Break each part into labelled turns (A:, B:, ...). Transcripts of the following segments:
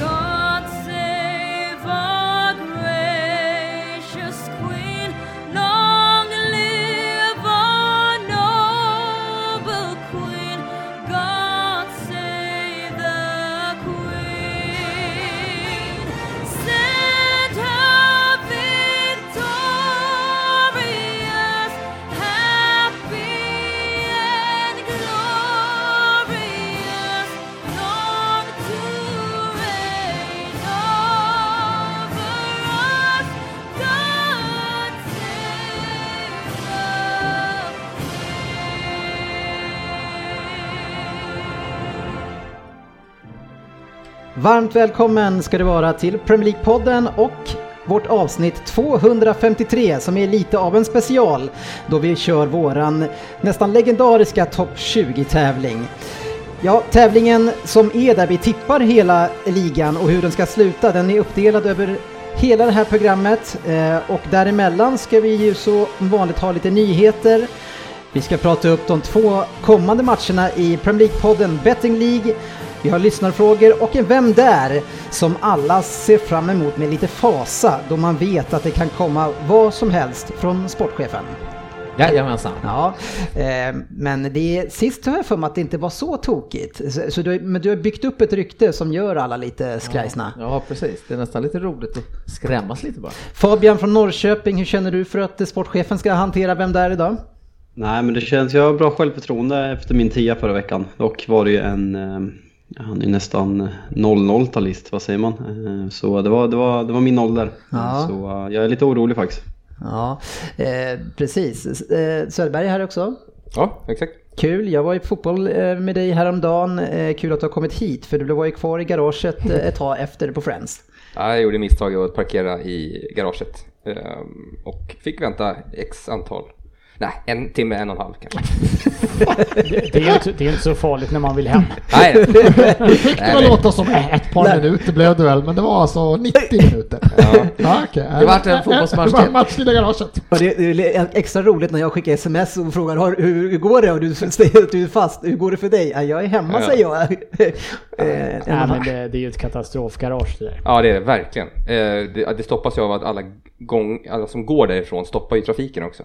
A: God save our gracious Queen. Long live our noble Queen. God save the Queen. Send her victorious, happy and glorious, long to reign over us. God save the King.
B: Varmt välkommen ska du vara till Premier League-podden och vårt avsnitt 253 som är lite av en special då vi kör våran nästan legendariska topp 20-tävling. Ja, tävlingen som är där vi tippar hela ligan och hur den ska sluta den är uppdelad över hela det här programmet eh, och däremellan ska vi ju så vanligt ha lite nyheter vi ska prata upp de två kommande matcherna i Premier League-podden Betting League. Vi har lyssnarfrågor och en Vem där? som alla ser fram emot med lite fasa då man vet att det kan komma vad som helst från sportchefen.
C: Jajamensan.
B: Ja, eh, men det är, sist har jag för mig att det inte var så tokigt. Så, så du, men du har byggt upp ett rykte som gör alla lite skrajsna.
C: Ja, precis. Det är nästan lite roligt att skrämmas lite bara.
B: Fabian från Norrköping, hur känner du för att sportchefen ska hantera Vem där idag?
D: Nej, men det känns... Jag har bra självförtroende efter min tia förra veckan. Dock var det ju en... eh, Han är nästan 0-0-talist, vad säger man? Eh, Så det var, det var, det var min noll där.
B: Ja.
D: Så eh, jag är lite orolig faktiskt.
B: Ja, eh, precis. Eh, Söderberg är här också.
E: Ja, exakt.
B: Kul, jag var i fotboll eh, med dig häromdagen. Eh, Kul att du har kommit hit för du var ju kvar i garaget eh, ett tag efter på Friends.
E: Ja, Jag gjorde misstaget att parkera i garaget ehm, och fick vänta x antal, nej en timme, en och en halv kanske.
F: Det är ju inte, det är inte så farligt när man vill hem.
E: Nej,
G: fick det
E: Nej,
G: väl
E: men-
G: låta som äh, ett par minuter blev det väl, men det var alltså 90 minuter.
E: Ja.
G: Ja, okej.
E: Det vart en fotbollsmatch
G: Det var
E: till.
G: en match i det garaget.
B: Och det, det är extra roligt när jag skickar sms och frågar "Har- hur, hur går det? Och du säger att du är fast. Hur går det för dig? "Ja, Jag är hemma
E: Ja.
B: säger jag. Eh, en
F: Nej,
B: annan-
F: men det, det är ju ett katastrofgarage det där.
E: ja det är det verkligen. Eh, Det, det stoppas ju av att alla, gång, alla som går därifrån stoppar ju trafiken också.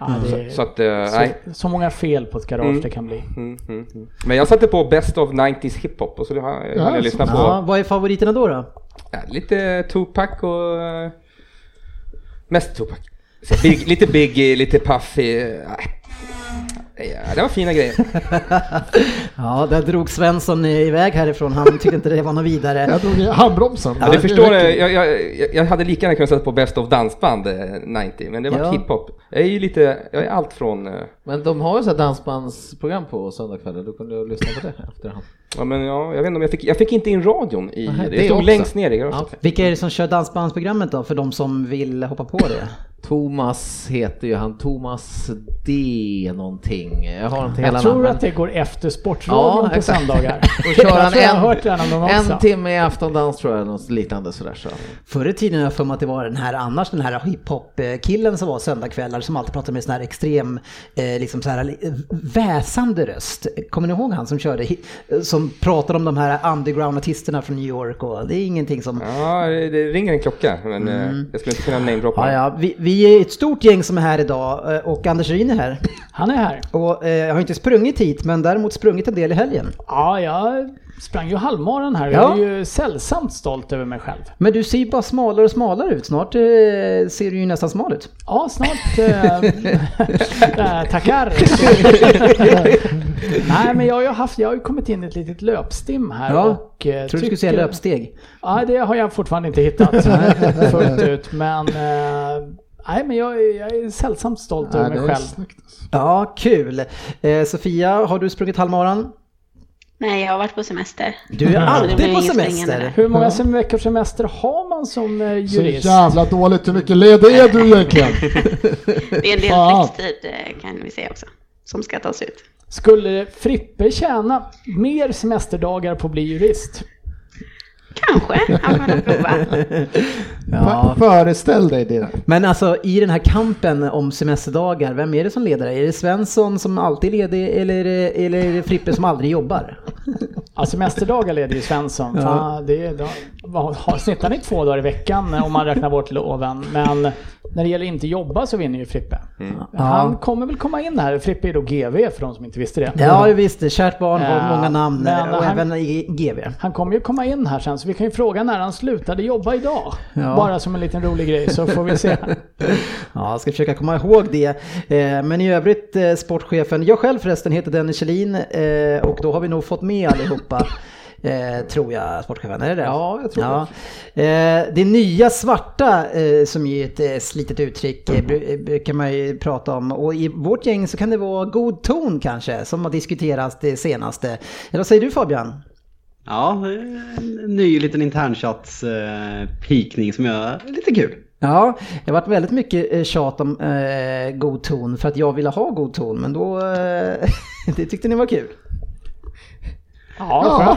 F: Ja, det är,
E: Så att, eh, nej.
F: så, så många fel på ett garage det kan bli.
E: Mm, mm, mm. Men jag satte på Best of 90s hiphop och så det har jag
G: Ja,
E: ja, lyssnat på
B: ja, vad är favoriterna då? då?
E: ja, lite Tupac och eh, mest Tupac. Så Big, lite Biggie, lite Puffy. eh, Ja, det var fina grejer.
B: Ja, där drog Svensson eh, iväg härifrån. Han tyckte inte det var något vidare.
G: Jag drog i handbromsen.
E: Ja, du förstår,
G: räcker.
E: jag, jag, jag- jag hade lika gärna kunnat sätta på Best of Dansband eh, 90, men det var
B: Ja.
E: hiphop. Jag är ju lite, jag är allt från, eh,
C: Men de har ju så här dansbandsprogram på söndagskvällar, då kunde jag lyssna på det efterhand.
E: ja men ja, jag vet inte om jag fick, jag fick inte in radion i,
C: Nej,
E: det,
C: det
E: stod
C: också.
E: längst ner i garaget.
C: Ja, okej.
B: Vilka är det som kör dansbandsprogrammet då? För de som vill hoppa på det?
C: Thomas heter ju han, Thomas D någonting. Jag har inte hela
F: Jag tror
C: namnet.
F: att det går efter Sportradion på
C: exakt.
F: söndagar.
C: Då kör
F: jag
C: han
F: tror alltså, jag har hört
C: en,
F: den någon gång också.
C: en timme i aftondans tror jag, eller något liknande sådär. Så.
B: Förr i tiden har jag för mig att det var den här annars, den här hiphop-killen som var söndagkvällar som alltid pratade med sån här extrem, eh, liksom så här li- väsande röst. Kommer ni ihåg han som körde, hi- eh, som pratade om de här underground-artisterna från New York och det är ingenting som...
E: Ja, det, det ringer en klocka, men eh, jag skulle inte kunna namedroppa.
B: Ja,
E: den.
B: ja, vi, vi är ett stort gäng som är här idag eh, och Anders Ryn är här.
F: Han är här.
B: Och eh, jag har inte sprungit hit men däremot sprungit en del i helgen.
F: Ja, jag sprang ju halvmaran här.
B: Ja.
F: Jag är ju sällsamt stolt över mig själv.
B: Men du ser ju bara smalare och smalare ut. Snart eh, ser du ju nästan smal ut.
F: Ja, snart. Eh, eh, tackar. Nej, men jag har ju haft, jag har ju kommit in i ett litet löpstim här
B: Ja,
F: och... eh,
B: Tror du skulle säga
F: tycker-
B: löpsteg?
F: Ja, det har jag fortfarande inte hittat fullt ut. Men, eh, nej, men jag, är- jag är sällsamt stolt
G: Nej,
F: över
G: det
F: mig
G: är
F: själv.
G: snyggt. alltså.
B: Ja, kul! Eh, Sofia, har du sprungit halvmaran?
H: Nej, jag har varit på semester.
B: Du är
H: det
B: alltid
H: blir
B: på
H: ingen
B: semester.
H: springande.
F: Hur många sem- veckors semester har man som eh,
G: Så
F: jurist?
G: jävla dåligt. Hur mycket led är du egentligen?
H: Det är en del
G: Fan.
H: flextid eh, kan vi säga också, som ska tas ut.
F: Skulle Frippe tjäna mer semesterdagar på att bli jurist?
H: Kanske, han får nog prova.
G: F- Föreställ dig det.
B: Men alltså i den här kampen om semesterdagar, vem är det som leder? Är det Svensson som alltid är ledig eller, är det- eller är det Frippe som aldrig jobbar?
F: Ja, semesterdagar leder ju Svensson. Fan, det är, då, vad- har- snittar ni två dagar i veckan eh, om man räknar bort loven? Men när det gäller inte jobba så vinner ju Frippe.
D: Mm.
F: Han kommer väl komma in här. Frippe är då GV för de som inte visste det.
B: Ja visst, kärt barn
F: Ja,
B: har många namn
F: men
B: och
F: han-
B: även i GV.
F: Han kommer ju komma in här sen så vi kan ju fråga när han slutade jobba idag.
B: Ja.
F: Bara som en liten rolig grej så får vi se.
B: Ja, jag ska försöka komma ihåg det. Eh, Men i övrigt eh, sportchefen, jag själv förresten heter Dennis Kjellin eh, och då har vi nog fått med allihopa. Eh, tror jag, sportchefen. Är det det? Ja, jag tror det. Eh, det nya svarta, eh, som ju är ett eh, slitet uttryck, eh, bru- eh, brukar man ju prata om. Och i vårt gäng så kan det vara god ton kanske, som har diskuterats det senaste. Eller vad säger du Fabian?
D: Ja, en ny liten internchattspikning som jag... Lite kul.
B: Ja, det har varit väldigt mycket eh, tjat om eh, god ton för att jag ville ha god ton, men då... Eh, det tyckte ni var kul.
F: Ja,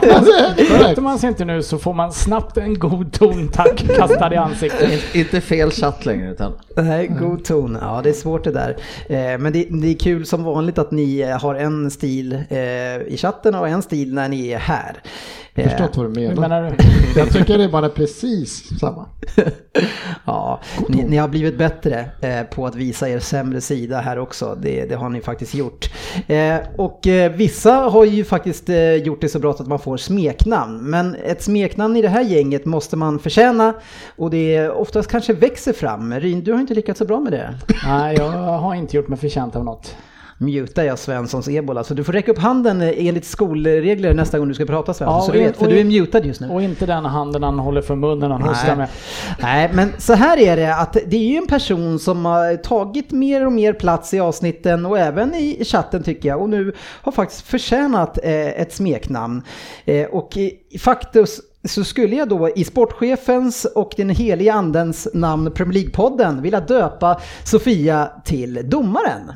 G: Ja,
F: sköter-
G: korrekt.
F: sköter man sig inte nu så får man snabbt en god ton tack kastad i ansiktet.
C: Inte fel chatt längre utan...
B: Nej, god ton. Ja, det är svårt det där. Eh, men det, det är kul som vanligt att ni eh, har en stil eh, i chatten och en stil när ni är här.
G: Jag
B: Eh,
G: har förstått vad du
F: Hur
G: menar.
F: menar du?
G: Jag tycker det bara är precis samma.
B: ja, ni, ni har blivit bättre eh, på att visa er sämre sida här också. Det, det har ni faktiskt gjort. Eh, och eh, vissa har ju faktiskt eh, gjort det så bra så att man får smeknamn. Men ett smeknamn i det här gänget måste man förtjäna och det är oftast kanske växer fram. Ryn, du har inte lyckats så bra med det.
F: Nej, jag har inte gjort mig förtjänt av något.
B: mutar jag Svenssons ebola. Så du får räcka upp handen eh, enligt skolregler nästa gång du ska prata Svensson.
F: Ja,
B: så
F: och
B: du
F: in-
B: vet, för
F: och
B: du är
F: in-
B: mutad just nu.
F: Och inte den handen han håller för munnen han hostar med.
B: Nej, men så här är det att det är ju en person som har tagit mer och mer plats i avsnitten och även i chatten tycker jag och nu har faktiskt förtjänat eh, ett smeknamn. Eh, och i, i faktus så skulle jag då i sportchefens och den heliga andens namn Premier League-podden vilja döpa Sofia till domaren.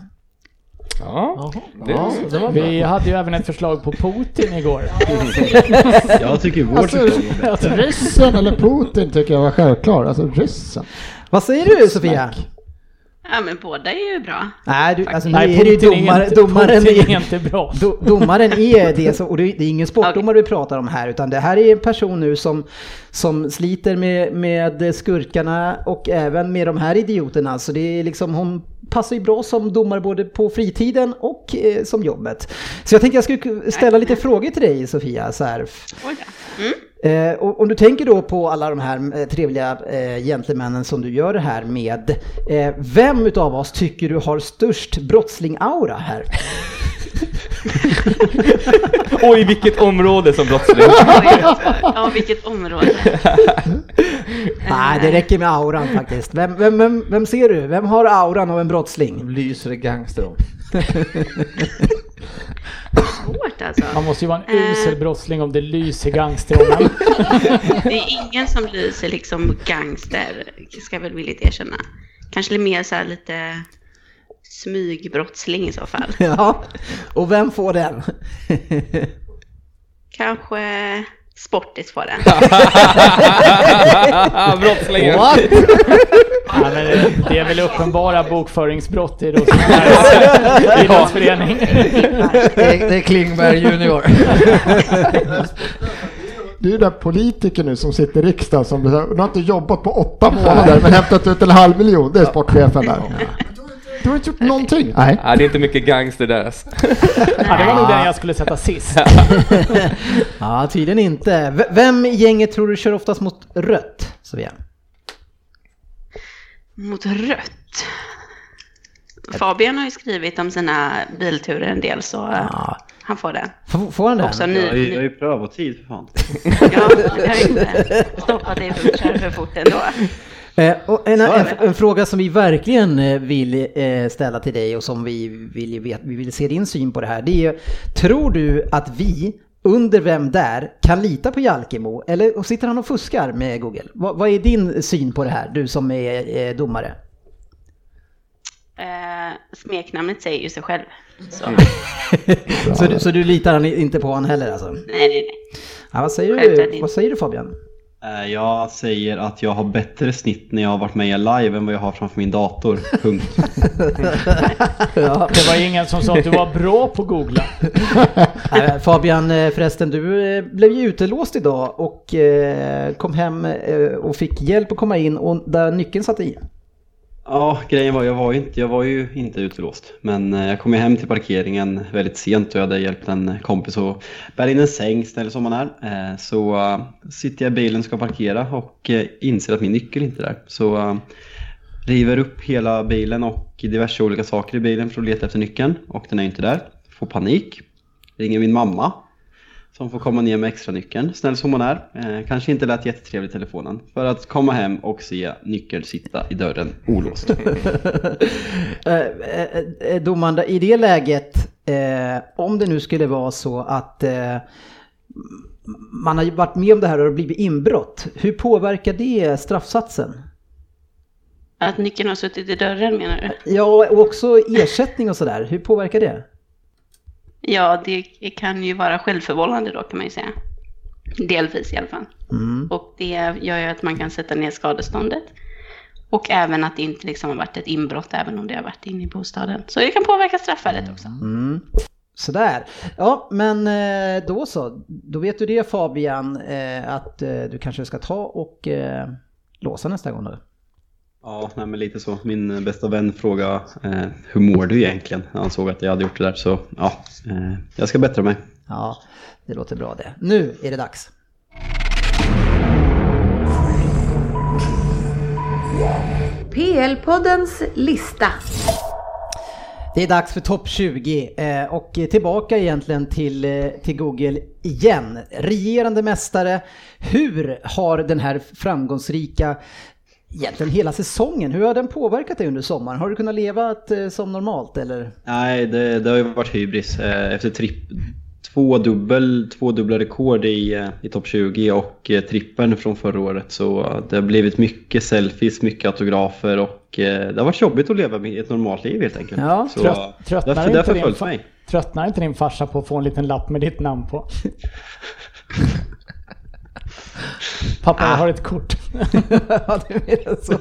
E: Ja, det,
F: Vi hade ju även ett förslag på Putin igår.
D: Jag tycker vårt
G: Alltså,
D: förslag är bättre.
G: ryssen eller Putin tycker jag var självklar. Alltså ryssen.
B: Vad säger du Sofia?
H: Ja, men båda är ju bra.
B: Nej, du, alltså, nu
F: Nej,
B: är det ju
F: Putin
B: domare,
F: inte,
B: domaren.
F: Putin är
B: är-
F: inte bra.
B: Do, domaren är det, som, och det det är ingen sportdomare vi pratar om här, utan det här är en person nu som, som sliter med, med skurkarna och även med de här idioterna. Så det är liksom, hon passar ju bra som domare både på fritiden och eh, som jobbet. Så jag tänkte jag skulle ställa lite frågor till dig Sofia. Så här.
H: Oj då. Mm.
B: Eh, och, om du tänker då på alla de här eh, trevliga eh, gentlemännen som du gör det här med. Eh, vem utav oss tycker du har störst brottsling-aura här?
E: Oj, vilket område som brottsling.
H: Oj, alltså. Ja, vilket område.
B: Nej, det räcker med auran faktiskt. Vem, vem, vem, vem ser du? Vem har auran av en brottsling?
C: Lyser det gangster om.
H: Svårt alltså. Eh.
F: Man måste ju vara en usel brottsling om det lyser gangster om en.
H: Det är ingen som lyser liksom gangster, ska jag väl villigt erkänna. Kanske lite mer så här lite smygbrottsling i så fall.
B: Ja, och vem får den?
H: Kanske sportis får den.
E: Brottslingen.
F: Ja, men det- det är väl uppenbara bokföringsbrott i Rosenbergs idrottsförening.
C: Det är, det är Klingberg junior.
G: Det är ju där politiker nu som sitter i riksdagen som blir så här, nu har inte jobbat på åtta månader men hämtat ut en halv miljon. Det är sportchefen där. Du har inte gjort någonting. Nej.
E: Ja, det är inte mycket gangster där alltså.
F: Ja, det var nog den jag skulle sätta sist.
B: ja, tydligen inte. V- vem i gänget tror du kör oftast mot rött? Sofia?
H: Mot rött. Fabian har ju skrivit om sina bilturer en del så
B: Ja.
H: han får den.
B: F- får han den?
H: Också ny,
D: Jag har ju- jag har
H: ny,
D: ju prövotid för fan.
H: ja, det har jag inte stoppat dig för att köra för fort ändå.
B: Eh, och en, en,
H: det.
B: en fråga som vi verkligen eh, vill eh, ställa till dig och som vi vill, ju vet- vi vill se din syn på det här. Det är ju, tror du att vi under Vem Där kan lita på Jalkemo? Eller och sitter han och fuskar med Google? Vad- vad är din syn på det här, du som är eh, domare?
H: Eh, smeknamnet säger ju sig själv. Så.
B: så, du, så du litar han i- inte på honom heller alltså?
H: Nej, nej, nej.
B: Ja, vad, säger du,
H: Självklart inte.
B: vad säger du Fabian?
D: Eh, Jag säger att jag har bättre snitt när jag har varit med i live än vad jag har framför min dator. Punkt.
F: Det var ju ingen som sa att du var bra på att googla.
B: Nej, men Fabian, eh, förresten, du eh, blev ju utelåst idag och eh, kom hem eh, och fick hjälp att komma in och där nyckeln satt i.
D: Ja, grejen var jag var ju inte, jag var ju inte utelåst. Men eh, jag kom ju hem till parkeringen väldigt sent och jag hade hjälpt en kompis att bära in en säng, ställe som man är. Eh, Så eh, sitter jag i bilen och ska parkera och eh, inser att min nyckel inte är där. Så eh, river upp hela bilen och diverse olika saker i bilen för att leta efter nyckeln och den är ju inte där. Får panik. Ringer min mamma som får komma ner med extra nyckeln. Snäll som hon är. Eh, kanske inte lät jättetrevlig i telefonen. För att komma hem och se nyckeln sitta i dörren olåst.
B: Eh, eh, eh, Domaren, i det läget, eh, om det nu skulle vara så att eh, man har ju varit med om det här och det har blivit inbrott, hur påverkar det straffsatsen?
H: Att nyckeln har suttit i dörren menar du?
B: Ja, och också ersättning och sådär, hur påverkar det?
H: Ja, det kan ju vara självförvållande då kan man ju säga. Delvis i alla fall.
A: Mm.
H: Och det gör ju att man kan sätta ner skadeståndet. Och även att det inte liksom har varit ett inbrott även om det har varit inne i bostaden. Så det kan påverka straffvärdet också.
B: Mm. Sådär. Ja, men eh, då så. Då vet du det Fabian, eh, att eh, du kanske ska ta och eh, låsa nästa gång då.
D: Ja, nej, men lite så. Min eh, bästa vän frågade eh, hur mår du egentligen? När han såg att jag hade gjort det där. Så ja, eh, jag ska bättra mig.
B: Ja, det låter bra det. Nu är det dags.
I: PL-poddens lista.
B: Det är dags för topp 20 eh, och tillbaka egentligen till, eh, till Google igen. Regerande mästare, hur har den här framgångsrika Egentligen hela säsongen, hur har den påverkat dig under sommaren? Har du kunnat leva ett, eh, som normalt eller?
D: Nej, det, det har ju varit hybris. Eh, Efter tripp, två, dubbel, två dubbla rekord i, eh, i topp 20 och eh, trippeln från förra året. Så eh, det har blivit mycket selfies, mycket autografer och eh, det har varit jobbigt att leva med ett normalt liv helt enkelt.
B: Ja,
D: Typ. så, eh,
F: Trött,
D: det
F: tröttnar,
D: har- det har
F: inte din,
D: förföljt
F: fa-
D: mig.
F: tröttnar inte din farsa på att få en liten lapp med ditt namn på? Pappa,
D: Ah.
F: jag har ett kort.
B: ja, du menar så.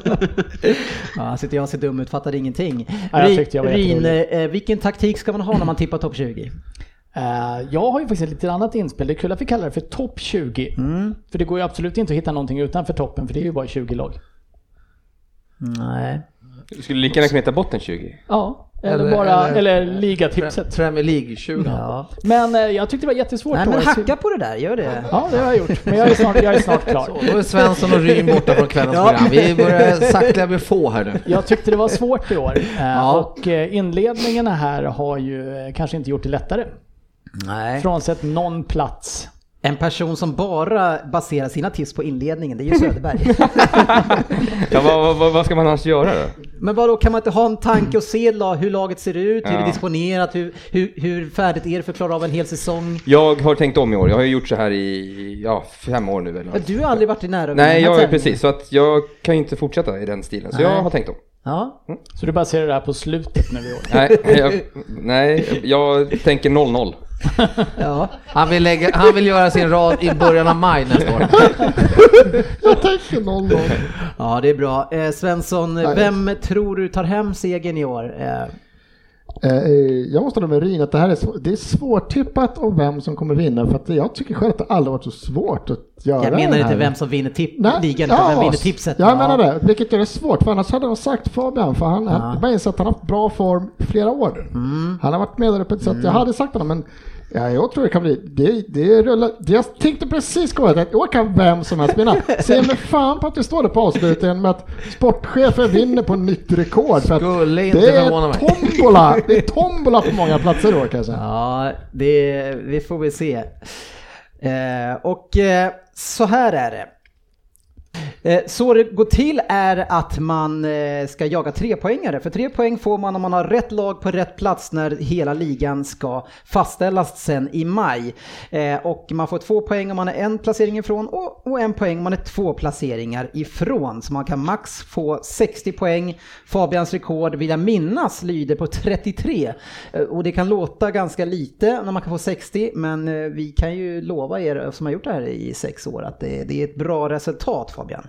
B: Ja, han sitter jag och ser dum ut, fattar ingenting.
F: Ja, jag tyckte jag var
B: Rin,
F: jätterolig.
B: eh, vilken taktik ska man ha när man tippar topp 20?
F: Eh, jag har ju faktiskt ett lite annat inspel. Det är kul att vi kallar det för topp 20. För det går ju absolut inte att hitta någonting utanför toppen, för det är ju bara 20 lag.
B: Nej.
E: Du skulle lika gärna kunna heta botten 20.
F: Ja, eller,
C: Eller-
F: bara, eller,
C: eller-
F: ligatipset.
C: Premier League 20.
B: Ja.
F: Men eh, jag tyckte det var jättesvårt.
B: Nej,
F: då.
B: men hacka på det där, gör det.
F: Ja, det har jag gjort. Men jag är snart, jag är snart klar.
C: Då är Svensson och Ryn borta från kvällens
B: Ja.
C: program. Vi börjar sakta bli få här nu.
F: Jag tyckte det var svårt i år. Eh,
C: Ja.
F: Och eh, inledningarna här har ju eh, kanske inte gjort det lättare.
B: Nej.
F: Frånsett någon plats.
B: En person som bara baserar sina tips på inledningen, det är ju Söderberg.
E: Ja, vad, vad- vad, vad ska man annars göra då?
B: men vadå, kan man inte ha en tanke och se la- hur laget ser ut, hur det är
E: Ja.
B: disponerat, hur, hur, hur färdigt är det för att klara av en hel säsong?
E: Jag har tänkt om i år. Jag har ju gjort så här i ja, fem år nu eller
B: Men
E: något.
B: Du har aldrig varit i nära
E: Nej, jag är
B: tävlingen.
E: precis. Så att jag kan ju inte fortsätta i den stilen. Så
B: Nej.
E: jag har tänkt Mm. om.
B: Ja.
F: Så du baserar det här på slutet nu i år.
E: Nej, jag, nej, jag tänker 0-0.
B: ja.
C: Han vill, lägga, han vill göra sin rad i början av maj nästa år.
G: Jag tänker någon gång.
B: Ja, det är bra. Eh, Svensson,
G: Nej.
B: vem tror du tar hem segern i år? Eh,
G: Eh, eh, Jag måste hålla med Rin att det här är, svå- det är svårtippat om vem som kommer vinna för att jag tycker själv att det aldrig varit så svårt att göra
B: jag menar
G: den
B: inte
G: här.
B: vem som vinner tip-
G: Nej,
B: ligan, utan
G: ja,
B: vem vinner tipset.
G: Jag menar det, vilket gör det svårt för annars hade de sagt Fabian för han, han, man inser att han har haft bra form i flera år. Han har varit med där uppe så att jag hade sagt honom men ja, jag tror det kan bli, det, det rullar, det, jag tänkte precis gå att jag kan vem som helst vinna. Se mig fan på att det står det på avslutningen med att sportchefen vinner på nytt rekord. För att
C: Skulle inte
G: det är
C: förvåna mig.
G: tombola, det är tombola på många platser då kan jag säga.
B: Ja, det, vi får väl se. Eh, och eh, så här är det. Eh, Så det går till är att man eh, ska jaga trepoängare. För tre poäng får man om man har rätt lag på rätt plats när hela ligan ska fastställas sen i maj. Eh, Och man får två poäng om man är en placering ifrån och och en poäng om man är två placeringar ifrån. Så man kan max få 60 poäng. Fabians rekord vill jag minnas lyder på 33. Eh, Och det kan låta ganska lite när man kan få 60 men eh, vi kan ju lova er som har gjort det här i sex år att det, det är ett bra resultat Fabian.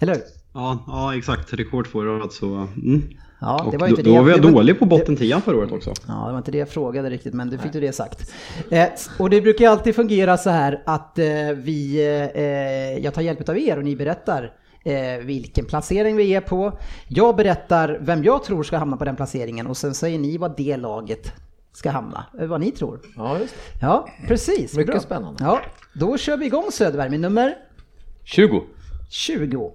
B: Eller hur?
D: Ja, ja exakt. Rekord förra året så... Mm.
B: Ja,
D: Och då, då var jag
B: det
D: dålig på botten 10 förra året också.
B: Ja, det var inte det jag frågade riktigt, men du fick du det sagt. Eh, och det brukar ju alltid fungera så här att eh, vi, eh, jag tar hjälp av er och ni berättar eh, vilken placering vi är på. Jag berättar vem jag tror ska hamna på den placeringen och sen säger ni vad det laget ska hamna, eh, vad ni tror.
C: Ja, just det.
B: Ja, precis.
C: Mycket spännande.
B: Ja, då kör vi igång Söderberg med nummer
E: 20.
B: 20.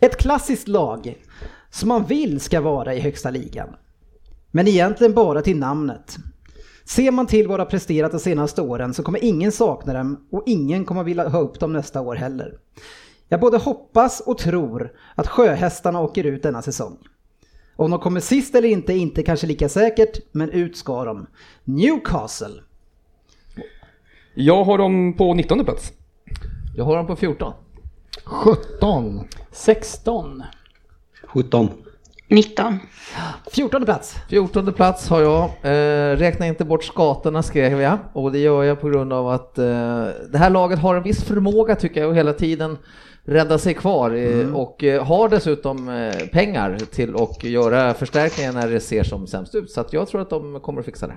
B: Ett klassiskt lag som man vill ska vara i högsta ligan. Men egentligen bara till namnet. Ser man till vad de har presterat de senaste åren så kommer ingen sakna dem och ingen kommer vilja ha upp dem nästa år heller. Jag både hoppas och tror att Sjöhästarna åker ut denna säsong. Om de kommer sist eller inte är inte kanske lika säkert, men ut ska de. Newcastle.
E: Jag har dem på 19 plats.
C: Jag har dem på 14.
G: 17.
F: 16.
D: 17.
H: 19.
B: 14 plats.
C: 14 plats har jag. Eh, räkna inte bort skatorna skrev jag och det gör jag på grund av att eh, det här laget har en viss förmåga tycker jag att hela tiden rädda sig kvar eh, och eh, har dessutom eh, pengar till att göra förstärkningar när det ser som sämst ut. Så att jag tror att de kommer att fixa det.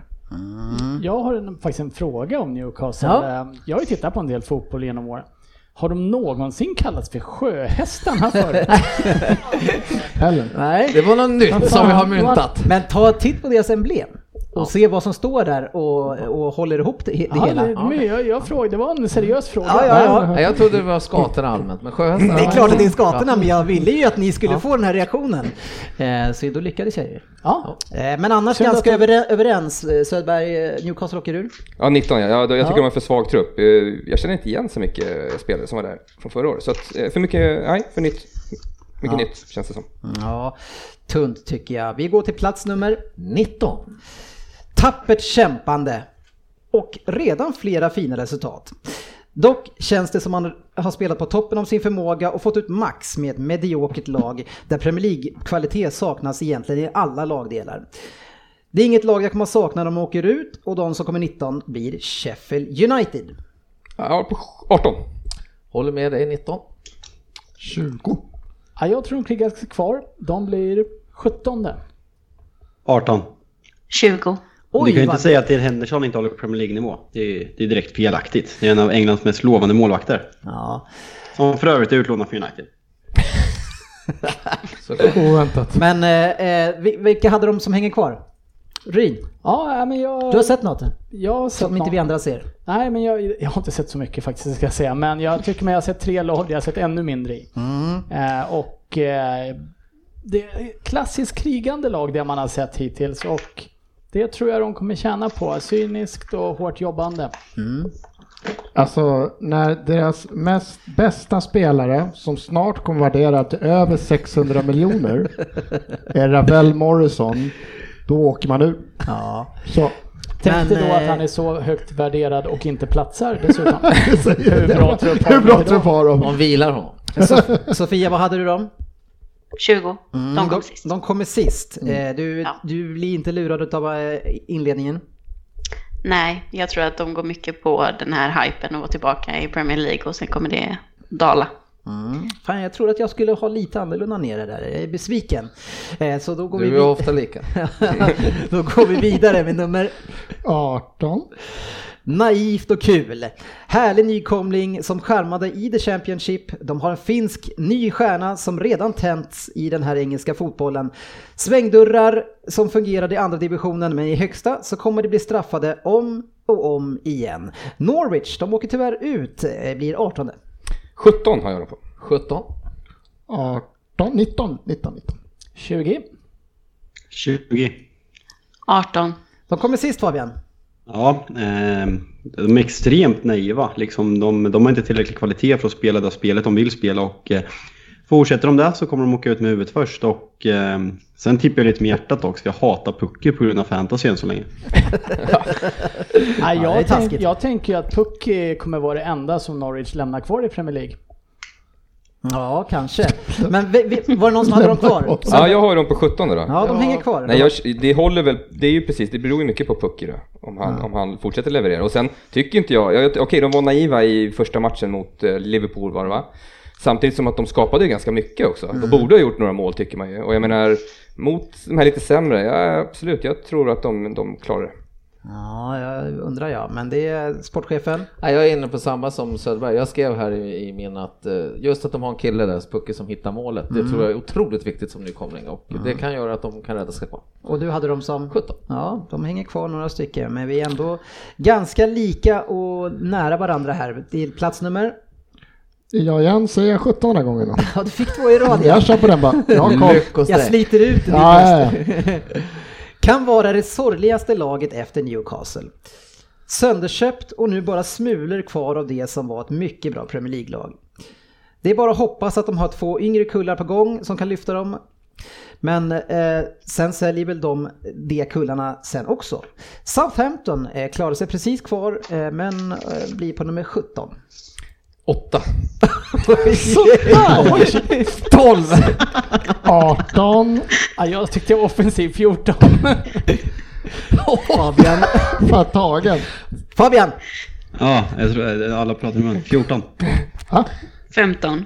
F: Jag har en, faktiskt en fråga om Newcastle.
C: Mm. Ja.
F: Eh, Jag har ju tittat på en del fotboll genom åren. Har de någonsin kallats för Sjöhästarna förut?
G: Heller.
B: Nej.
C: Det var något nytt som vi har myntat.
B: Men ta en titt på deras emblem och se vad som står där och, och håller ihop det, det
F: Ja,
B: hela. Mm.
F: det, men jag, jag frågade, det var en seriös fråga.
B: Ja, ja, ja.
C: Nej, jag trodde det var skatorna allmänt, men sjöhästarna...
B: Det är klart att det är skatorna, men jag ville ju att ni skulle få den här reaktionen. Eh, Så då lyckades jag ju.
F: Ja.
B: Eh, Men annars
F: Synd
B: ganska
F: att
B: över, överens. Eh, Söderberg, eh, Newcastle åker ur.
E: Ja, 19 ja. Jag, jag tycker
B: Ja.
E: de har för svag trupp. Eh, Jag känner inte igen så mycket eh, spelare som var där från förra året. Så att, eh, för mycket, nej, för nytt. Mycket nytt känns det som.
B: Ja, tunt tycker jag. Vi går till plats nummer
C: 19.
B: Tappert kämpande och redan flera fina resultat. Dock känns det som man har spelat på toppen av sin förmåga och fått ut max med ett mediokert lag där Premier League-kvalitet saknas egentligen i alla lagdelar. Det är inget lag jag kommer att sakna när de åker ut och de som kommer 19 blir Sheffield United.
E: Jag har på 18.
C: Håller med dig 19.
G: 20.
F: ja, jag tror de krigar sig kvar. De blir 17.
D: 18.
H: 20.
D: du kan ju
B: vad-
D: inte säga att Dean Henderson inte håller på Premier League-nivå. Det är, det är direkt felaktigt. Det är en av Englands mest lovande målvakter.
B: Ja.
D: Som för övrigt är utlånad för United.
G: Oväntat.
B: Men eh, eh, vi- vilka hade de som hänger kvar? Ryn,
F: Ja, men jag...
B: du har sett något
F: jag har sett
B: som inte
F: någon-
B: vi andra ser?
F: Nej, men jag, jag har inte sett så mycket faktiskt, ska jag säga. Men jag tycker mig ha sett tre lag jag har sett ännu mindre i.
E: Mm.
A: Mm.
F: Eh, och eh, det är klassiskt krigande lag det man har sett hittills. Och det tror jag de kommer tjäna på. Cyniskt och hårt jobbande.
G: Mm. Alltså när deras mest bästa spelare, som snart kommer värderad till över 600 miljoner, är Ravel Morrison, då åker man ur.
B: Ja.
G: Så,
F: Tänkte
B: Men,
F: då att
B: eh,
F: han är så högt värderad och inte platsar dessutom.
G: hur
F: bra trupp har
G: hur
F: de
G: bra
F: idag?
G: trupp har de?
C: De vilar honom.
F: Alltså,
B: Sof- Sofia, vad hade du dem?
H: 20. De kom
B: de,
H: sist.
B: de kommer sist.
F: Mm.
B: Eh, Du,
H: Ja.
B: du blir inte lurad av eh, inledningen.
H: Nej, jag tror att de går mycket på den här hypen och vara tillbaka i Premier League och sen kommer det dala.
C: Mm.
B: Fan, jag tror att jag skulle ha lite annorlunda nere där. Jag är besviken. Eh, Så då går, vi,
C: Du är
B: vid-
C: ofta lika.
B: då går vi vidare med nummer
G: 18.
B: Naivt och kul. Härlig nykomling som skärmade i The Championship. De har en finsk ny stjärna som redan tänts i den här engelska fotbollen. Svängdörrar som fungerade i andra divisionen men i högsta så kommer de bli straffade om och om igen. Norwich, de åker tyvärr ut, eh, blir 18.
E: 17 har jag dem på.
C: 17.
G: 18, 19, 19, 19.
F: 20.
D: 20.
H: 18.
B: De kommer sist Fabian.
D: Ja, eh, de är extremt naiva. Liksom de, de har inte tillräcklig kvalitet för att spela det spelet de vill spela och eh, fortsätter de där så kommer de åka ut med huvudet först och eh, sen tippar jag lite med hjärtat också. Jag hatar Pucke på grund av fantasy än så länge.
F: Nej,
B: Ja, det är
F: jag, tänk,
B: taskigt.
F: jag tänker ju att Pucky kommer vara det enda som Norwich lämnar kvar i Premier League.
B: Ja, kanske. Men vi, vi, var det någon som hade dem kvar?
E: Ja, jag har ju dem på 17 då.
B: Ja, de hänger kvar.
E: Nej, jag, det håller väl, det är ju precis, det beror ju mycket på Pucky då, om han, om han fortsätter leverera. Och sen tycker inte jag, jag okej de var naiva i första matchen mot eh, Liverpool var det va? Samtidigt som att de skapade ju ganska mycket också.
B: Mm.
E: De borde ha gjort några mål tycker man ju. Och jag menar, mot de här lite sämre, ja absolut, jag tror att de, de klarar det.
B: Ja, jag undrar jag. Men det är sportchefen.
C: Nej, jag är inne på samma som Söderberg. Jag skrev här i, i min att eh, just att de har en kille där, Spucke, som hittar målet.
B: Mm.
C: Det tror jag är otroligt viktigt som nykomling och det kan göra att de kan rädda sig kvar.
B: Och du hade dem som?
C: 17.
B: Ja, de hänger kvar några stycken. Men vi är ändå ganska lika och nära varandra här. Till plats nummer?
G: Jag igen säger jag 17 den här gången.
B: Ja, du fick två i rad. ja.
G: Jag kör på den bara. Jag har koll.
B: Jag sliter ut ditt
G: Ja, ja,
B: ja, Kan vara det sorgligaste laget efter Newcastle. Sönderköpt och nu bara smulor kvar av det som var ett mycket bra Premier League-lag. Det är bara att hoppas att de har två yngre kullar på gång som kan lyfta dem. Men eh, sen säljer väl de de kullarna sen också. Southampton eh, klarar sig precis kvar eh, men eh, blir på nummer 17.
E: Åtta.
B: 12!
G: 18.
F: Ja, jag tyckte jag var offensiv 14.
B: Fabian,
G: Fan tagen.
B: Fabian!
D: Ja, jag tror, alla pratar i mun. 14.
G: Ja.
H: 15.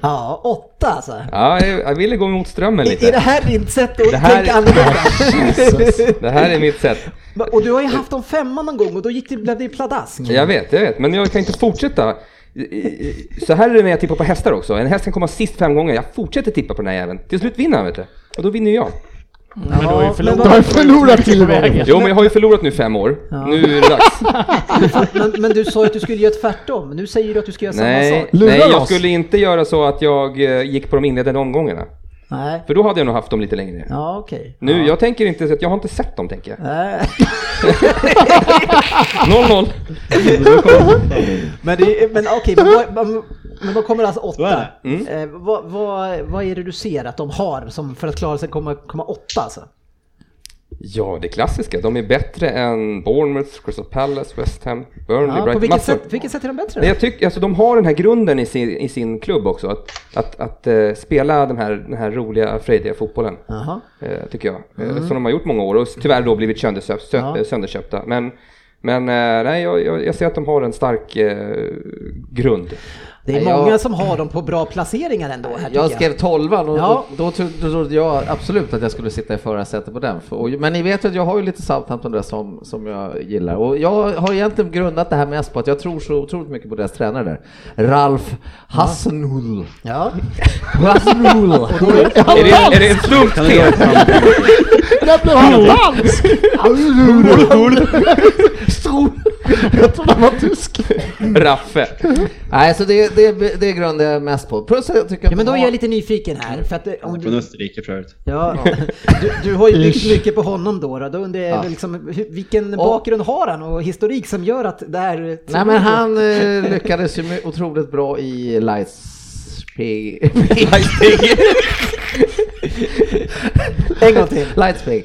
B: Ja, 8 alltså.
E: Ja, jag, jag ville gå mot strömmen
B: Är, är det
E: lite.
B: här ditt sätt att
E: Det här-
B: tänka annorlunda?
E: Det här är mitt sätt.
B: Men- och du har ju haft dem femma någon gång och då gick det, blev det ju pladask.
E: Jag vet, jag vet. Men jag kan inte fortsätta. Så här är det när jag tippar på hästar också. En häst kan komma sist fem gånger. Jag fortsätter tippa på den här jäveln. Till slut vinner han vet du. Och då vinner ju jag.
F: men du har ju
G: Du har
F: förlorat.
G: ju förlorat tio gånger.
F: vägen.
E: Jo men jag har ju förlorat nu fem år. Nu är det dags.
B: Men, men du sa ju att du skulle göra tvärtom. Nu säger du att du ska göra samma
E: Nej,
B: sak.
G: Lurar
E: nej, jag
G: oss.
E: skulle inte göra så att jag eh, gick på de inledande omgångarna.
B: Nej.
E: För då hade jag nog haft dem lite längre ner.
B: Ja, okej.
E: Nu, jag tänker inte, så att jag har inte sett dem tänker jag.
B: Nej.
E: 0-0.
B: Men, det, är- men okej, men, vad- men, men vad kommer alltså
D: Så är
B: åtta?
D: det. Mm.
B: Eh, vad, vad, vad är det du ser att de har som för att klara sig komma, komma åtta alltså?
E: Ja, det klassiska. De är bättre än Bournemouth, Crystal Palace, West Ham, Burnley,
B: Ja, på
E: Brighton.
B: vilket
E: massor.
B: sätt, vilket sätt är de bättre?
E: Nej, jag tycker, alltså, de har den här grunden i sin, i sin klubb också, att, att, att eh, spela den här, den här roliga, frejdiga fotbollen,
B: Jaha. Mm.
E: eh, tycker jag. Eh, som de har gjort många år och s- tyvärr då blivit söndersö- sö- eh, sönderköpta. Men, men eh, nej, jag, jag, jag ser att de har en stark eh, grund.
B: Det är
C: Nej, jag-
B: många som har dem på bra placeringar ändå här tycker
C: Jag
B: jag.
C: skrev tolvan och,
B: Ja.
C: och då tro- då trodde jag absolut att jag skulle sitta i förarsätet på den. För- och- Men ni vet ju att jag har ju lite Southampton där som, som jag gillar. Och jag har egentligen grundat det här mest på att jag tror så otroligt mycket på deras tränare där. Ralf Hassenhull.
B: Ja.
C: Hassenhull.
G: Är han
E: Är det, är
G: dansk?
E: det en slump
D: Kan vi dra
E: till?
D: ett namn?
G: Där blev han dansk! Jag trodde han var tysk.
E: Raffe.
C: Nej, så det, det, det grundar jag mest på. Plus att jag tycker att
B: ja, men då
C: de
B: är
C: har-
B: jag lite nyfiken här. För att, eh, om
D: Från
B: du,
D: Österrike för övrigt.
B: ja, du, du har ju byggt
G: Ish.
B: mycket på honom då. Då, då undrar jag
C: Ja.
B: liksom, hur- vilken bakgrund har han och historik som gör att det här...
C: Nej men han eh, lyckades ju med- otroligt bra i Lightspig.
B: En gång till.
C: Lightspig.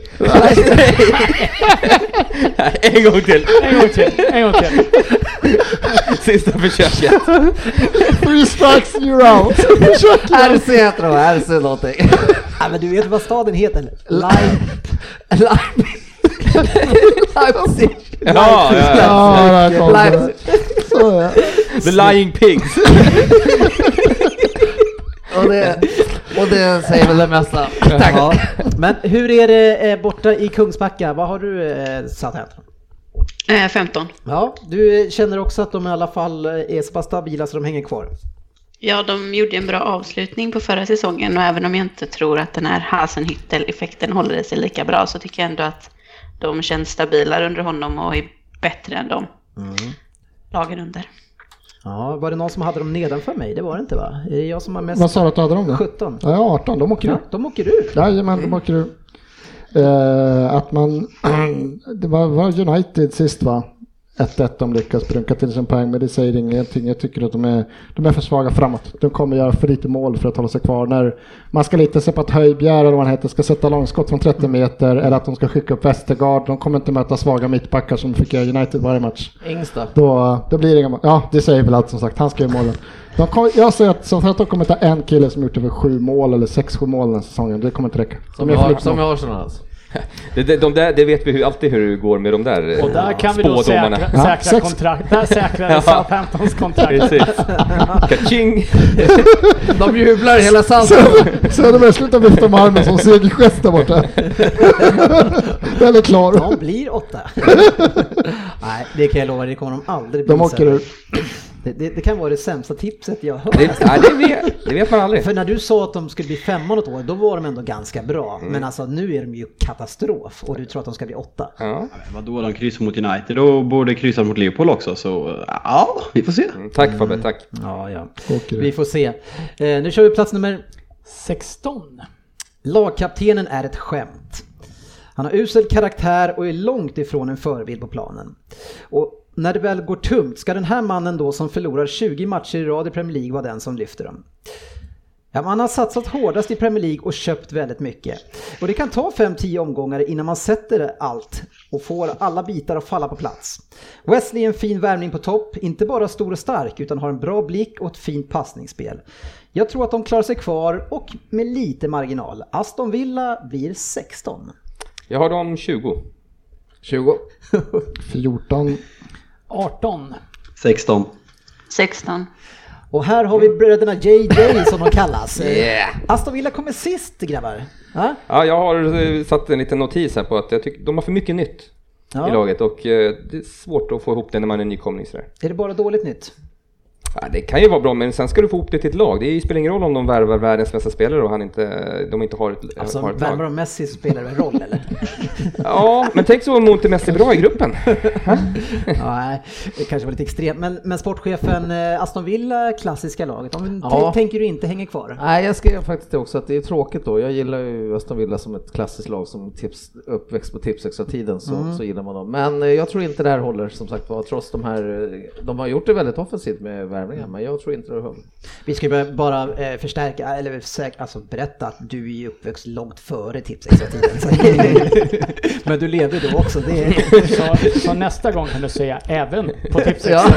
E: en gång till.
F: En gång till, en gång till.
E: Sista försöket.
G: Three strikes and you're out. Försök igen.
C: RC heter de, RC någonting.
B: Nej, men du vet vad staden heter? Live.
C: Leipzig. Leipzig.
E: Ja, ja, ja.
G: Ja, där kom det.
C: Leipzig.
G: Så ja.
E: The Lying Pigs.
C: Och det, och det säger väl det mesta. Tack.
B: Ja. Men hur är det eh, borta i Kungsbacka? Vad har du eh, satt här?
H: Eh, 15.
B: Ja, du eh, känner också att de i alla fall eh, är så pass stabila så de hänger kvar?
H: Ja, de gjorde en bra avslutning på förra säsongen och även om jag inte tror att den här Hasenhüttel-effekten håller i sig lika bra så tycker jag ändå att de känns stabilare under honom och är bättre än de
C: Mm.
H: lagen under.
B: Ja, var det någon som hade dem nedanför mig? Det var det inte va? Är det jag som har mest?
G: Vad sa du att du hade dem då?
B: 17.
G: Ja, 18. De åker
B: Ja,
G: ut.
B: de åker ur.
G: Jajamän, de åker ur. Eh, att man, det var, var United sist va? 1-1 de lyckas brunka till sin poäng, men det säger ingenting. Jag tycker att de är, de är för svaga framåt. De kommer göra för lite mål för att hålla sig kvar. När man ska lita sig på att Höjbjerg, eller vad han heter, ska sätta långskott från 30 meter, eller att de ska skicka upp Västergaard. De kommer inte möta svaga mittbackar som fick göra United varje match.
C: Ingsta.
G: Då, då blir det inga mål. Ja, det säger väl allt som sagt. Han ska göra målen. De kommer, jag säger att som sagt, de kommer ta en kille som gjort över sju mål eller sex, sju mål den här säsongen. Det kommer inte räcka.
C: Som
G: De gör
C: jag
G: för
C: har,
G: lite
C: som
G: mål.
C: jag har sådana alltså.
E: Det, det, de där, det vet vi hur, alltid hur det går med de där eh,
F: Och där kan vi då säkra,
E: spådomarna.
G: Ja,
F: säkra
G: sex.
F: kontrakt. Där säkrades
C: liksom.
E: Ja.
F: Southamptons kontrakt.
E: Precis. Kaching!
C: De jublar hela Salzburg.
G: Söderberg- Söderberg, sluta vifta med armen som segergest där borta. Den är klar.
B: De blir åtta. Nej, det kan jag lova, det kommer de aldrig bli.
G: De åker
B: Söderberg.
G: ur.
B: Det, det, det kan vara det sämsta tipset jag har hört.
E: Det, nej, det, vet, det vet man aldrig.
B: För när du sa att de skulle bli femma något år, då var de ändå ganska bra.
E: Mm.
B: Men alltså nu är de ju katastrof och du tror att de ska bli åtta.
E: Ja.
D: Vadå, de kryssar mot United och borde kryssa mot Liverpool också, så ja, vi får se.
E: Mm, Tack Fabbe, tack.
B: Ja, ja.
G: Åker ur.
B: Vi får se. Eh, nu kör vi plats nummer
F: 16.
B: Lagkaptenen är ett skämt. Han har usel karaktär och är långt ifrån en förebild på planen. Och när det väl går tungt ska den här mannen då som förlorar 20 matcher i rad i Premier League vara den som lyfter dem. Ja, man har satsat hårdast i Premier League och köpt väldigt mycket. Och det kan ta 5-10 omgångar innan man sätter allt och får alla bitar att falla på plats. Wesley är en fin värvning på topp, inte bara stor och stark utan har en bra blick och ett fint passningsspel. Jag tror att de klarar sig kvar och med lite marginal. Aston Villa blir 16.
E: Jag har dem 20.
C: 20.
G: 14.
F: 18.
D: 16.
H: 16.
B: Och här har vi bröderna JJ som de kallas. Aston Villa kommer sist grabbar. Ja?
E: Ja, jag har eh, satt en liten notis här på att jag tycker de har för mycket nytt i
B: Ja.
E: laget och eh, det är svårt att få ihop det när man är nykomling sådär.
B: Är det bara dåligt nytt?
E: Ja, det kan ju vara bra men sen ska du få ihop det till ett lag. Det spelar ingen roll om de värvar världens bästa spelare och han inte, de inte har ett,
B: Alltså
E: har ett lag.
B: värvar de Messi så spelar det väl roll eller?
E: Ja, men tänk så om inte mest är bra i gruppen.
B: Nej, det kanske var lite extremt. Men, men sportchefen eh, Aston Villa, klassiska laget, de
C: Ja.
B: t- tänker du inte hänger kvar?
C: Nej, jag skrev faktiskt det också att det är tråkigt då. Jag gillar ju Aston Villa som ett klassiskt lag som tips, uppväxt på Tipsextra-tiden så,
G: Mm.
C: så gillar man dem. Men eh, jag tror inte det här håller som sagt var trots de här. eh, De har gjort det väldigt offensivt med värvningar men jag tror inte det håller.
B: Vi ska bara- bara eh, förstärka, eller säk- alltså berätta att du är ju uppväxt långt före tipsextra-tiden. så- men du levde då också. Det är...
F: Så, så nästa gång kan du säga även på tipset.
C: Ja.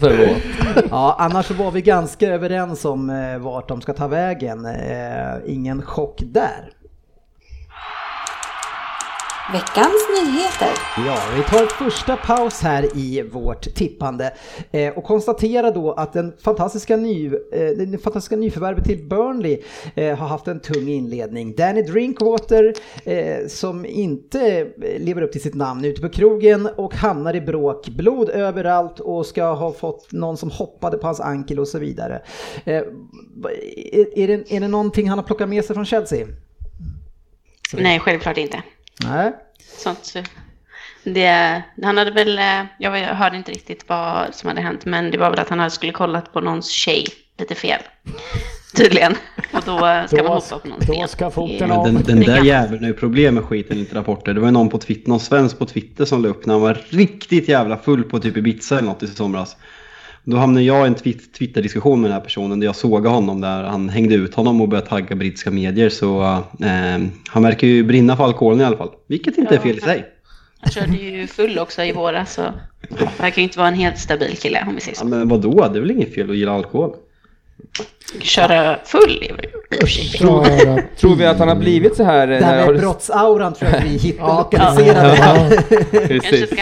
C: Förlåt.
B: Ja, annars så var vi ganska överens om eh, vart de ska ta vägen. Eh, ingen chock där.
J: Veckans nyheter.
B: Ja, vi tar första paus här i vårt tippande eh, och konstaterar då att den fantastiska, ny, eh, den fantastiska nyförvärvet till Burnley eh, har haft en tung inledning. Danny Drinkwater eh, som inte eh, lever upp till sitt namn ute på krogen och hamnar i bråk, blod överallt och ska ha fått någon som hoppade på hans ankel och så vidare. Eh, va- är, är, det, är det någonting han har plockat med sig från Chelsea?
H: Nej, självklart inte.
B: Nej.
H: Sånt. så- Det, han hade väl, eh, jag var- jag hörde inte riktigt vad som hade hänt, men det var väl att han hade skulle kollat på någons tjej lite fel. Tydligen. Och då eh, ska
F: Då-
H: man hoppa på någon
F: då
H: fel.
F: ska foten
H: Det-
F: av.
D: Men den, den där jäveln har ju problem med skiten, inte rapporter. Det var ju någon på Twitter, någon svensk på Twitter som la upp när han var riktigt jävla full på typ Ibiza eller något i somras. Då hamnade jag i en twit- Twitter-diskussion med den här personen där jag sågade honom där han hängde ut honom och började tagga brittiska medier. Så eh, han verkar ju brinna för alkoholen i alla fall. Vilket inte är fel i sig.
H: Han körde ju full också i våras, så verkar ju inte vara en helt stabil kille om vi säger
D: Ja,
H: så.
D: men vadå, det är väl inget fel att gilla alkohol?
H: Köra full är väl...
G: Klara.
E: Tror vi att han har blivit så här? eh,
B: Det
E: när
B: här
E: har
B: med
E: du-
B: brottsauran tror jag vi hittar lokaliserade.
H: Kanske
E: Precis.
H: ska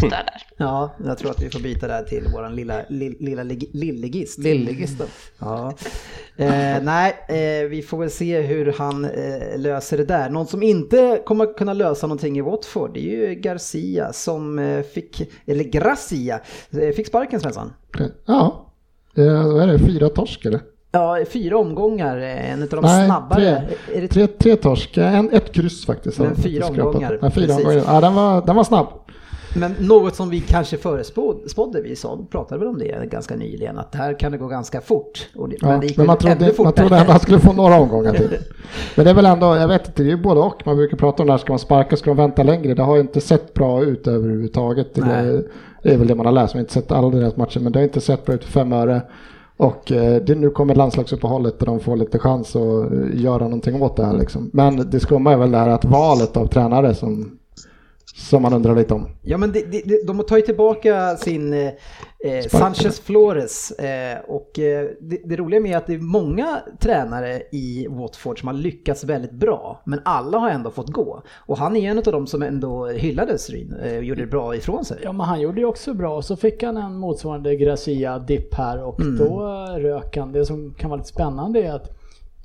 H: byta där.
B: Ja, jag tror att vi får byta det här till våran lilla, li- lilla lig- lillegist.
C: Lillegisten.
B: Ja. Eh, nej, eh, vi får väl se hur han eh, löser det där. Någon som inte kommer kunna lösa någonting i Watford, det är ju Garcia som eh, fick, eller Gracia, eh, fick sparken Svensson.
G: Ja. Det är, vad är det, fyra torsk eller?
B: Ja, fyra omgångar, eh, en av de
G: Nej,
B: snabbare.
G: tre.
B: Är det
G: Tre, tre torsk. En, ett kryss faktiskt.
B: Men
G: har jag
B: fyra
G: skrapat.
B: omgångar,
G: Ja, fyra
B: precis.
G: omgångar. Ja, den, var, den var snabb.
B: Men något som vi kanske förespådde, vi sa, pratade väl om det ganska nyligen, att det här kan det gå ganska fort. Och det,
G: Ja,
B: men det gick
G: men man
B: väl ännu
G: trodde, man
B: fortare.
G: trodde ändå han skulle få några omgångar till. Men det är väl ändå, jag vet inte, det är ju både och. Man brukar prata om det här, ska man sparka, ska de vänta längre? Det har ju inte sett bra ut överhuvudtaget. Det
B: Nej.
G: är, det är väl det man har läst, man har inte sett alla deras matcher, men det har inte sett bra ut för fem öre. Och eh, det, nu kommer landslagsuppehållet där de får lite chans att eh, göra någonting åt det här liksom. Men det skumma är väl det här att valet av tränare som, som man undrar lite om.
B: Ja men det, det, det, de tar ju tillbaka sin eh, eh, Sanchez Flores eh, och eh, det, det roliga med är att det är många tränare i Watford som har lyckats väldigt bra men alla har ändå fått gå. Och han är ju en av de som ändå hyllades Ryn eh, och gjorde bra ifrån sig.
F: Ja men han gjorde ju också bra och så fick han en motsvarande Gracia-dipp här och
B: Mm.
F: då rök han. Det som kan vara lite spännande är att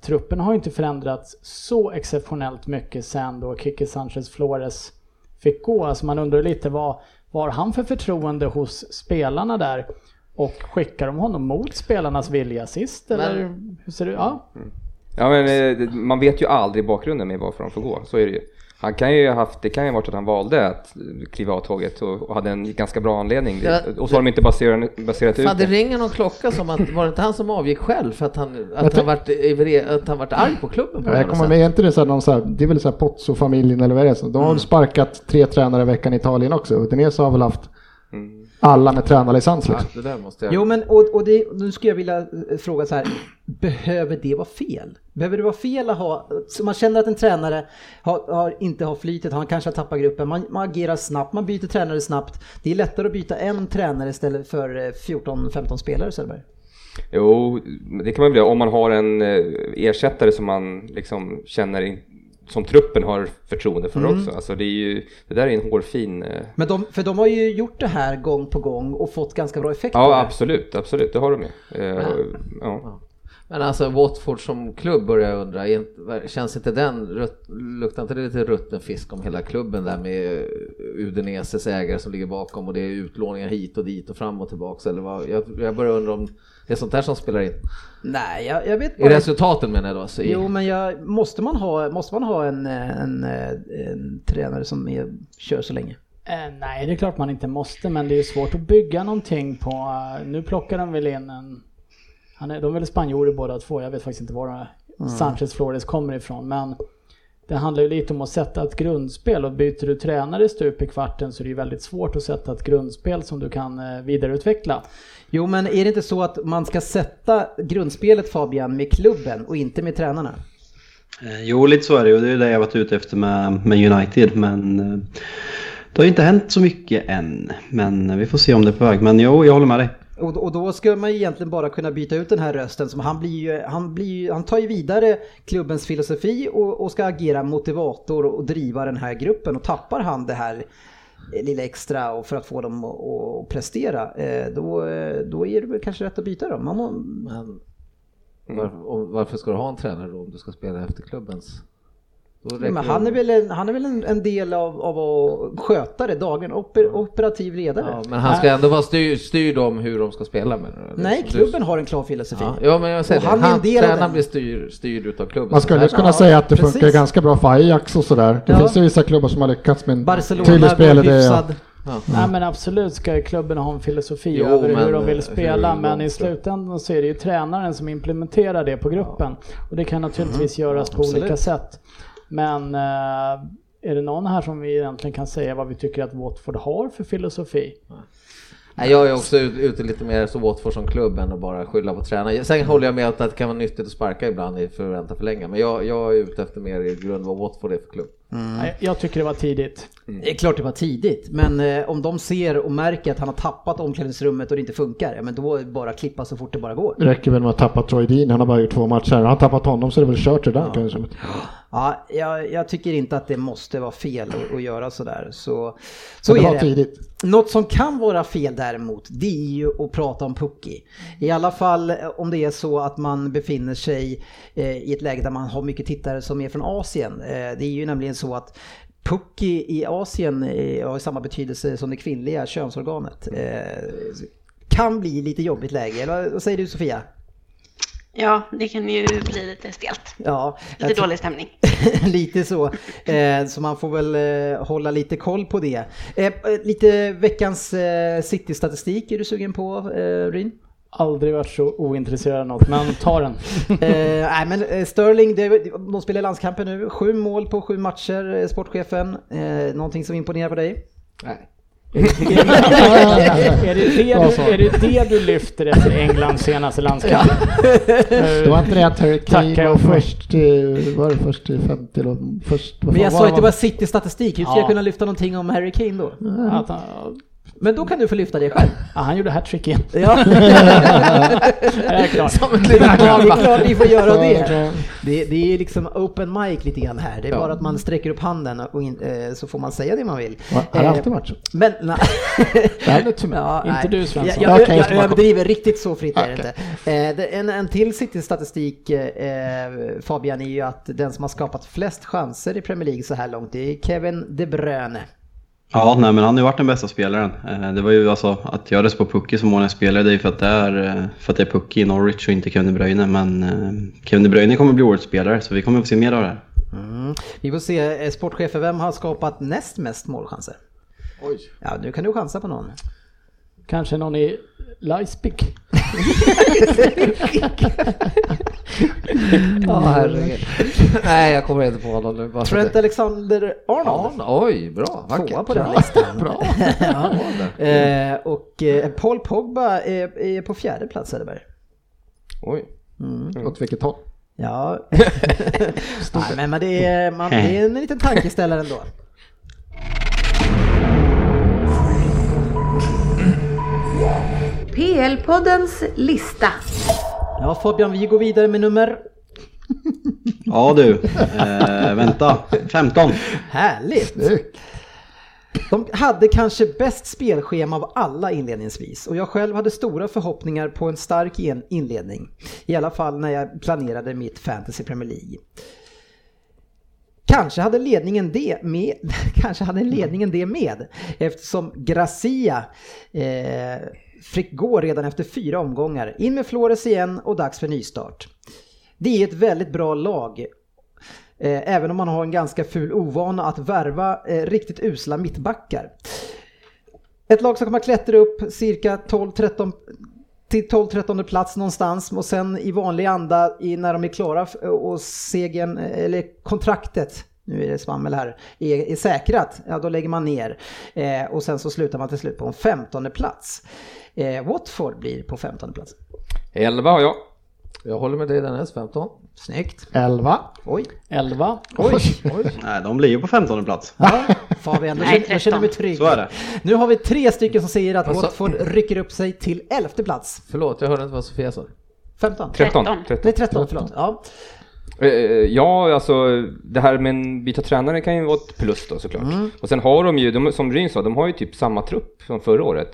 F: truppen har ju inte förändrats så exceptionellt mycket sen då Kike Sanchez Flores fick gå. Alltså man undrar lite vad vad har han för förtroende hos spelarna där? Och skickar de honom mot spelarnas vilja sist eller hur ser det ut? Ja.
E: Ja, men, eh, man vet ju aldrig bakgrunden med varför de får gå. Så är det ju. Han kan ju ha haft, det kan ju ha varit att han valde att eh, kliva av tåget och, och hade en ganska bra anledning.
C: Ja,
E: och så har de inte baserat, baserat ut
C: Fan, det
E: det.
C: ringer någon klocka som att, var det inte han som avgick själv för att han, att han, vart, ivre- att han vart arg på klubben? På
G: Jag
C: något
G: kommer
C: sätt?
G: med, är inte det så här, någon så här, det är väl så här Pozzo-familjen eller vad det är? Så de har
B: Mm.
G: väl sparkat tre tränare i veckan i Italien också. Udinese har väl haft
B: Mm.
G: alla med tränarlicens
C: Ja,
G: liksom.
C: det där måste jag...
B: Jo men och, och det, nu skulle jag vilja eh, fråga så här, behöver det vara fel? Behöver det vara fel att ha, så man känner att en tränare har, har, inte har flytet, han kanske har tappat gruppen, man, man agerar snabbt, man byter tränare snabbt. Det är lättare att byta en tränare istället för eh, 14-15 spelare Söderberg.
E: Jo, det kan man väl göra om man har en eh, ersättare som man liksom känner in, som truppen har förtroende för också. Alltså det, är ju, det där är en hårfin... eh,
B: Men de, för de har ju gjort det här gång på gång och fått ganska bra effekt av det.
E: Ja, absolut, absolut, det har de ju. Eh, ja.
C: Men alltså Watford som klubb börjar jag undra, är inte- känns inte den, rutt- luktar inte det lite rutten fisk om hela klubben där med Udineses ägare som ligger bakom och det är utlåningar hit och dit och fram och tillbaks eller vad? Jag, jag börjar undra om det är sånt där som spelar in.
B: Nej, jag, jag vet
C: I
B: bara
C: resultaten menar jag då? Så i,
B: Jo, men jag, måste, man ha, måste man ha en, eh, en, eh, en tränare som är, kör så länge?
F: Eh, nej, det är klart man inte måste, men det är ju svårt att bygga någonting på... eh, nu plockar de väl in en... Han är, de är väl spanjorer båda två, jag vet faktiskt inte var de här Sanchez Flores kommer ifrån, men det handlar ju lite om att sätta ett grundspel och byter du tränare stup i kvarten så är det ju väldigt svårt att sätta ett grundspel som du kan eh, vidareutveckla.
B: Jo, men är det inte så att man ska sätta grundspelet Fabian med klubben och inte med tränarna?
D: Eh, Jo, lite så är det ju. Det är ju det jag varit ute efter med, med United. Men eh, det har ju inte hänt så mycket än. Men eh, vi får se om det är på väg. Men jo, jag håller med dig.
B: Och, och då ska man ju egentligen bara kunna byta ut den här rösten som han blir ju, han blir ju, han tar ju vidare klubbens filosofi och, och ska agera motivator och driva den här gruppen och tappar han det här eh, lilla extra och för att få dem att att prestera, eh, då, eh, då är det väl kanske rätt att byta dem. Man må,
C: Men varför, om, varför ska du ha en tränare då om du ska spela efter klubbens? Då räcker
B: men
C: det
B: han är
C: om-
B: väl en, han är väl en, en del av, av att sköta det dagligen, oper, operativ ledare.
C: Ja, men han ska ändå vara styr, styrd om hur de ska spela menar du? Eller
B: Nej,
C: som du-
B: klubben har en klar filosofi.
C: Ja, ja men jag säger
B: Och
C: det.
B: han
C: han,
B: är en del av den.
C: tränaren blir styr, styrd utav klubben.
G: Man skulle
C: Nej,
G: kunna
B: Ja,
G: säga att det
B: precis.
G: funkar ganska bra för Ajax och sådär. Det
B: Ja.
G: finns ju vissa klubbar som har lyckats med en
B: Barcelona
G: tydlig
B: var
G: spelidé. Mm.
B: hyfsad.
F: Nej men absolut ska ju klubben ha en filosofi
C: Mm. Jo,
F: över hur
C: men
F: de
C: hur
F: vill spela
C: långt
F: men
C: då?
F: i slutändan så är det ju tränaren som implementerar det på gruppen. Och det kan naturligtvis
C: Mm.
F: göras på olika
B: absolut.
F: sätt. Men eh, är det någon här som vi egentligen kan säga vad vi tycker att Watford har för filosofi?
C: Nej, jag är också ut- ute lite mer så Watford som klubb än att bara skylla på tränaren. Sen håller jag med att det kan vara nyttigt att sparka ibland i- för att vänta för länge. Men jag, jag är ute efter mer i grund vad Watford är för klubb.
F: Nej, Jag tycker det var tidigt.
B: Mm.
C: Mm.
B: Det är klart det var tidigt, men eh, om de ser och märker att han har tappat omklädningsrummet och det inte funkar, ja, men då är det bara att klippa så fort det bara går.
G: Det räcker väl med att tappa Troy Dean, han har bara gjort två matcher. Har han tappat honom så är det väl kört redan kanske.
B: Ja, jag, jag tycker inte att det måste vara fel att, att göra sådär. Så, så
G: Så det
B: är
G: var
B: det.
G: tidigt.
B: Något som kan vara fel däremot, det är ju att prata om Pucki. I alla fall eh, om det är så att man befinner sig eh, i ett läge där man har mycket tittare som är från Asien. Eh, det är ju nämligen så att Pucki i Asien eh, har samma betydelse som det kvinnliga könsorganet. Eh, kan bli lite jobbigt läge, eller vad säger du Sofia?
H: Ja, det kan ju bli lite stelt.
B: Ja, jag
H: Lite
B: tror-
H: dålig stämning.
B: lite så. Eh, så man får väl eh, hålla lite koll på det. Eh, eh, lite veckans eh, City-statistik är du sugen på, eh, Ryn?
F: Aldrig varit så ointresserad av något, men ta den.
B: Eh, nej men eh, Sterling, det, de spelar i landskampen nu. Sju mål på sju matcher, eh, sportchefen. Eh, någonting som imponerar på dig?
G: Nej.
F: är, det det
G: Bra svar.
F: du, är det det du lyfter efter Englands senaste landskamp?
G: Det var inte det att Harry
F: Tackar
G: Kane
F: jag
G: var
F: för.
G: först i, var det först i 50 eller först... vad
B: Men jag
G: fan
B: sa
G: var
B: ju att det
G: han?
B: var City-statistik, hur ska
F: Ja.
B: jag kunna lyfta någonting om Harry Kane då?
F: Att han,
B: Men då kan du få lyfta det själv.
F: ja, han gjorde hattrick igen.
B: Ja,
F: Det är klart.
B: det är klart ni får göra
G: Ja, det är
B: det.
G: klart.
B: det. Det är liksom open mic lite grann här. Det är
E: Ja.
B: bara att man sträcker upp handen och in, eh, så får man säga det man vill.
G: Har har det
B: Eh,
G: alltid varit så?
B: Men nej.
G: Det här är lite mer.
B: Ja,
F: Inte
B: nej.
F: du, Svensson.
B: Jag, jag,
G: Okej,
B: jag,
G: så man-
B: överdriver, riktigt så fritt är det
G: Okej.
B: inte. Eh, det, en, en till City-statistik eh, Fabian är ju att den som har skapat flest chanser i Premier League så här långt det är Kevin De Bruyne.
D: Ja, nej, men han har ju varit den bästa spelaren. Eh, Det var ju alltså att jag röstade på Pucky som många spelare, det är ju för att det är, eh, för att det är Pucky i Norwich och inte Kevin De Bruyne. Men eh, Kevin De Bruyne kommer bli årets spelare, så vi kommer få se mer av det här.
B: Mm. Vi får se, eh, sportchefen, vem har skapat näst mest målchanser?
G: Oj.
B: Ja, nu kan du chansa på någon.
F: Kanske någon i Leipzig.
C: Ja, herregud. Mm. Nej, jag kommer inte på någon nu. Bara för att
B: Trent
C: det-
B: Alexander-Arnold.
C: Ja, Oj, bra.
B: Tvåa
C: Vackert.
B: på den listan.
G: Bra.
B: ja.
C: Mm.
B: eh, och eh, Paul Pogba är, är på fjärde plats Söderberg.
E: Oj.
G: Mm. Åt vilket håll?
B: Ja, Nej, men, men det, är, man, det är en liten tankeställare ändå.
I: PL-poddens lista.
B: Ja Fabian, vi går vidare med nummer...
D: Ja du, eh, vänta. 15.
B: Härligt!
G: Snyggt.
B: De hade kanske bäst spelschema av alla inledningsvis och jag själv hade stora förhoppningar på en stark en- inledning. I alla fall när jag planerade mitt Fantasy Premier League. Kanske hade ledningen det med, kanske hade ledningen det med eftersom Gracia eh, fick gå redan efter fyra omgångar. In med Flores igen och dags för nystart. Det är ett väldigt bra lag Eh, även om man har en ganska ful ovana att värva eh, riktigt usla mittbackar. Ett lag som kommer att klättra upp cirka 12-13 till 12-13 plats någonstans och sen i vanlig anda i, när de är klara f- och segern, eh, eller kontraktet, nu är det svammel här, är, är säkrat, ja då lägger man ner. Eh, och sen så slutar man till slut på en 15 plats. Eh, Watford blir på 15 plats.
E: 11 har jag.
C: Jag håller med dig Dennis, 15.
B: Snyggt.
G: 11.
B: Oj.
F: 11.
G: Oj.
D: Nej, de blir ju på 15 plats.
B: Ja, Fabian, då
H: Nej,
B: känner, jag känner mig trygg.
D: Så är det.
B: Nu har vi tre stycken som säger att
C: Alltså-
B: Watford rycker upp sig till elfte plats.
C: Förlåt, jag hörde inte vad Sofia sa.
B: 15?
E: 13.
H: Tretton.
E: 13.
B: Nej, 13, förlåt. Ja.
E: Eh, eh, Ja, alltså det här med en byta tränare kan ju vara ett plus då såklart.
G: Mm.
E: Och sen har de ju, de, som Ryn sa, de har ju typ samma trupp som förra året.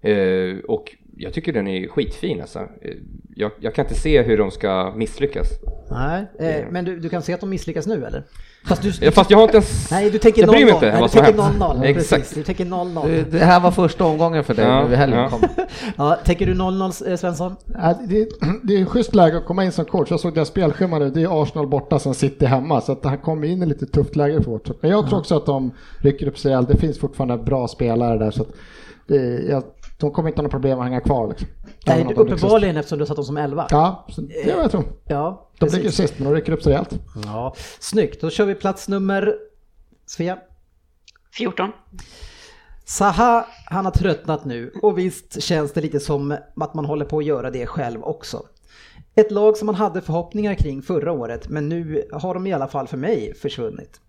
E: Eh, och jag tycker den är skitfin alltså. Eh, jag, jag kan inte se hur de ska misslyckas.
B: Nej, eh, men du, du kan se att de misslyckas nu eller? Fast du,
E: Eh, Fast jag har inte ens...
B: nej, du tänker 0-0.
E: jag bryr mig inte
B: nej, du
E: vad som
B: tänker
E: har hänt.
B: 0-0. Precis,
E: Exakt.
B: du tänker 0-0.
C: Det här var första omgången för dig
E: Ja,
C: nu i helgen
E: ja.
C: kom.
B: Ja, tänker du 0-0 eh, Svensson?
G: Ja, Äh, Det, det är ett schysst läge att komma in som coach. Jag såg deras spelschema nu. Det är Arsenal borta, sen City hemma. Så att han kommer in i lite tufft läge för Watford. Men jag tror också att de rycker upp sig. Det finns fortfarande bra spelare där. Så att, eh, jag, de kommer inte ha några problem att hänga kvar. Liksom.
B: Nej,
G: Även om de rycks sist.
B: uppenbarligen eftersom du har satt dem som 11.
G: Ja, så det är vad jag tror.
B: Ja,
G: De ligger
B: precis.
G: sist, men de rycker upp sig rejält.
B: Ja, snyggt, då kör vi plats nummer... Svea?
H: 14.
B: Saha, han har tröttnat nu och visst känns det lite som att man håller på att göra det själv också. Ett lag som man hade förhoppningar kring förra året men nu har de i alla fall för mig försvunnit.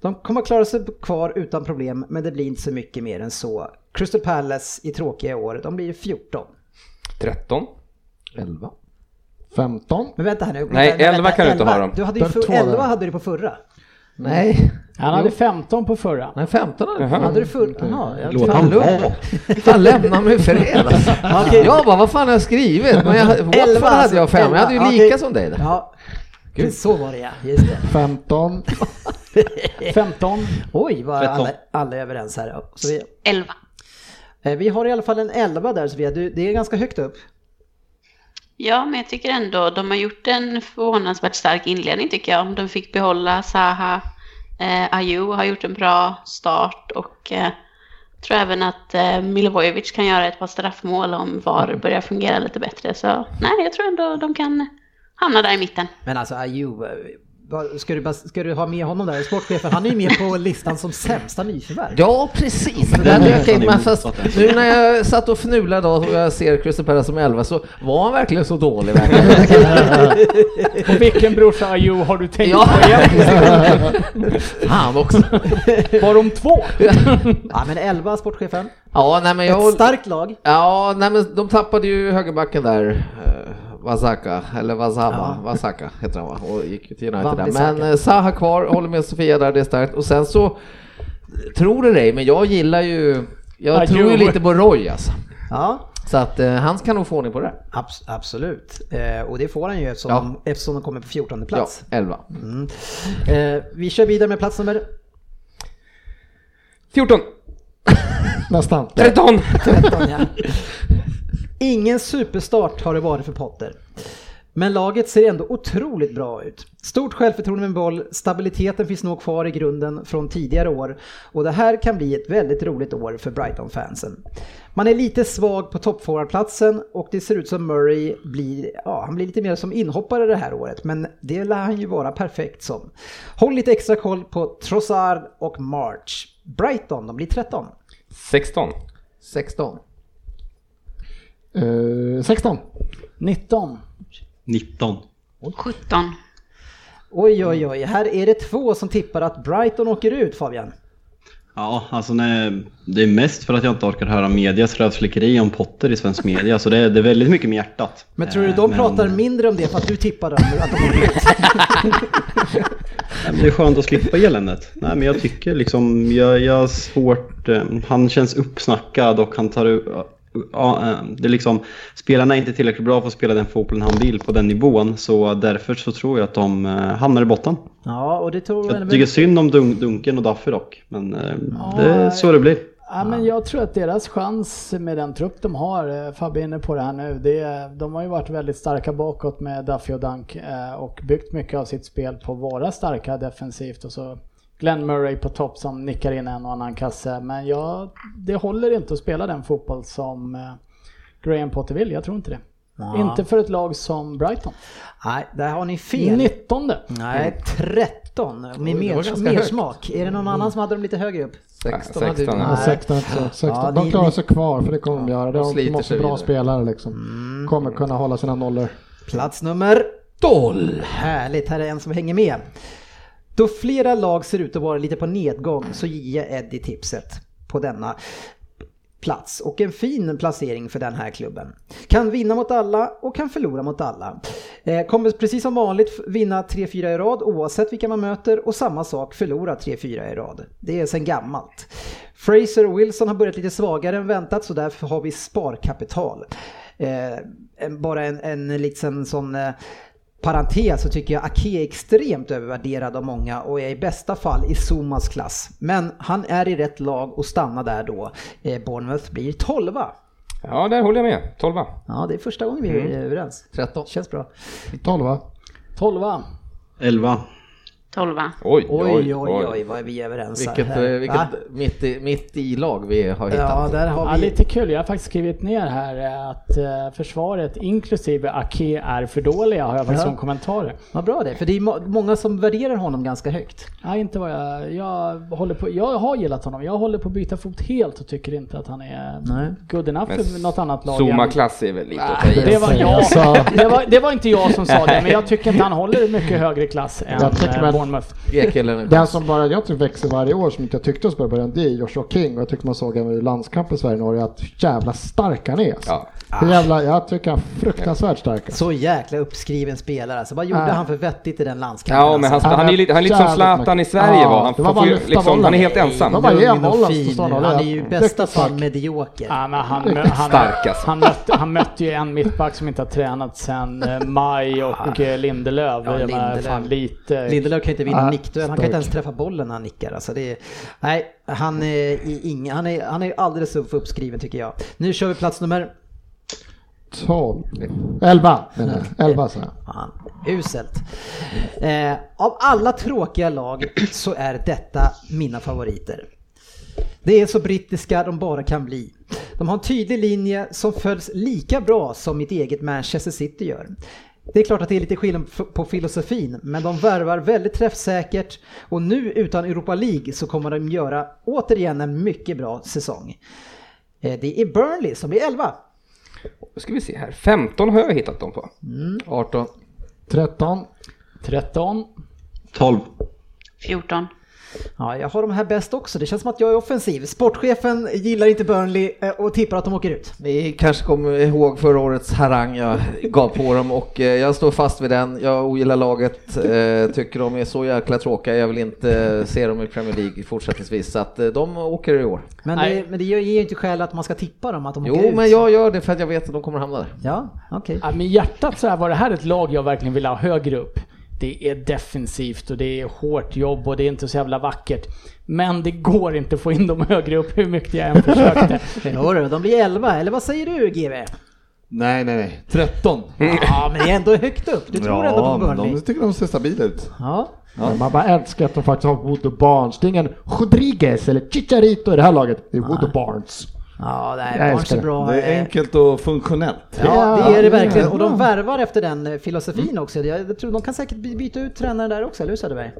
B: De kommer att klara sig kvar utan problem men det blir inte så mycket mer än så. Crystal Palace i tråkiga år, de blir 14.
E: 13.
C: 11.
G: 15.
B: Men vänta här nu.
E: Nej,
B: vänta, vänta,
E: 11 kan du inte
B: 11.
E: ha dem.
B: Du hade ju
G: Där
B: för,
G: två där.
B: 11 hade du på förra.
C: Nej,
F: Han hade 15 på förra.
C: nej 15 hade
E: Jaha.
C: jag.
B: Hade du förra? Jaha, jag-
D: Låt
B: fan,
D: han
B: lugn.
D: vara.
C: Fan lämna mig i fred alltså.
B: Okej.
C: Jag bara, vad fan har jag skrivit? Men jag, Watford
B: Elva, alltså,
C: hade jag fem, jag hade ju
B: elva.
C: lika
B: Okej.
C: som dig där.
B: Ja, så var det ja. Just det.
G: 15.
F: 15.
B: Oj, vad
D: Tretton.
B: alla, alla är överens här. Så vi,
H: 11.
B: Eh, Vi har i alla fall en 11 där Sofia, du, det är ganska högt upp.
H: Ja, men jag tycker ändå de har gjort en förvånansvärt stark inledning tycker jag. De fick behålla Saha, eh, Ayew har gjort en bra start och eh, tror även att eh, Milivojevic kan göra ett par straffmål om VAR börjar fungera lite bättre. Så nej, jag tror ändå de kan hamna där i mitten.
B: Men alltså Ayew, ska du, bara- ska du ha med honom där? Sportchefen, han är ju med på listan som sämsta nyförvärv.
C: Ja, precis. Det där
D: Den
C: dök jag in
D: är
C: med.
D: nästan
C: Fast
D: emot att
C: nu när jag satt och fnulade då och jag ser Christer Perra som 11 så var han verkligen så dålig? verkligen?
F: Och vilken brorsa Ayo har du tänkt
C: Ja.
F: på egentligen?
C: Fan också.
F: Var de två?
B: Ja, men 11 sportchefen.
C: Ja, nej men jag...
B: Ett
C: håll-
B: starkt lag.
C: Ja, nej men de tappade ju högerbacken där. eh, Wasaka, eller Wasaba,
B: Ja.
C: Wasaka heter han va? Och gick ju till United
B: Van
C: där.
B: Bissaka.
C: Men eh, Zaha kvar, håller med Sofia där, det är starkt. Och sen så, tror det dig, men jag gillar ju, jag
F: Ayew.
C: tror ju lite på Roy alltså.
B: Ja,
C: Så att eh, han kan nog få ordning på det.
B: abs- absolut. Eh, och det får han ju eftersom,
C: Ja.
B: de, eftersom de kommer på 14
C: Ja,
B: plats.
C: 11.
B: Mm. Eh, vi kör vidare med plats nummer...
E: 14!
G: Nästan.
E: 13!
B: Ingen superstart har det varit för Potter. Men laget ser ändå otroligt bra ut. Stort självförtroende med boll, stabiliteten finns nog kvar i grunden från tidigare år och det här kan bli ett väldigt roligt år för Brighton-fansen. Man är lite svag på toppforwardplatsen och det ser ut som Murray blir, ja, han blir lite mer som inhoppare det här året men det lär han ju vara perfekt som. Håll lite extra koll på Trossard och March. Brighton, de blir 13.
E: 16!
C: 16.
G: Eh, 16.
F: 19.
D: 19.
H: 17.
B: Oj, oj, oj. Här är det två som tippar att Brighton åker ut, Fabian.
D: Ja, alltså nej, det är mest för att jag inte orkar höra medias rövslickeri om Potter i svensk media. Så det är, det är väldigt mycket med hjärtat.
B: Men tror du
D: Eh,
B: de
D: men-
B: pratar mindre om det för att du tippar dem? nu, Att de åker ut?
D: Nej, men Det är skönt att slippa eländet. Nej, men jag tycker liksom, jag, jag har svårt, eh, han känns uppsnackad och han tar u- Ja, eh, det är liksom, spelarna är inte tillräckligt bra för att spela den fotbollen han vill på den nivån så därför så tror jag att de eh, hamnar i botten.
B: ja, och det tror
D: Jag tycker synd om Dun- Dunken och Duffy dock, men eh, det är så det blir.
F: Ja, men jag tror att deras chans med den trupp de har, eh, Fabbe är inne på det här nu, det, är- de har ju varit väldigt starka bakåt med Duffy och Dunk eh, och byggt mycket av sitt spel på att vara starka defensivt och så Glenn Murray på topp som nickar in en och annan kasse. Men jag, det håller inte att spela den fotboll som eh, Graham Potter vill, jag tror inte det. Inte för ett lag som Brighton.
B: Nej, där har ni fel.
F: 19.
B: Nej, 13. Med
C: det var
B: mer,
C: ganska
B: mer
C: högt.
B: smak. Är det någon annan som hade dem lite högre upp?
C: 16
E: Ja,
C: hade ju-
E: 16, ja.
G: Ja,
B: Nej.
G: 16 också. 16.
B: Ja, ni-
G: de klarar sig kvar för det kommer de göra.
C: de
G: De
C: sliter
G: måste
C: sig
G: bra
C: vidare.
G: spelare liksom. Kommer kunna hålla sina nollor.
B: Plats nummer 12. Härligt, här är en som hänger med. Då flera lag ser ut att vara lite på nedgång så ger jag Eddie tipset på denna plats och en fin placering för den här klubben. Kan vinna mot alla och kan förlora mot alla. Eh, Kommer precis som vanligt f- vinna 3-4 i rad oavsett vilka man möter och samma sak förlora 3-4 i rad. Det är sedan gammalt. Fraser och Wilson har börjat lite svagare än väntat så därför har vi sparkapital. Eh, en- Bara en, en liten sån eh, Parentes så tycker jag Ake är extremt övervärderad av många och är i bästa fall i Zumas klass. Men han är i rätt lag och stannar där då. Eh, Bournemouth blir 12.
E: Ja, där håller jag med. 12.
B: Ja, det är första gången vi
F: Mm.
B: är överens.
C: 13.
B: Känns bra.
G: 12 va?
F: 12.
D: 11.
H: 12.
E: Oj,
B: Oj, oj, oj, vad är vi överens här.
C: Vilket, eh,
B: Va?
C: vilket mitt, i, mitt i lag vi har hittat.
B: Ja, där
F: Ja,
B: har vi...
F: lite kul. Jag har faktiskt skrivit ner här eh, att eh, försvaret inklusive Ake är för dåliga har jag faktiskt
B: Ja.
F: som kommentarer.
B: Vad bra det är, för det är må- många som värderar honom ganska högt.
F: Nej, inte vad jag... Jag, håller på, jag har gillat honom. Jag håller på att byta fot helt och tycker inte att han är
B: Nej.
F: good enough
E: Men
F: för något annat lag. än-
E: Zuma-klass är väl lite att ta i.
F: det var, jag,
G: Alltså.
F: det, var, det var inte jag som sa det, men jag tycker att han håller mycket högre klass än
G: Jag tycker
F: eh,
G: väl-
F: Bournemouth.
C: Ekelen.
G: Den som bara jag tycker växer varje år som inte jag tyckte oss börja början det är Joshua King och jag tyckte man såg även i landskampen Sverige-Norge att hur jävla stark han är. Alltså.
E: Ja.
G: Hur jävla, jag tycker han är fruktansvärt stark. alltså.
B: Så jäkla uppskriven spelare alltså. Vad gjorde
G: Ja.
B: han för vettigt i den landskampen? Alltså,
E: Ja, men han,
G: Han är
E: han är ju lite, han är lite som
G: jävligt
E: Zlatan i
G: mycket.
E: Sverige
G: Ja,
E: var. Han,
G: det var
E: han,
G: bara
E: får ju,
G: lyfta
E: liksom,
G: bollen.
E: han är helt ensam.
G: Det var bara
B: Lugn
G: ge
B: och
G: bollen
B: fin.
G: så står han och
B: Han är
G: leder.
B: ju i bästa
G: Riktigt
B: fall
G: stark.
B: medioker.
F: Ja, men han, mö- han,
E: Stark, alltså.
F: han, mötte, han mötte ju en mittback som inte har tränat sedan eh, Maj och eh, Lindelöf.
B: Ja,
F: Jag menar,
B: Lindelöf.
F: Fan, lite...
B: Lindelöf kan ju inte vinna
G: Ah,
B: nickduell, han kan
G: stark.
B: inte ens träffa bollen när han nickar. Alltså det är, nej, han är, i ing, han, är, han är alldeles upp- uppskriven tycker jag. Nu kör vi plats nummer...
G: 12. 11 menar jag. 11 så.
B: Fan, uselt. Eh, av alla tråkiga lag så är detta mina favoriter. Det är så brittiska de bara kan bli. De har en tydlig linje som följs lika bra som mitt eget Manchester City gör. Det är klart att det är lite skillnad f- på filosofin, men de värvar väldigt träffsäkert och nu utan Europa League så kommer de göra återigen en mycket bra säsong. Eh, Det är Burnley som blir 11.
E: Då ska vi se här. 15 har jag hittat dem på.
C: 18.
G: 13.
F: 13.
D: 12.
H: 14.
B: Ja, jag har de här bäst också. Det känns som att jag är offensiv. Sportchefen gillar inte Burnley eh, och tippar att de åker ut.
C: Ni kanske kommer ihåg förra årets harang jag gav på dem och eh, jag står fast vid den. Jag ogillar laget, eh, tycker de är så jäkla tråkiga. Jag vill inte eh, se dem i Premier League fortsättningsvis så att eh, de åker i år.
B: Men
F: Nej.
B: det, men det ger ju inte skäl att man ska tippa dem att de åker
C: Jo,
B: ut.
C: men jag gör det för att jag vet att de kommer hamna där.
B: Ja, okej.
F: Ja, med hjärtat så här var det här ett lag jag verkligen ville ha högre upp. Det är defensivt och det är hårt jobb och det är inte så jävla vackert. Men det går inte att få in dem högre upp hur mycket jag än försökte.
B: Jodå, de blir 11, eller vad säger du GB?
K: Nej, nej, nej. 13.
B: Ja, men det är ändå högt upp. Du tror ändå på
K: men
B: Burnley?
K: de tycker de ser stabila ut.
B: Ja.
G: Men Man bara älskar att de faktiskt har Wood och Barnes. Det är ingen Rodriguez eller Chicharito i det här laget. Det är Wood och Barnes.
B: Ja, nej,
G: Jag
B: Barnes
G: älskar
B: är
G: det.
B: bra. eh.
K: Det är enkelt och funktionellt.
B: Ja, det är det
G: Ja,
B: verkligen.
G: ja.
B: Och de värvar efter den eh, filosofin också. Jag jag tror de kan säkert by- byta ut tränaren där också, eller hur Söderberg?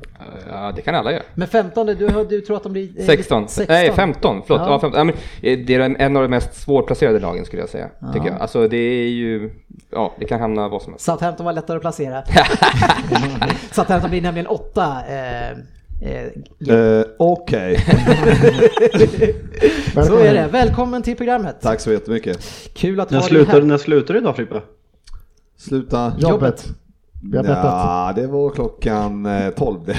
E: Ja, det kan alla göra.
B: Men 15, du, har- du tror att de blir... eh,
E: 16. Nej, 15. Förlåt.
B: Ja.
E: Ja. 15. Ja, men, eh, det är en- en av de mest svårplacerade lagen skulle jag säga. Tycker jag. Alltså det är ju... Ja, det kan hamna vad som helst.
B: Southampton var lättare att placera. Southampton blir nämligen åtta. Eh, eh,
K: Eh, Okej,
B: så är det. Välkommen till programmet.
K: tack så jättemycket.
B: Kul att ha
D: När
B: dig
D: slutar,
B: här.
D: när slutar du idag Frippe?
K: Sluta.
G: Jobbet. Vi har bettat.
K: Ja, det var klockan eh, 12 det.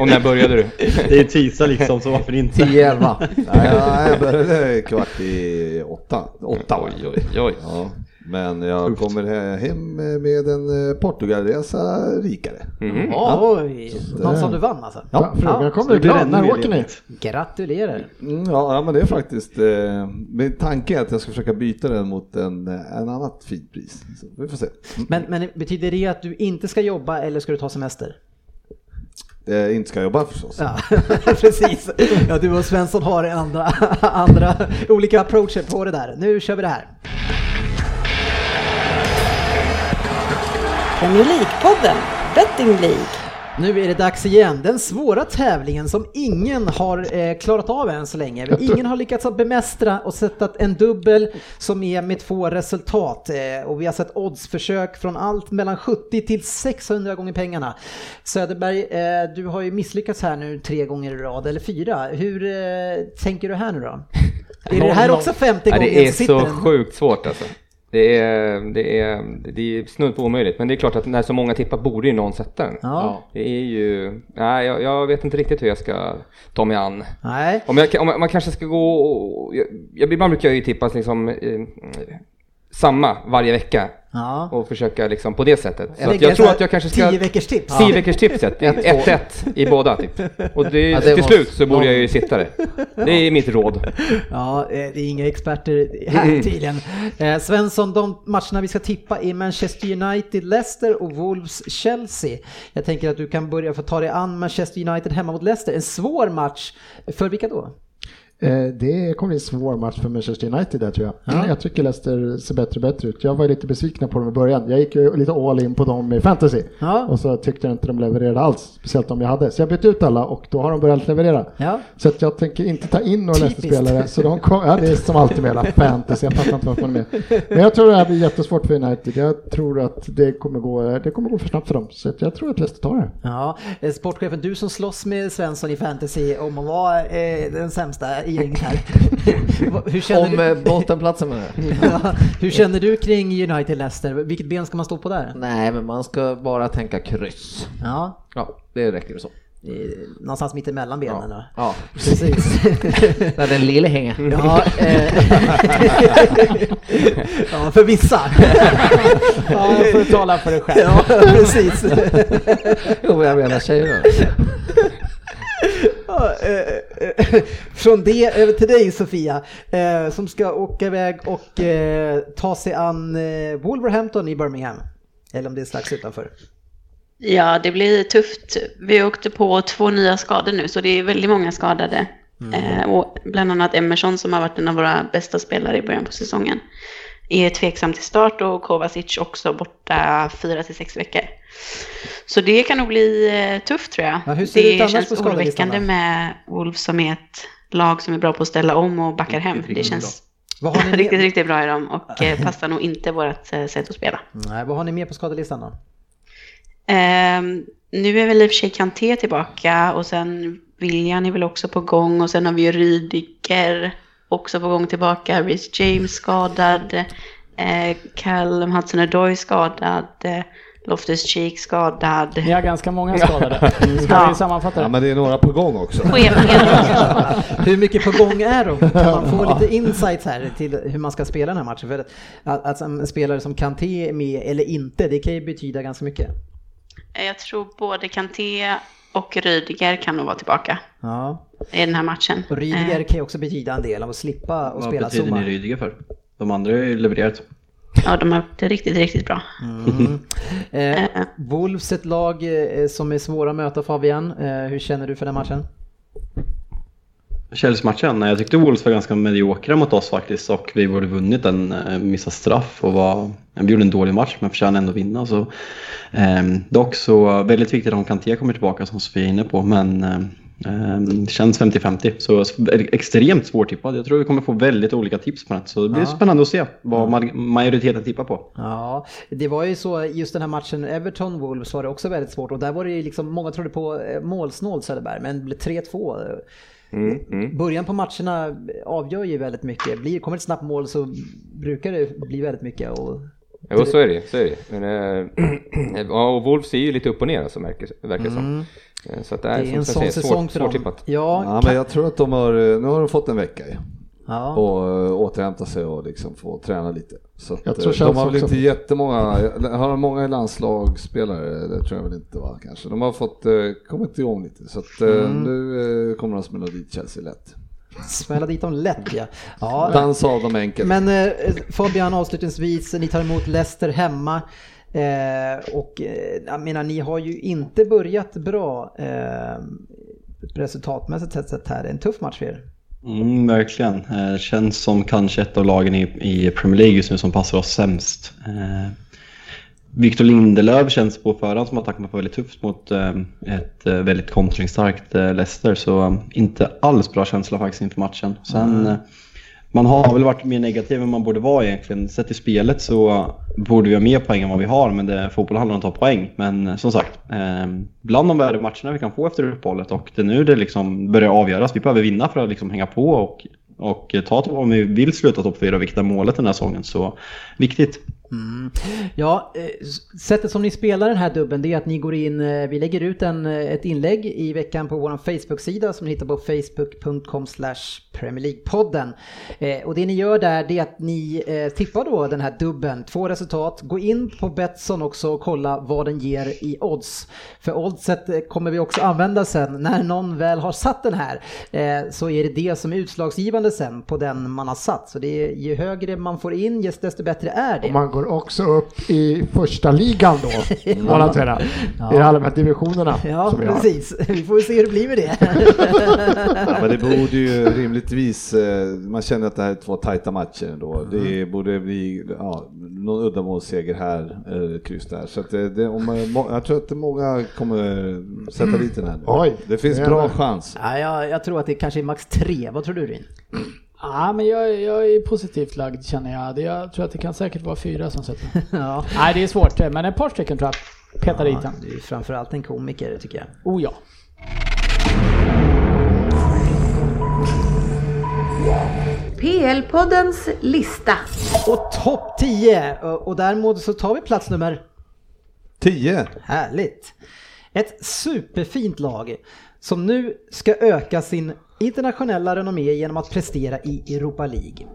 E: Och när började du?
D: Det är tisdag liksom, så varför inte?
C: 10-11.
K: Nej, jag började kvart i åtta. Åtta var det.
E: Oj, oj, oj.
K: Ja, men jag kommer he- hem med en eh, Portugalresa rikare.
E: Mm.
B: Oj, någon
K: eh,
B: som du vann alltså.
G: Ja, frågan kommer
D: Det
G: du
D: blir
G: glad.
D: ännu
G: När
D: mer
G: åker ni?
D: ledigt.
B: Gratulerar.
K: Mm, ja, ja, men det är faktiskt eh, min tanke är att jag ska försöka byta den mot en, eh, en annat fint pris. Så vi får se. Mm.
B: Men, men betyder det att du inte ska jobba eller ska du ta semester?
K: Eh, inte ska jag jobba förstås.
B: Ja, precis. Ja, du och Svensson har andra, andra olika approacher på det där. Nu kör vi det här.
I: Premier League-podden, Betting League.
B: Nu är det dags igen. Den svåra tävlingen som ingen har eh, klarat av än så länge. Ingen har lyckats att bemästra och sätta en dubbel som är med två resultat. Eh, och vi har sett oddsförsök från allt mellan 70 till 600 gånger pengarna. Söderberg, eh, du har ju misslyckats här nu tre gånger i rad, eller fyra. Hur eh, tänker du här nu då? Är det här också 50
E: Ja,
B: gånger
E: det är
B: sitter
E: så
B: den?
E: sjukt svårt alltså. Det är, det är, det är snudd på omöjligt. Men det är klart att när så många tippar borde ju någon sätta den.
B: Ja.
E: Det är ju... Nej, jag, jag vet inte riktigt hur jag ska ta mig an.
B: Nej.
E: Om, jag, om jag- man kanske ska gå och... Jag, jag, ibland brukar jag ju tippa liksom, eh, samma varje vecka.
B: Ja.
E: Och försöka liksom på det sättet. Så
B: tänker
E: att jag tror
B: så här,
E: att jag kanske ska...
B: 10 veckors tips.
E: Tio veckors tipset. 1-1 i båda typ. Och det,
C: Ja, det
E: till
C: måste-
E: slut så borde jag ju sitta det. Det är mitt råd.
B: Ja, eh, det är inga experter
C: Mm.
B: här tydligen. Eh, Svensson, de matcherna vi ska tippa är Manchester United, Leicester och Wolves-Chelsea. Jag tänker att du kan börja få ta dig an Manchester United hemma mot Leicester. En svår match. För vilka då?
G: Eh, Det kommer bli en svår match för Manchester United där tror jag. Jag tycker Leicester ser bättre och bättre ut. Jag var ju lite besviken på dem i början. Jag gick ju lite all in på dem i fantasy.
B: Ja.
G: Och så tyckte jag inte de levererade alls. Speciellt de jag hade. Så jag bytte ut alla och då har de börjat leverera.
B: Ja.
G: Så att jag tänker inte ta in några
B: Typiskt.
G: Leicester-spelare. Så de kom, ja, det är som alltid med hela fantasy. Jag fattar inte varför de är med. Men jag tror det här blir jättesvårt för United. Jag tror att det kommer gå, det kommer gå för snabbt för dem. Så att jag tror att Leicester tar det.
B: Ja, eh, sportchefen, du som slåss med Svensson i fantasy om att vara eh, den sämsta i gänget här. Vad- Hur känner,
C: Om
B: du,
C: eh, bottenplatsen menar jag.
B: ja, hur känner du kring United-Leicester? Vilket ben ska man stå på där?
C: Nej, men man ska bara tänka kryss.
B: Ja,
C: Ja, det räcker så.
B: eh, någonstans mitt emellan benen då.
C: Ja,
B: Precis.
C: där den lille hänger.
B: Ja, eh, ja för vissa.
F: Ja, jag får tala för dig själv.
B: ja, precis.
C: Jo, jag menar tjejerna.
B: Ja, eh, eh, från det över till dig Sofia, eh, som ska åka iväg och eh, ta sig an eh, Wolverhampton i Birmingham. Eller om det är strax utanför.
H: Ja, det blir tufft. Vi åkte på två nya skador nu, så det är väldigt många skadade.
B: Mm.
H: Eh, och bland annat Emerson som har varit en av våra bästa spelare i början på säsongen är tveksam till start och Kovacic också borta fyra till sex veckor. Så det kan nog bli eh, tufft tror jag.
B: Ja, hur ser det ut annars
H: känns
B: på skadelistan
H: oroväckande
B: då?
H: med Wolves som är ett lag som är bra på att ställa om och backa hem. Det känns
B: Vad har ni
H: riktigt,
B: med,
H: riktigt bra i dem och eh, passar nog inte vårt eh, sätt att spela.
B: nej, vad har ni med på skadelistan då?
H: Ehm, nu är väl i och för sig Kanté tillbaka och sen William är väl också på gång och sen har vi ju Rydiger också på gång tillbaka. Rhys James skadad. Eh, Callum Hudson-Odoi skadad. Eh, Loftus-Cheek skadad.
F: Ni har ganska många skadade. Ska vi sammanfatta
K: Ja,
F: det?
K: men det är några på gång också.
H: Schemat
B: Hur mycket på gång är de? Kan man få lite insights här till hur man ska spela den här matchen? För att, att, att en spelare som Kanté är med eller inte, det kan ju betyda ganska mycket.
H: Eh, Jag tror både Kanté och Rydiger kan nog vara tillbaka
B: Ja.
H: i den här matchen.
B: Och Rydiger
H: Eh,
B: kan ju också betyda en del av att slippa och
D: Vad
B: spela
D: betyder
B: Zuma.
D: ni Rydiger för? De andra har ju levererat.
H: ja, de har varit riktigt, riktigt bra.
B: Mm. Eh, Wolves ett lag eh, som är svåra att möta Fabian. Eh, hur känner du för den matchen?
D: Chelsea-matchen, nej, jag tyckte Wolves var ganska mediokra mot oss faktiskt och vi borde vunnit den, eh, missade straff och var, vi gjorde en dålig match men förtjänade ändå att vinna. Så, ehm, dock så väldigt viktigt att Kanté kommer tillbaka som Sofia är inne på men ehm, ehm, det känns 50-50 så s- extremt svårtippad. Jag tror vi kommer få väldigt olika tips på den så det blir spännande att se vad ma- majoriteten tippar på.
B: Ja, det var ju så just den här matchen Everton-Wolves var det också väldigt svårt och där var det ju liksom, många trodde på eh, målsnål Söderberg men det blev 3-2. eh,
E: Mm, mm.
B: Början på matcherna avgör ju väldigt mycket. Blir, kommer ett snabbt mål så brukar det bli väldigt mycket. Och,
E: Jo, så är det så är det Men, eh, ja, och Wolves är ju lite upp och ner alltså, märker, verkar det som. Eh, Så att det
B: det
E: är,
B: är
E: som
B: en
E: jag
B: sån
E: säger,
B: säsong
E: svårt,
B: för dem.
E: svårtippat.
B: Ja,
K: Ja, men jag tror att de har, eh, nu har de fått en vecka ju.
B: ja.
K: och eh, återhämta sig och liksom få träna lite. Så att,
G: Jag
K: eh,
G: tror
K: de
G: Chelsea
K: har väl
G: också-
K: inte jättemånga, har de många landslagsspelare? Det tror jag väl inte va kanske. De har fått, eh, kommit igång lite så att eh,
B: Mm.
K: nu eh, kommer de smälla dit Chelsea lätt.
B: smälla dit dem lätt ja. ja.
K: Dansa av dem enkelt.
B: Men eh, Fabian avslutningsvis, ni tar emot Leicester hemma. Eh, och eh, jag menar ni har ju inte börjat bra eh, resultatmässigt sett- sett här. Det är en tuff match för er.
D: Mm, verkligen. Eh, känns som kanske ett av lagen i, i Premier League just nu som passar oss sämst. Eh, Victor Lindelöf känns på förhand som att han kommer få väldigt tufft mot eh, ett eh, väldigt kontringstarkt eh, Leicester. Så eh, inte alls bra känsla faktiskt inför matchen. Sen, eh, man har väl varit mer negativ än man borde vara egentligen. Sett i spelet så borde vi ha mer poäng än vad vi har, men det, fotboll handlar om att ta poäng. Men eh, som sagt, eh, bland de värre matcherna vi kan få efter uppehållet och det är nu det liksom börjar avgöras. Vi behöver vinna för att liksom hänga på och, och ta topp- om vi vill sluta topp fyra och vikta målet den här säsongen. Så viktigt.
B: Mm. Ja, eh, s- sättet som ni spelar den här dubben det är att ni går in, eh, vi lägger ut en, eh, ett inlägg i veckan på vår Facebook-sida som ni hittar på facebook.com League-podden. Eh, och det ni gör där det är att ni eh, tippar då den här dubben, två resultat. Gå in på Betsson också och kolla vad den ger i odds. För oddset eh, kommer vi också använda sen när någon väl har satt den här. Eh, så är det det som är utslagsgivande sen på den man har satt. Så det är, ju högre man får in just desto bättre är det.
G: Och man går också upp i första ligan då, må man säga. I alla de här divisionerna
B: Ja,
G: som vi har.
B: precis. Vi får se hur det blir med det.
K: Ja, men det borde ju rimligtvis, eh, man känner att det här är två tajta matcher ändå. Det borde bli ja, någon uddamålsseger här, eh, kryss där. Så att det, det, om, man- må- jag tror att det många kommer sätta dit den här nu.
G: Oj,
K: det finns
G: jävlar.
K: bra chans.
B: ja, jag, jag tror att det kanske är max tre. Vad tror du Rin?
F: Ja, Ah, men jag, jag är positivt lagd känner jag. Det, jag tror att det kan säkert vara fyra som sätter.
B: Ja.
F: Nej, det är svårt. eh, Men ett par stycken tror jag petar dit
B: ja,
F: den.
B: du är ju framförallt en komiker tycker jag.
F: Oh ja.
I: PL-poddens lista.
B: Och topp 10! Och, och däremot så tar vi plats nummer
K: 10!
B: Härligt! Ett superfint lag som nu ska öka sin internationella renommé genom att prestera i Europa League.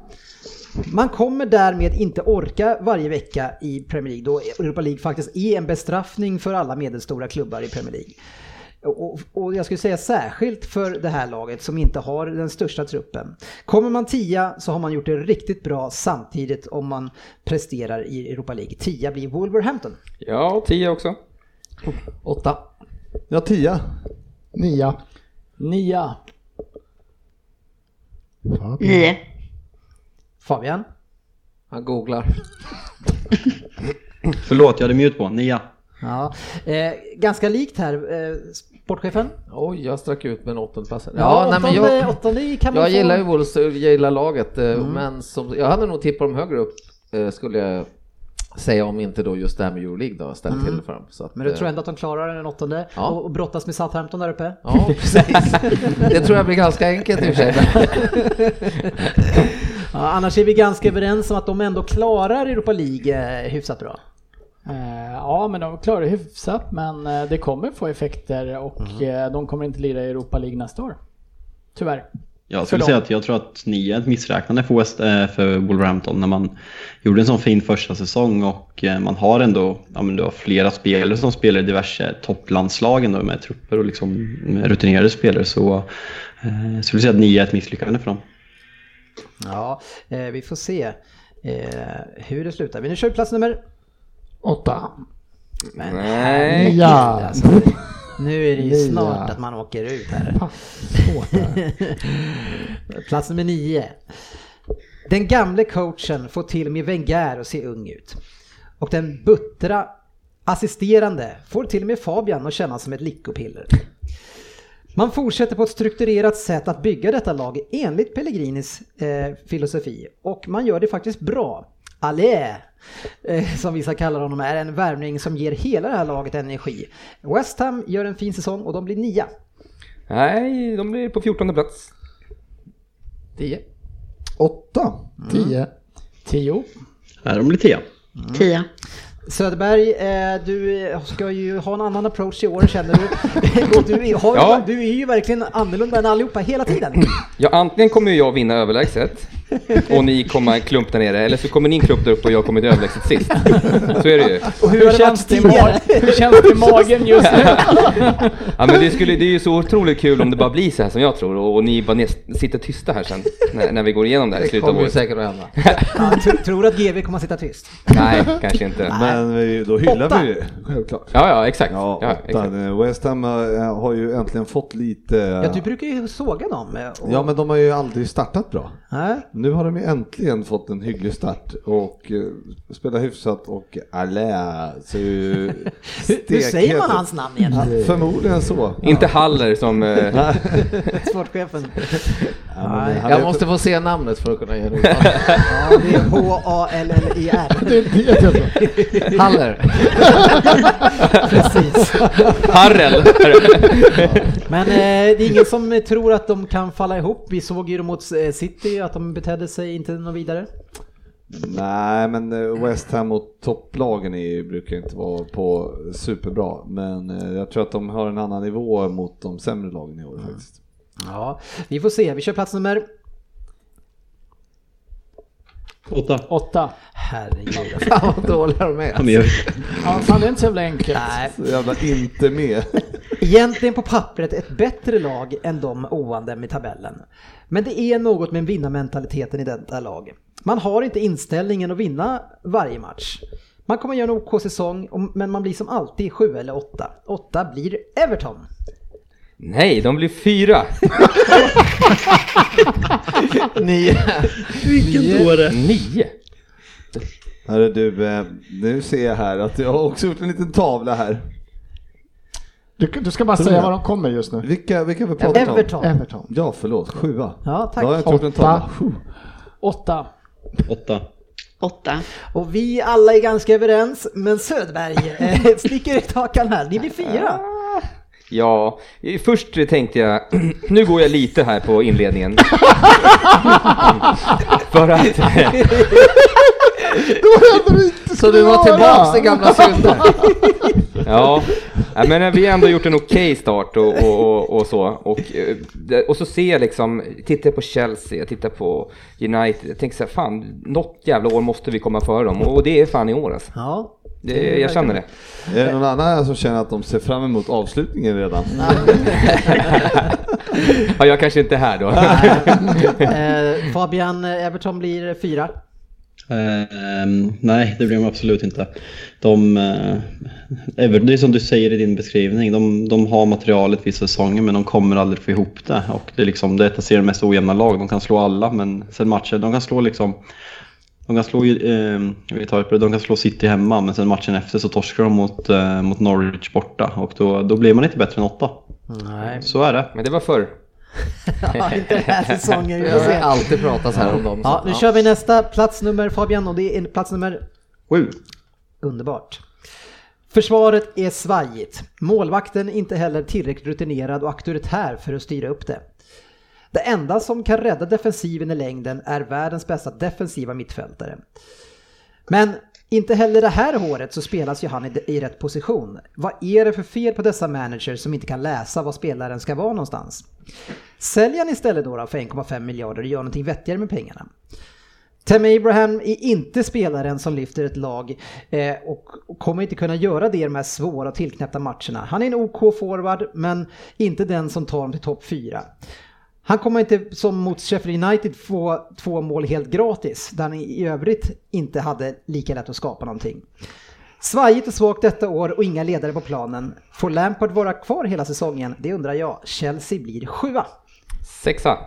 B: Man kommer därmed inte orka varje vecka i Premier League då Europa League faktiskt är en bestraffning för alla medelstora klubbar i Premier League. Och, och jag skulle säga särskilt för det här laget som inte har den största truppen. Kommer man tia så har man gjort det riktigt bra samtidigt om man presterar i Europa League. Tia blir Wolverhampton.
E: Ja, och 10 också.
C: Åtta.
K: Ja, tia.
G: Nia.
F: Nia.
H: Nio.
B: Fabian?
C: Han googlar.
D: Förlåt, jag hade mute på. Nia.
B: Ja, eh, ganska likt här, eh, sportchefen.
C: Oj, jag strack ut med en åttondeplats. Ja, nej, men
B: åttonde,
C: jag,
B: åttonde kan man
C: jag
B: få.
C: gillar ju Wolves, jag gillar laget, eh,
B: Mm.
C: men som, jag hade nog tippat dem högre upp eh, skulle jag säga om inte då just det här med Euroleague då ställt till det för dem. Så att,
B: Mm. Men du
C: eh,
B: tror ändå att de klarar den åttonde
C: Ja.
B: och, och brottas med Southampton där uppe?
C: Ja, precis. Det tror jag blir ganska enkelt i och för sig.
B: Ja, annars är vi ganska överens om att de ändå klarar Europa League eh, hyfsat bra.
F: Eh, Ja, men de klarar det hyfsat, men eh, det kommer få effekter
B: Mhm.
F: och eh, de kommer inte lira i Europa League nästa år. Tyvärr.
D: Jag skulle
F: dem.
D: säga att jag tror att ni är ett missräknande för, West, eh, för Wolverhampton när man gjorde en sån fin första säsong och eh, man har ändå ja, men du har flera spelare som spelar i diverse topplandslag ändå med trupper och liksom
B: Mm.
D: med rutinerade spelare så eh, jag skulle säga att ni är ett misslyckande för dem.
B: Ja, eh, vi får se eh, hur det slutar. Men nu kör vi plats nummer...
G: Åtta.
B: Men
E: Nej.
B: herregud,
G: Ja.
B: alltså. Nu är det ju
G: Nia.
B: snart att man åker ut här.
G: Fan, svårt där.
B: Plats nummer nio. Den gamle coachen får till och med Wenger att se ung ut. Och den buttra assisterande får till och med Fabian att känna som ett lyckopiller. Man fortsätter på ett strukturerat sätt att bygga detta lag enligt Pellegrinis eh, filosofi och man gör det faktiskt bra. Allé, eh, som vissa kallar honom, är en värvning som ger hela det här laget energi. West Ham gör en fin säsong och de blir nia.
E: Nej, de blir på 14 plats.
C: Tio.
B: Mm.
K: Åtta.
G: Tio.
F: Tio.
D: Är de lite ja.
B: Mm.
H: Tio.
B: Söderberg, eh, du ska ju ha en annan approach i år känner du. och du, är- har,
E: Ja. Mm.
B: du är ju verkligen annorlunda än allihopa hela tiden.
E: Ja, antingen kommer ju jag vinna överlägset och ni komma en klump där nere, eller så kommer ni en klump där uppe och jag kommer till överlägset sist. Så är det ju.
F: Och hur,
B: har det
F: känns det
B: varit
F: i ma-
B: tidigare?
F: hur känns det i magen just nu?
E: Ja, men det, skulle, det är ju så otroligt kul om det bara blir så här som jag tror och, och ni bara ner, sitter tysta här sen när, när vi går igenom det här i
C: Det
E: slutet av
C: kommer ju
E: året.
C: säkert att hända.
B: Ja, tro- tror du att GV kommer att sitta tyst?
E: Nej, kanske inte.
K: Men vi, då hyllar
B: Åtta.
K: vi det, självklart.
E: Ja, ja, exakt.
K: Ja,
E: Ja,
K: åtta.
E: exakt.
K: West Ham eh, har ju äntligen fått lite...
B: Ja, du brukar ju såga dem. eh, Och,
K: Ja, men de har ju aldrig startat bra.
B: Nej.
K: Nu har de ju äntligen fått en hygglig start och eh, spelar hyfsat och alla ser ju
B: hur, hur säger man
K: stekhet ut.
B: hans namn igen?
K: Ja, Förmodligen så.
E: Inte Haller som... eh,
B: Sportchefen.
K: Ja, men han
C: Jag
K: heter-
C: måste få se namnet för att kunna ge det.
B: Ja, det är
C: E
B: H-A-L-L-E-R.
G: Det vet jag inte.
C: Haller.
B: Precis.
E: Harrel!
B: Men eh, det är ingen som tror att de kan falla ihop. Vi såg ju dem mot eh, City att de betedde sig inte något vidare.
K: Nej, men eh, West Ham och topplagen är, brukar inte vara på superbra. Men eh, jag tror att de har en annan nivå mot de sämre lagen i
B: Mm.
K: år faktiskt.
B: Ja, vi får se. Vi kör plats nummer
D: Åtta.
F: Åtta.
B: Herregud. alltså.
C: Fan vad dåliga de är. alltså.
D: Ja, men jag-
F: Ja, fan, det är inte så jävla enkelt.
B: Nej.
K: Så jävla inte med.
B: Egentligen på pappret ett bättre lag än de oande i tabellen. Men det är något med vinnarmentaliteten i detta lag. Man har inte inställningen att vinna varje match. Man kommer göra en OK-säsong, och- men man blir som alltid sju eller åtta. Åtta blir Everton.
E: Nej, de blir fyra.
C: Nio.
D: Vilken dåre!
E: Nio?
K: Hörru du, eh, nu ser jag här att jag har också gjort en liten tavla här.
G: Du, du ska bara säga var de kommer just nu.
K: Vilka, vilka har vi pratat om?
B: Everton.
G: Everton.
K: Ja, förlåt, sjua.
B: Ja, tack.
K: Då har jag inte gjort en
G: Åtta.
K: tavla.
F: Åtta.
D: Åtta.
H: Åtta.
B: Och vi alla är ganska överens, men Söderberg eh, sticker ut hakan här. Ni blir fyra.
E: Ja, eh, först tänkte jag, nu går jag lite här på inledningen. För att,
C: Så du var tillbaks i gamla synder.
E: ja, jag menar, vi har ändå gjort en okej start och, och, och, och så. Och, eh, det- och så ser jag liksom, tittar jag på Chelsea, jag tittar på United, jag tänker så här, fan, något jävla år måste vi komma före dem. Och det är fan i år alltså.
B: Ja.
E: Det, jag känner det.
K: Är det någon annan här som känner att de ser fram emot avslutningen redan?
E: Ja, jag kanske inte är här då.
B: Eh, Fabian Everton blir fyra.
D: Ehm, nej, det blir de absolut inte. De, eh, Everton, det är som du säger i din beskrivning, de, de har materialet vid säsongen men de kommer aldrig få ihop det. Och det är liksom, det är ett av seriens mest ojämna lag, de kan slå alla men sen matchen, de kan slå liksom de kan, slå, eh, vi tar ett, de kan slå City hemma men sen matchen efter så torskar de mot, eh, mot Norwich borta och då, då blir man inte bättre än åtta.
B: Nej.
D: Så är det.
E: Men det var förr.
B: Ja, inte den här säsongen. vi får
C: Det
B: se.
C: alltid pratas här om dem.
B: Ja, nu kör vi nästa platsnummer Fabian och det är plats nummer
D: Sju.
B: Underbart. Försvaret är svajigt. Målvakten inte heller tillräckligt rutinerad och auktoritär för att styra upp det. Det enda som kan rädda defensiven i längden är världens bästa defensiva mittfältare. Men inte heller det här håret så spelas ju han i, i rätt position. Vad är det för fel på dessa managers som inte kan läsa vad spelaren ska vara någonstans? Sälj han istället då, då för 1,5 miljarder och gör någonting vettigare med pengarna. Tem Abraham är inte spelaren som lyfter ett lag eh, och och kommer inte kunna göra det i de här svåra och tillknäppta matcherna. Han är en OK forward men inte den som tar dem till topp 4. Han kommer inte som mot Sheffield United få två mål helt gratis där han i övrigt inte hade lika lätt att skapa någonting. Svajigt och svagt detta år och inga ledare på planen. Får Lampard vara kvar hela säsongen? Det undrar jag. Chelsea blir sjua.
E: Sexa.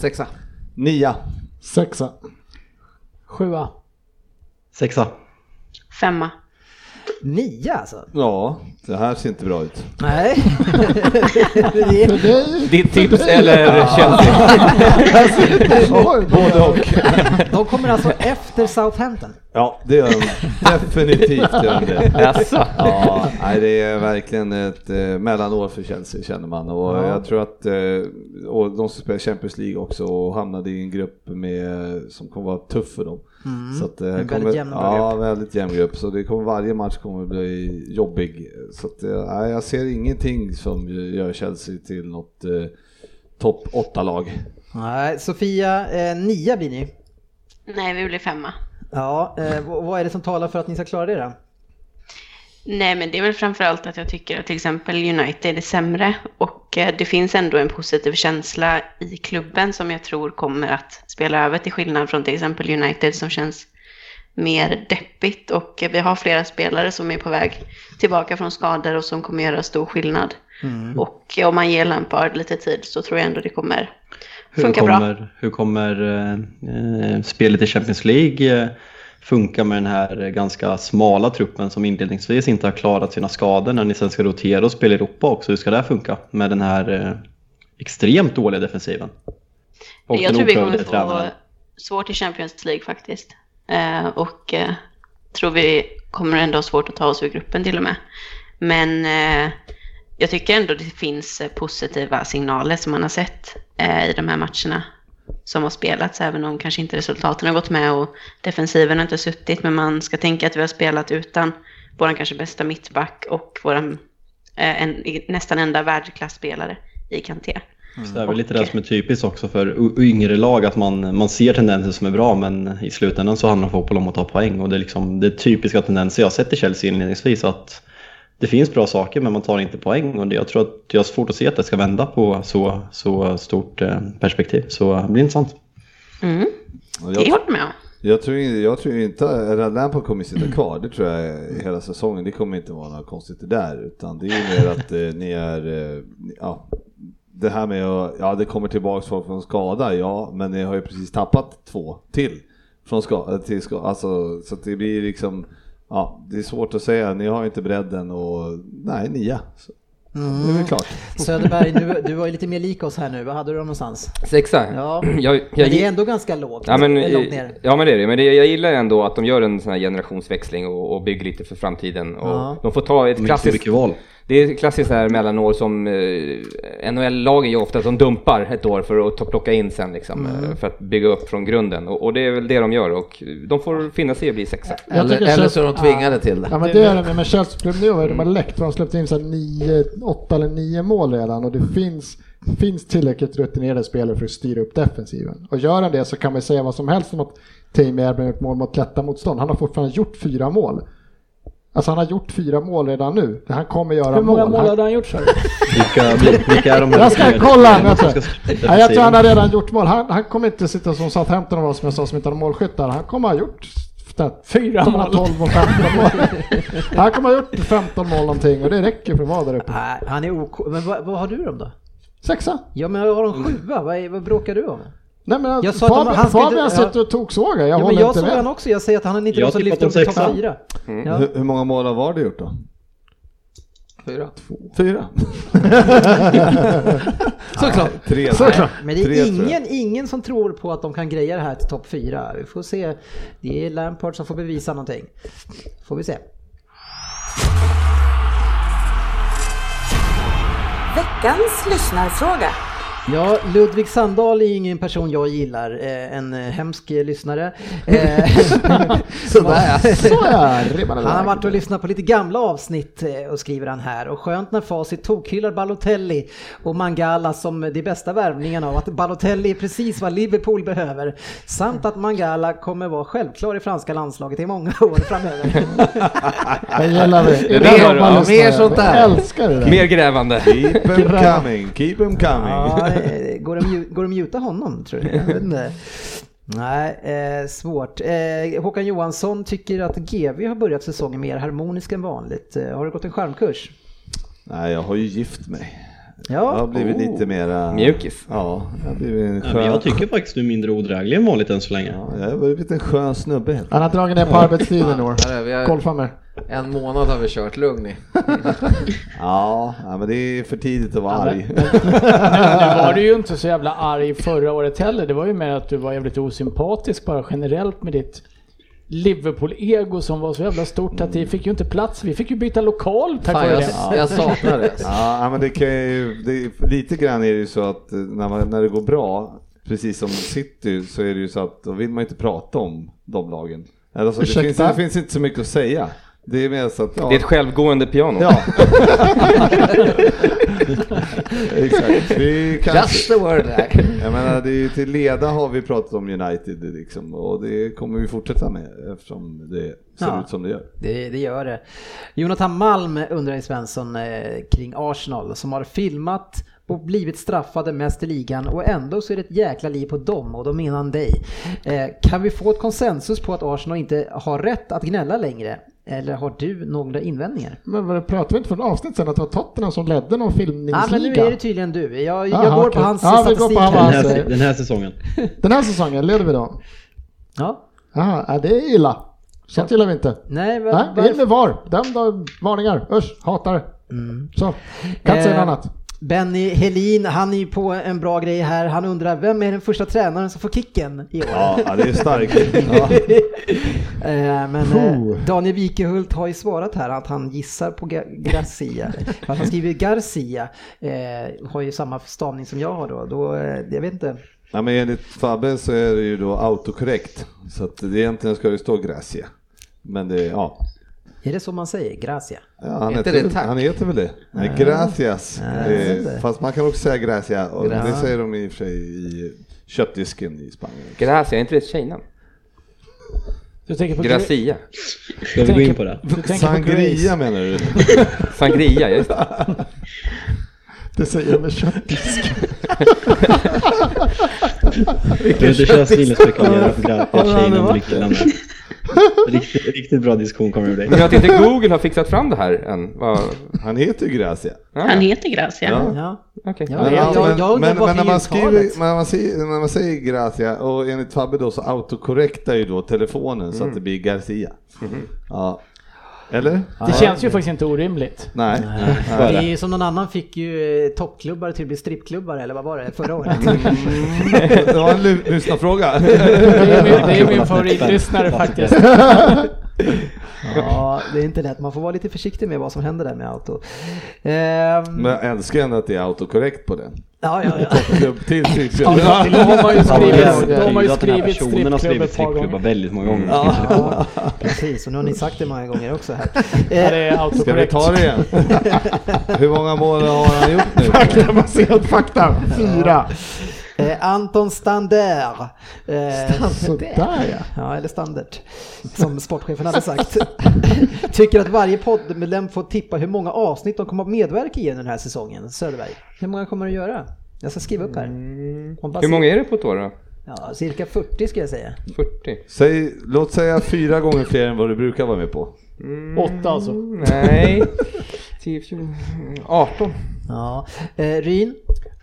C: Sexa.
K: Nia.
G: Sexa.
F: Sjua.
D: Sexa.
H: Femma.
B: Nia alltså?
K: Ja, det här ser inte bra ut.
B: Nej. det är
G: För dig?
E: Ditt tips eller Chelsea?
B: Alltså,
G: Både och.
B: De kommer alltså efter Southampton.
K: Ja, det gör de. Definitivt gör de det.
E: Jaså?
K: Ja, nej, det är verkligen ett eh, mellanår för Chelsea känner man och jag tror att eh, och de som spelar Champions League också och hamnade i en grupp med, som kommer vara tuff för dem. Så att, eh,
B: väldigt
K: kommer,
B: jämn
K: ja, väldigt jämn grupp. Så det kommer, varje match kommer bli jobbig. Så att, eh, nej, jag ser ingenting som gör Chelsea till något eh, topp 8-lag.
B: Nej, Sofia, eh, nia blir ni.
H: Nej, vi blir femma.
B: Ja, eh, v- vad är det som talar för att ni ska klara det då?
H: Nej, men det är väl framförallt att jag tycker att till exempel United är sämre och eh, det finns ändå en positiv känsla i klubben som jag tror kommer att spela över till skillnad från till exempel United som känns mer deppigt och eh, vi har flera spelare som är på väg tillbaka från skador och som kommer göra stor skillnad. Och eh, om man ger Lampard lite tid så tror jag ändå det kommer
D: Hur
H: funka bra.
D: kommer, hur kommer eh, eh, spelet i Champions League eh, funka med den här eh, ganska smala truppen som inledningsvis inte har klarat sina skador när ni sen ska rotera och spela i Europa också? Hur ska det här funka med den här eh, extremt dåliga defensiven? Och
H: jag
D: den
H: tror vi kommer
D: oprövade
H: få
D: tränaren.
H: svårt i Champions League faktiskt. Eh, och eh, tror vi kommer ändå ha svårt att ta oss ur gruppen till och med. Men eh, jag tycker ändå det finns eh, positiva signaler som man har sett eh, i de här matcherna som har spelats, även om kanske inte resultaten har gått med och defensiven har inte suttit. Men man ska tänka att vi har spelat utan vår kanske bästa mittback och vår eh, en, nästan enda världsklasspelare i Kanté.
D: Så det är väl lite det som är typiskt också för u- yngre lag att man, man ser tendenser som är bra men i slutändan så handlar fotboll om att ta poäng och det är liksom det är typiska tendenser jag har sett i Chelsea inledningsvis att det finns bra saker men man tar inte poäng och det, jag tror att jag har svårt att se att det ska vända på så, så stort eh, perspektiv så det blir intressant.
H: Mm,
K: Och jag
H: det håller jag med om.
K: Jag tror, in- jag tror inte att Lampard kommer sitta kvar, det tror jag hela säsongen. Det kommer inte vara något konstigt det där, utan det är ju mer att eh, ni är, eh, ni- ja, det här med att, ja det kommer tillbaks folk från skada, ja, men ni har ju precis tappat två till från skada, till ska, alltså, så att det blir liksom, ja, det är svårt att säga, ni har ju inte bredden och, nej, nia. Så, Det är väl klart.
B: Söderberg, du, du var ju lite mer lik oss här nu. Vad hade du dem någonstans?
E: Sexa?
B: Ja.
E: Jag,
B: Men
E: jag,
B: det är ändå ganska lågt.
E: Ja men, eh,
B: Eller långt ner.
E: ja men det är det, men det, jag gillar ändå att de gör en sån här generationsväxling och, och bygger lite för framtiden. Och
B: Ja.
E: De får ta ett
D: Det är så
E: klassiskt,
D: mycket val.
E: det är ett klassiskt här mellanår som eh, NHL-lagen gör ofta, att de dumpar ett år för att ta, plocka in sen liksom,
G: Mm.
E: eh, för att bygga upp från grunden. Och, och det är väl det de gör och de får finna sig i att bli sexa.
G: Jag
C: Eller,
G: tycker
C: eller
G: Chelsea-
C: så är de tvingade till det.
G: Ja men det är det, men Chelsea-klubben nu har de har läckt, de har släppt in så här nio, åtta eller nio mål redan och det finns, finns tillräckligt rutinerade spelare för att styra upp defensiven. Och gör han det så kan man säga vad som helst om att Tammy Abraham har gjort mål mot lätta motstånd. Han har fortfarande gjort fyra mål. Alltså han har gjort fyra mål redan nu. Han kommer göra
F: Hur många mål
G: mål
F: hade han gjort sa du?
D: Vilka, vilka är de här
G: Jag ska
D: spelare
G: kolla!
D: som
G: Jag tror,
D: ska sluta
G: Nej, jag tror han har
D: precis?
G: redan gjort mål. Han, han kommer inte sitta som Southampton var som jag sa som inte har målskyttar. Han kommer ha gjort
F: Fyra
G: han kommer
F: mål.
G: ha 12 och 15 mål. Han kommer ha gjort 15 mål någonting och det räcker för att vara där uppe.
B: Nej, han är OK. Men vad, vad har du dem då?
G: Sexa!
B: Ja men jag har en sjua, vad, är- vad bråkar du om?
G: Nej men
B: Jag
G: jag
B: sa att de-
G: Fabian,
B: han ska inte-
G: Fabian sitter och toksågar. Jag
B: Jag, ja, men
G: håller
B: jag
G: inte
B: såg
G: med. Mm.
B: han också, jag säger att han är inte
D: Jag
B: den som
D: tippat
B: lyfter
D: om
B: upp till
D: sexa.
B: topp fyra. Ja.
K: Mm. Hur, hur många mål har Vardy gjort då?
C: Fyra.
K: Fyra.
C: Såklart.
K: Tre.
G: Såklart.
K: Nej,
B: Men det är
K: Tre, tror jag.
B: ingen, ingen som tror på att de kan greja det här till topp fyra. Vi får se. Det är Lampard som får bevisa någonting. Får vi se.
J: Veckans lyssnarfråga.
B: Ja, Ludvig Sandahl är ingen person jag gillar. Eh, En eh, hemsk eh, lyssnare. Eh,
G: Så ja, ribban är
B: Han har
G: lagd.
B: varit och lyssnat på lite gamla avsnitt eh, och skriver han här. Och skönt när Facit tokhyllar Balotelli och Mangala som de bästa värvningarna av att Balotelli är precis vad Liverpool behöver. Samt att Mangala kommer vara självklar i franska landslaget i många år framöver.
G: Jag gillar det.
E: Det
G: är
E: där
G: de
E: har du.
G: man
E: Ja,
G: lyssnar.
C: mer sånt där.
G: Jag älskar det där. Typ
E: Mer grävande.
K: Keep him coming, keep him
B: Ja,
K: coming.
B: eh, går, de, mju- går de mjuta honom tror du? Jag vet inte. Nej, eh, svårt. Eh, Håkan Johansson tycker att GV har börjat säsongen mer harmonisk än vanligt. Eh, har du gått en skärmkurs?
K: Nej, jag har ju gift mig. Jag har
B: Ja.
K: blivit
E: Oh.
K: lite mera...
E: Mjukis.
K: Ja, jag har blivit en
D: Ja, men
K: skön...
D: jag tycker faktiskt du är mindre odräglig än vanligt än så länge.
K: Ja, jag har blivit en skön snubbe helt
G: Han har dragit ner på arbetstiden i år.
C: Där är vi. Jag-
G: Golfa med.
C: En månad har vi kört, lugn i.
K: Ja, ja, men det är för tidigt att vara arg.
F: Men nu var du ju inte så jävla arg förra året heller. Det var ju mer att du var jävligt osympatisk bara generellt med ditt Liverpool-ego som var så jävla stort att det fick ju inte plats. Vi fick ju byta lokal tack
C: Fan,
F: vare
C: jag,
F: det.
C: jag saknar det.
K: Ja, ja, men det kan ju, det, lite grann är det ju så att eh, när, man, när det går bra, precis som City, så är det ju så att då vill man ju inte prata om de lagen. Alltså, det,
G: Ursäkta?
K: finns, det finns inte så mycket att säga. Det är mer så att, ja,
E: Det är ett självgående piano.
K: ja. Exakt. Vi
C: Just
K: kanske,
C: the word där.
K: jag menar, det är, ju- till leda har vi pratat om United liksom, och det kommer vi fortsätta med eftersom det ser
B: Ja.
K: ut som det gör.
B: Det, det gör det. Jonathan Malm undrar i Svensson eh, kring Arsenal som har filmat och blivit straffade mest i ligan och ändå så är det ett jäkla liv på dem och då menar han dig. Eh, kan vi få ett konsensus på att Arsenal inte har rätt att gnälla längre? Eller har du några invändningar?
G: Men vad pratade vi inte för ett avsnitt sen att det var Tottenham som ledde någon filmningsliga?
B: Ja men nu är det tydligen du. Jag, jag
G: Aha,
B: går på
G: okej.
B: hans
G: Ja, vi går på
B: statistik.
G: hans-
D: Den
B: här.
G: Alltså-
D: här, den här säsongen.
G: Den här säsongen leder vi då.
B: Ja.
G: Jaha, ja, det är illa. Sånt gillar vi inte.
B: Nej, var,
G: Nej, det är med VAR. Den då, varningar. Usch, hatar det.
C: Mm.
G: Så, kan inte säga
B: Eh,
G: något annat.
B: Benny Helin, han är ju på en bra grej här. Han undrar vem är den första tränaren som får kicken i år?
K: Ja, ja, det är starkt. Ja.
B: Eh, Men
G: Puh.
B: eh, Daniel Wikehult har ju svarat här att han gissar på Ga- Garcia. Fast han skriver Garcia, eh, har ju samma stavning som jag har då. då eh, jag vet inte.
K: Ja, men enligt Fabbe så är det ju då autokorrekt. Så att det egentligen ska det stå Gracia. Men det, ja.
B: Är det så man säger? Gracia? Eh,
K: ja han,
C: Heter
K: heter
C: det
K: väl,
C: tack?
K: han heter väl det? Nej, gracias.
B: jag vet
K: Eh,
B: inte.
K: Fast man kan också säga Gracia. Och
B: Gra-
K: det säger de i och för sig i köttdisken i Spanien.
E: Gracia, är inte det ett tjejnamn?
F: Du tänker på Gre-
E: Gracia.
D: Ska vi gå in på det?
F: du tänker på Grace.
K: Sangria menar du?
E: Sangria, just det.
G: Det säger jag med köttdisk.
D: Peter Kjell spekulerar på
K: Har det aldrig
D: Gratia-tjejen.
K: varit
D: Riktigt, riktigt bra diskussion kommer ur dig.
E: Men att inte Google har fixat fram det här än. Vad...
K: Han heter ju Gracia.
E: Ah,
H: Han heter Gracia.
B: Ja.
E: okej.
B: Ja, jag- jag- jag undrar
K: men,
B: varför
K: men när, man
B: uttalet.
K: skriver, när, man säger, när man säger Gracia och enligt Fabbe då så autokorrektar ju då telefonen så att det blir Garcia. Ja. Eller?
F: Det känns ju faktiskt inte orimligt.
K: Nej.
D: Så är
B: Det är
D: det.
B: ju som någon annan fick ju eh, toppklubbar till att bli strippklubbar eller vad var det förra året?
K: Mm. Det var en lu- lyssnarfråga.
F: Det är min, det är min favoritlyssnare faktiskt.
B: ja, det är inte lätt. Man får vara lite försiktig med vad som händer där med auto. Ehm,
K: Men jag älskar ändå att det är autokorrekt på den.
B: ja, ja, ja.
K: Klubb till
F: Ja,
K: Sydsjön.
F: då- då har man ju
D: Ja, men det
F: skrivit,
D: betyder
F: de har ju
D: att den här
F: skrivit
D: personen har
F: strippklubb
D: skrivit
F: ett par
D: strippklubbar
F: gånger.
D: väldigt många gånger.
B: Ja, precis, och nu har ni sagt det många gånger också här.
F: Ja, det är
K: Ska vi
F: autokorrekt.
K: ta det igen? Hur måga mål har han gjort nu?
G: Faktabaserat fakta. Fyra.
B: Eh, Anton Standard. Eh,
G: Sådär ja.
B: Ja, eller standard, som sportchefen hade sagt. Tycker att varje poddmedlem får tippa hur många avsnitt de kommer att medverka i den här säsongen. Söderberg, hur många kommer du göra? Jag ska skriva upp här. Om bara-
E: Hur många är det på ett år då?
B: Ja, cirka 40 ska jag säga.
E: 40?
K: Säg, låt säga fyra gånger fler än vad du brukar vara med på.
F: Åtta alltså.
E: Nej. 10, 14, 18.
B: Ja. Eh, Ryn?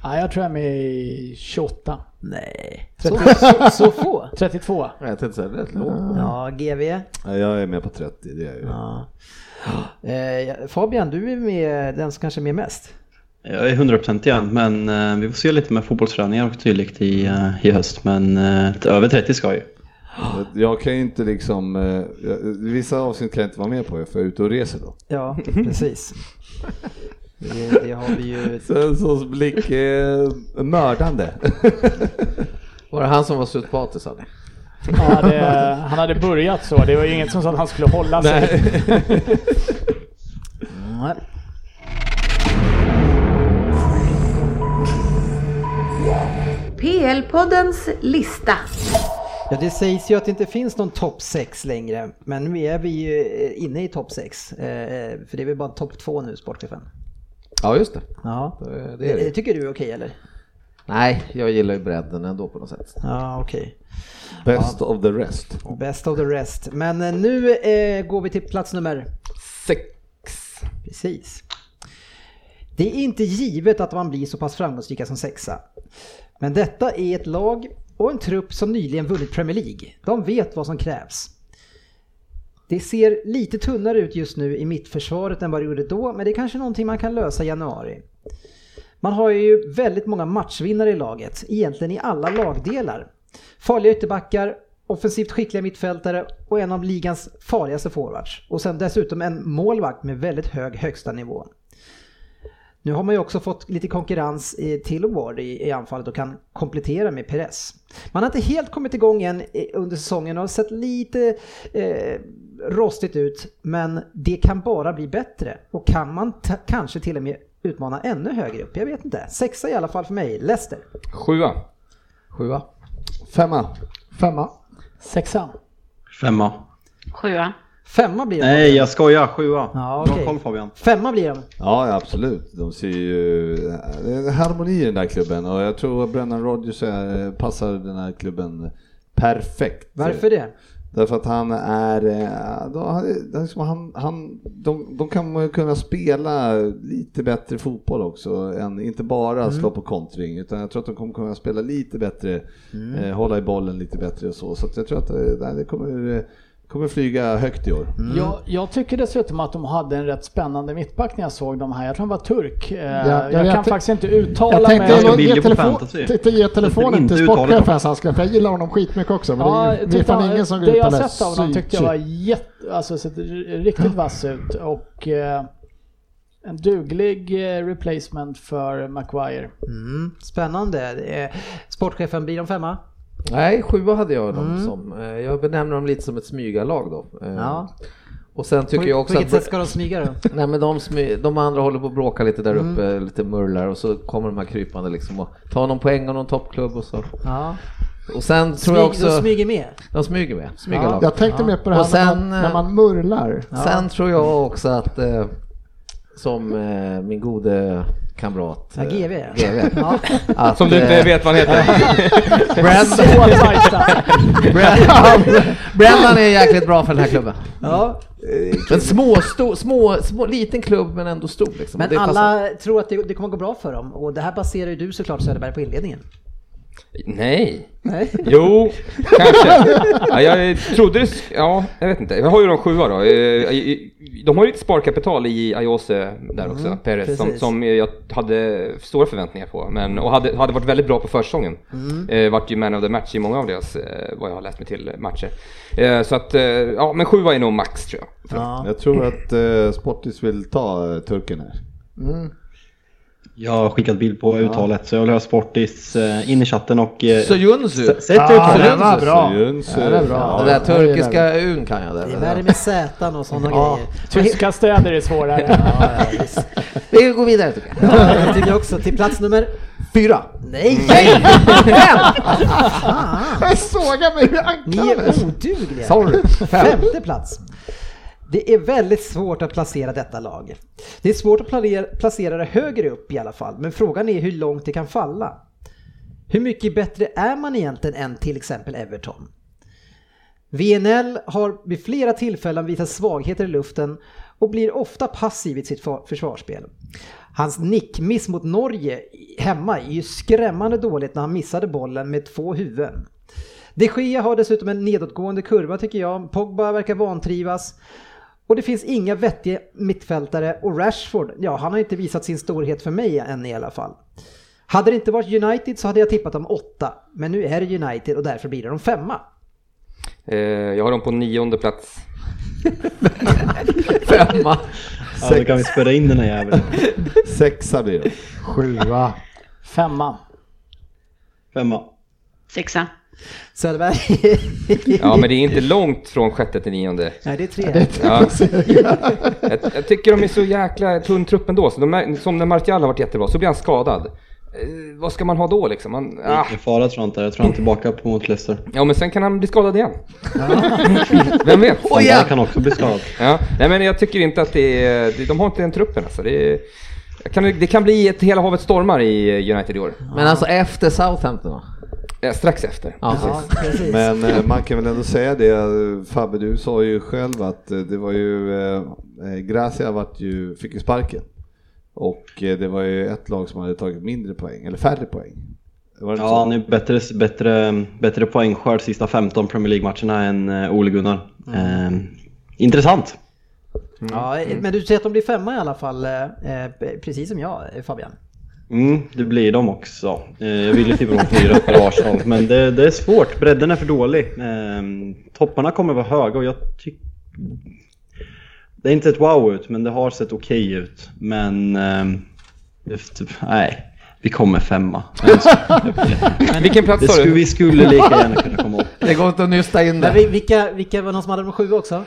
F: Ja, jag tror jag är med i 28.
B: Nej. Så, så, så få?
F: 32.
K: Jag tänkte säga rätt lågt.
B: Ja, GV.
K: Nej, Jag är med på 30, det är jag ju.
B: Ja. Eh, Fabian, du är med, den som kanske är med mest.
D: Jag är 100% igen, men eh, vi får se lite med fotbollsträningar och dylikt i, eh, i höst. Men eh, över 30 ska jag ju.
K: Jag kan ju inte liksom, eh, jag- vissa avsnitt kan jag inte vara med på för jag är ute och reser då.
B: Ja, precis. Det, det har vi ju...
K: Svenssons blick är mördande.
C: Var det han som var psykopatisk? Sanne?
F: Han hade, han hade börjat så. Det var ju inget som sa att han skulle hålla sig.
B: Nej.
I: PL-poddens lista.
B: Ja, det sägs ju att det inte finns någon topp 6 längre, men nu är vi ju inne i topp 6. För det är väl bara topp 2 nu, sportchefen?
C: Ja, just det.
B: Ja, Eh,
C: är
B: det,
C: Eh, det.
B: tycker du är okej eller?
C: Nej, jag gillar ju bredden ändå på något sätt.
B: Ja, okej.
K: Best of the rest.
B: Best of the rest. Men eh, nu eh, går vi till plats nummer...
E: Sex.
B: Precis. Det är inte givet att man blir så pass framgångsrika som sexa. Men detta är ett lag och en trupp som nyligen vunnit Premier League. De vet vad som krävs. Det ser lite tunnare ut just nu i mittförsvaret än vad det gjorde då, men det är kanske någonting man kan lösa i januari. Man har ju väldigt många matchvinnare i laget, egentligen i alla lagdelar. Farliga ytterbackar, offensivt skickliga mittfältare och en av ligans farligaste forwards. Och sen dessutom en målvakt med väldigt hög högsta nivå. Nu har man ju också fått lite konkurrens eh, till Ward i, i anfallet och kan komplettera med Perez. Man har inte helt kommit igång än eh, under säsongen och har sett lite eh, rostigt ut men det kan bara bli bättre och kan man ta- kanske till och med utmana ännu högre upp. Jag vet inte. Sexa i alla fall för mig. Leicester.
E: Sjua.
C: Sjua.
K: Femma.
G: Femma. Mm.
F: Sexan.
D: Femma.
H: Sjua.
B: Femma blir de.
D: Nej, jag skojar. Sjua.
B: Ja,
D: Bra
B: okej.
D: koll Fabian.
B: Femma blir de.
K: Ja, ja, absolut. De ser ju det är en harmoni i den där klubben och jag tror att Brennan Rodgers är, passar den här klubben perfekt.
B: Varför det?
K: Därför att han är, eh, då- han, liksom han, han, de, de kan kunna spela lite bättre fotboll också, än, inte bara
B: Mm.
K: slå på kontring, utan jag tror att de kommer kunna spela lite bättre,
B: Mm.
K: eh, hålla i bollen lite bättre och så. Så att jag tror att eh, nej, det kommer, eh, kommer flyga högt i år.
B: Mm.
F: Jag, jag tycker dessutom att de hade en rätt spännande mittback när jag såg dem här. Jag tror han var turk. Eh, jag,
G: jag
F: kan
G: te-
F: faktiskt inte uttala
G: Jag
F: mig.
G: tänkte
D: Jag ska
G: jag
D: bilda
G: ge,
D: på
G: telefon,
D: fantasy.
G: tänkte ge telefonen
D: Inte
G: till
D: uttalet då.
G: sportchefen så han ska, för jag gillar honom skitmycket också. Men
F: Ja,
G: det är, det är
F: tyckte
G: fan
F: han,
G: ingen som går
F: det
G: ut
F: jag
G: på den
F: sett av honom tyckte jag var
G: psy-
F: jätte, alltså, sett r- riktigt vass ut och eh, en duglig eh, replacement för Maguire.
B: Mm, spännande. Eh, Sportchefen, blir de femma?
C: Nej, sjua hade jag dem
B: Mm.
C: som. Eh, Jag benämner dem lite som ett smygarlag då. Eh,
B: Ja.
C: Och sen tycker
B: på,
C: jag också
B: på vilket sätt
C: att...
B: ska de smyga då? Mm.
C: Nej men de, smy- de andra håller på att bråka lite där uppe, lite murlar och så kommer de här krypande liksom och tar någon poäng och någon toppklubb och så.
B: Ja.
C: Och sen tror jag
B: Smyg, de
C: också...
B: smyger med.
C: De smyger med, smyger lag.
G: Jag tänkte mer på det här
C: Och sen, eh,
G: när, man, när man murlar.
C: Sen tror jag också att eh, som eh, min gode kamrat
B: Ja,
C: eh,
B: GV.
C: GV,
B: Ja.
C: att,
E: Som du inte
C: eh,
E: vet vad han heter.
C: Brand-
F: Två tajta.
C: Brand- Brendan är jäkligt bra för den här klubben.
B: Ja.
C: En små, stor, små, små, liten klubb men ändå stor liksom.
B: Men
C: Och det passar.
B: alla tror att det, det kommer gå bra för dem och det här baserar ju du såklart Söderberg på inledningen.
E: Nej.
B: Nej.
E: Jo, kanske. Ja, jag trodde det... sk- Ja, jag vet inte. Jag har ju de sjua då. Eh, i- i- De har ju lite sparkapital i Ayose där också, Perez, som,
B: Mm, precis.
E: som jag hade stora förväntningar på. Men, och hade, hade varit väldigt bra på försäsongen.
B: Mm.
E: Eh, Vart ju man of the match i många av deras, eh, vad jag har läst mig till, matcher. Eh, Så att, eh, ja men sjua är nog max tror jag. För-
K: Jag tror att eh, Sportis vill ta eh, turken här.
G: Mm.
D: Jag har skickat bild på uttalet, så jag vill höra Sportis eh, in i chatten och... eh,
C: Så Junsu,
D: s- Sätt
B: Ah,
G: Ja,
D: uttalet!
G: den var bra.
K: Så Jöns,
G: Den är bra.
C: det
K: Ja,
C: där turkiska un kan jag.
B: Det
C: Där.
B: är värre med Z och sådana grejer.
F: Tyska städer är svårare.
C: Vi går vidare tycker jag.
B: Ja, jag tycker också. Till plats nummer Fyra! Nej!
C: Ah.
G: Jag sågar mig i
B: Ni
G: anklarna.
B: är odugliga.
C: Sorry.
B: Femte plats. Det är väldigt svårt att placera detta lag. Det är svårt att planera- placera det högre upp i alla fall, men frågan är hur långt det kan falla. Hur mycket bättre är man egentligen än till exempel Everton? VNL har vid flera tillfällen visat svagheter i luften och blir ofta passiv i sitt fa- försvarsspel. Hans nickmiss mot Norge hemma är ju skrämmande dåligt när han missade bollen med två huvuden. De Gea har dessutom en nedåtgående kurva tycker jag. Pogba verkar vantrivas. Och det finns inga vettiga mittfältare och Rashford, ja han har inte visat sin storhet för mig än i alla fall. Hade det inte varit United så hade jag tippat dem åtta, men nu är det United och därför blir det de femma.
E: Eh, jag har dem på nionde plats.
C: Femma.
D: Ja, då kan vi spöra in den här jäveln.
K: Sexa blir det.
G: Sjua.
F: Femma.
D: Femma.
H: Sexa.
B: Söderberg?
E: Ja, men det är inte långt från sjätte till nionde.
B: Nej det är tre.
E: Ja. jag, jag tycker de är så jäkla tunn trupp ändå. Så de är, som när Martial har varit jättebra, så blir han skadad. Eh, vad ska man ha då liksom? Man, ah.
D: Ingen fara tror jag inte. Jag tror han är tillbaka på mot Leicester.
E: Ja, men sen kan han bli skadad igen. Vem vet?
D: Han där kan också bli skadad.
E: Ja, nej men jag tycker inte att det är, det- de har inte den truppen alltså. Det, är- jag kan, det kan bli ett hela havet stormar i eh, United i år.
C: Men alltså efter Southampton va?
E: Eh, Strax efter.
C: Ja.
B: Ja, precis.
K: Men eh, man kan väl ändå säga det, eh, Fabbe du sa ju själv att eh, det var ju, eh, eh, Gracia vart ju, fick ju sparken. Och eh, det var ju ett lag som hade tagit mindre poäng, eller färre poäng. Var det inte
D: Ja,
K: så?
D: han är bättre, bättre, bättre poängskörd sista 15 Premier League-matcherna än eh, Ole Gunnar. Eh, intressant.
B: Ja, eh, men du säger att de blir femma i alla fall, eh, precis som jag eh, Fabian.
D: Mm, det blir de också. Eh, jag ville tippa dem fyra för Arsenal, men det, det är svårt. Bredden är för dålig. Eh, topparna kommer vara höga och jag tycker... Det är inte ett wow ut, men det har sett okej ut. Men... Eh, det- typ, nej, vi kommer femma.
E: Vilken plats
D: Det
E: har
D: skulle,
E: du?
D: vi skulle lika gärna kunna komma upp.
C: Det går inte att nysta in
B: Men
C: det.
B: vi- vilka, vilka var det någon som hade dem sjua också?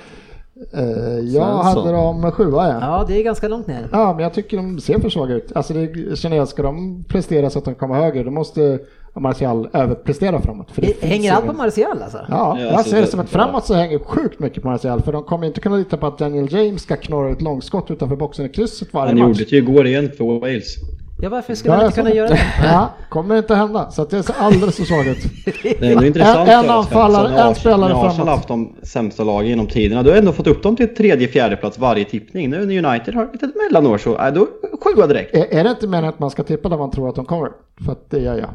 G: Eh, Jag
K: Svensson.
G: hade dem sjua ja.
B: Ja, det är ganska långt ner.
G: Ja, men jag tycker de ser för svaga ut. Alltså det känner jag, ska de prestera så att de kommer högre, då måste Martial överprestera framåt. För det
B: Det
G: finns
B: hänger allt på
G: ingen-
B: Martial alltså?
G: Ja,
D: Ja,
G: jag
D: alltså
G: ser det
D: det-
G: som att framåt så hänger sjukt mycket på Martial, för de kommer inte kunna lita på att Daniel James ska knorra ut långskott utanför boxen i krysset varje
D: Han
G: match.
D: gjorde det ju igår igen för Wales.
B: Ja, varför
G: Ja,
B: skulle han
G: jag
B: inte
G: sa
B: kunna
G: det.
B: göra det?
G: Ja, kommer inte hända. Så att det ser alldeles för svagt ut.
D: Det är ändå intressant
G: En- en
D: för oss,
G: anfallare,
D: Svensson, när
G: en
D: Ars-
G: spelare
D: när Arsenal
G: framåt.
D: har haft de sämsta lagen genom tiderna. Du har ändå fått upp dem till tredje, fjärde plats varje tippning. Nu när United har ett litet mellanår så är då sjua direkt.
G: Är, är det inte meningen att man ska tippa där man tror att de kommer? För att det gör jag.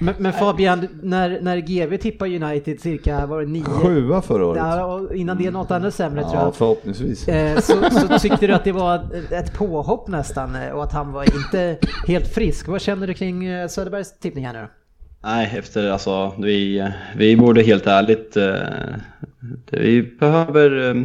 B: Men, men Fabian, när, när GV tippar United cirka, var det nio?
K: Sjua förra året.
B: Ja, och innan det något annat sämre tror
K: Ja,
B: jag.
K: förhoppningsvis.
B: Eh, Så, så tyckte du att det var ett påhopp nästan eh, och att han var inte helt frisk. Vad känner du kring eh, Söderbergs tippning här nu då?
D: Nej, efter alltså vi, vi borde helt ärligt... eh, det- Vi behöver... eh,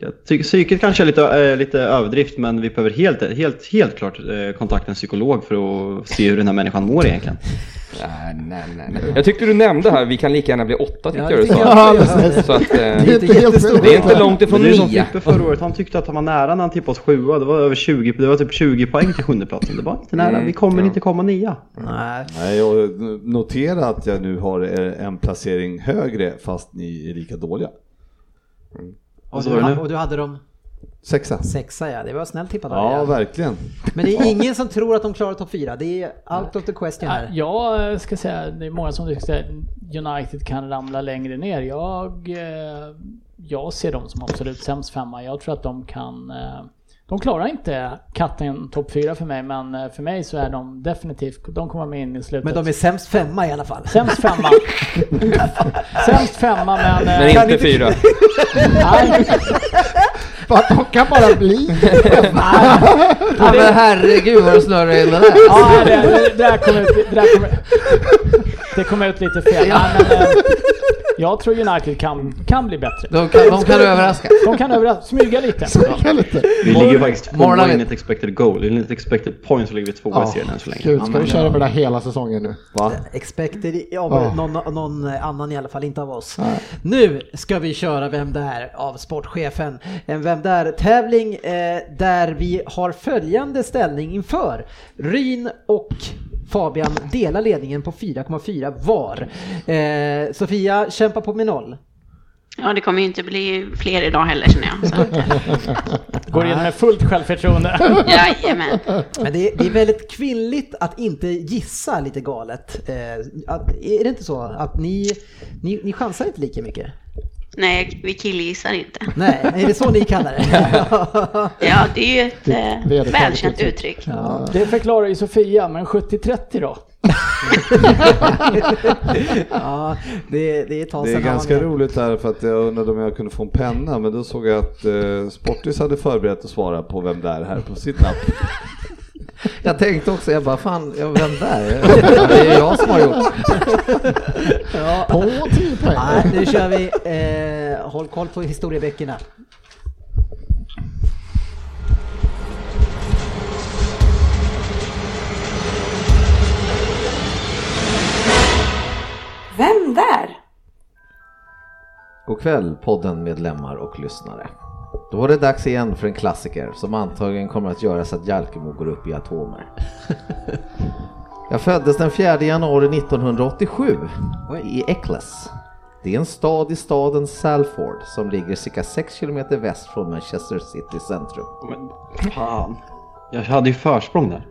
D: Jag tycker psyket kanske är lite, eh, lite överdrift men vi behöver helt, helt, helt klart eh, kontakta en psykolog för att se hur den här människan mår egentligen.
E: Nej, nej, nej, nej. Jag tyckte du nämnde här, vi kan lika gärna bli åtta tyckte jag du
B: tycker
E: sa.
B: jag också.
E: Så att, eh,
G: Det är inte helt
B: jättestort.
E: det är inte långt
D: Men
E: ifrån
D: det är som
E: nio.
D: Frippe förra året, han tyckte att han var nära när han tippade oss sjua. Det var, över 20, det var typ 20 poäng till sjundeplatsen. Det var inte nära,
E: Mm,
D: vi kommer
E: ja.
D: inte komma nia.
B: Nej.
K: Nej, och notera att jag nu har eh, en placering högre fast ni är lika dåliga.
D: Vad
B: Och du,
D: sa du nu?
B: ha- och du hade dem
K: Sexa.
B: sexa ja, det var snällt tippat av
K: Ja,
B: dig,
K: verkligen.
B: Men det är ingen som tror att de klarar topp fyra. Det är out of the question
F: Ja,
B: här.
F: Jag eh, ska säga, det är många som tycker att United kan ramla längre ner. Jag, eh, jag ser dem som absolut sämst femma. Jag tror att de kan... eh, De klarar inte katten topp fyra för mig, men eh, för mig så är de definitivt... De kommer med in i slutet.
B: Men de är sämst femma i alla fall.
F: Sämst femma. sämst femma, men... eh,
E: Men inte fyra.
F: nej,
G: För att de kan bara bli.
C: Ja, men herregud vad det snurrar in det där.
F: ja, det, det, där kom ut, det där kom ut... Det kom ut lite fel. Men, eh, jag tror United kan, kan bli bättre.
C: De kan, de kan överraska.
F: De kan överraska, smyga lite.
G: Tänka lite.
D: Vi ligger faktiskt
C: Morgon-
D: tvåa enligt expected goal, enligt expected points så ligger vi tvåa i serien än så länge. eh,
G: Gud, ska vi köra med det här hela säsongen nu?
K: Va?
B: Expected av
G: Ja.
B: någon, någon annan i alla fall, inte av oss.
G: Nej.
B: Nu ska vi köra Vem där? av sportchefen. En Vem där-tävling eh, där vi har följande ställning inför. Ryn och Fabian delar ledningen på 4,4 var. Eh, Sofia kämpar på med noll.
H: Ja, det kommer ju inte bli fler idag heller känner jag. Så.
F: Går in med fullt självförtroende.
H: Jajamän.
B: Men det är, det är väldigt kvinnligt att inte gissa lite galet. Eh, att, är det inte så att ni, ni, ni chansar inte lika mycket?
H: Nej, vi killgissar inte.
B: Nej, är det så ni kallar det? Typ
H: Ja, det är ju ett eh,
G: vedertaget
H: välkänt
G: uttryck.
H: uttryck.
F: Det förklarar ju Sofia, men 70-30 då?
B: ja, det, det är ett tag
K: Det är
B: sedan han
K: ganska
B: var med.
K: roligt här för att jag undrade om jag kunde få en penna men då såg jag att eh, Sportis hade förberett att svara på vem det är här på sitt napp.
C: Jag tänkte också, jag bara fan, ja, vem där? Det är jag som har gjort.
B: Ja.
G: På 10 poäng.
B: Nej, nu kör vi. Eh, håll koll på historieböckerna.
J: Vem där?
C: God kväll podden medlemmar och lyssnare. Då var det dags igen för en klassiker som antagligen kommer att göra så att Jalkemo går upp i atomer. Jag föddes den 4 januari 1987 i Eccles. Det är en stad i staden Salford som ligger cirka 6 kilometer väst från Manchester city centrum.
D: Men, fan. Jag hade ju försprång där.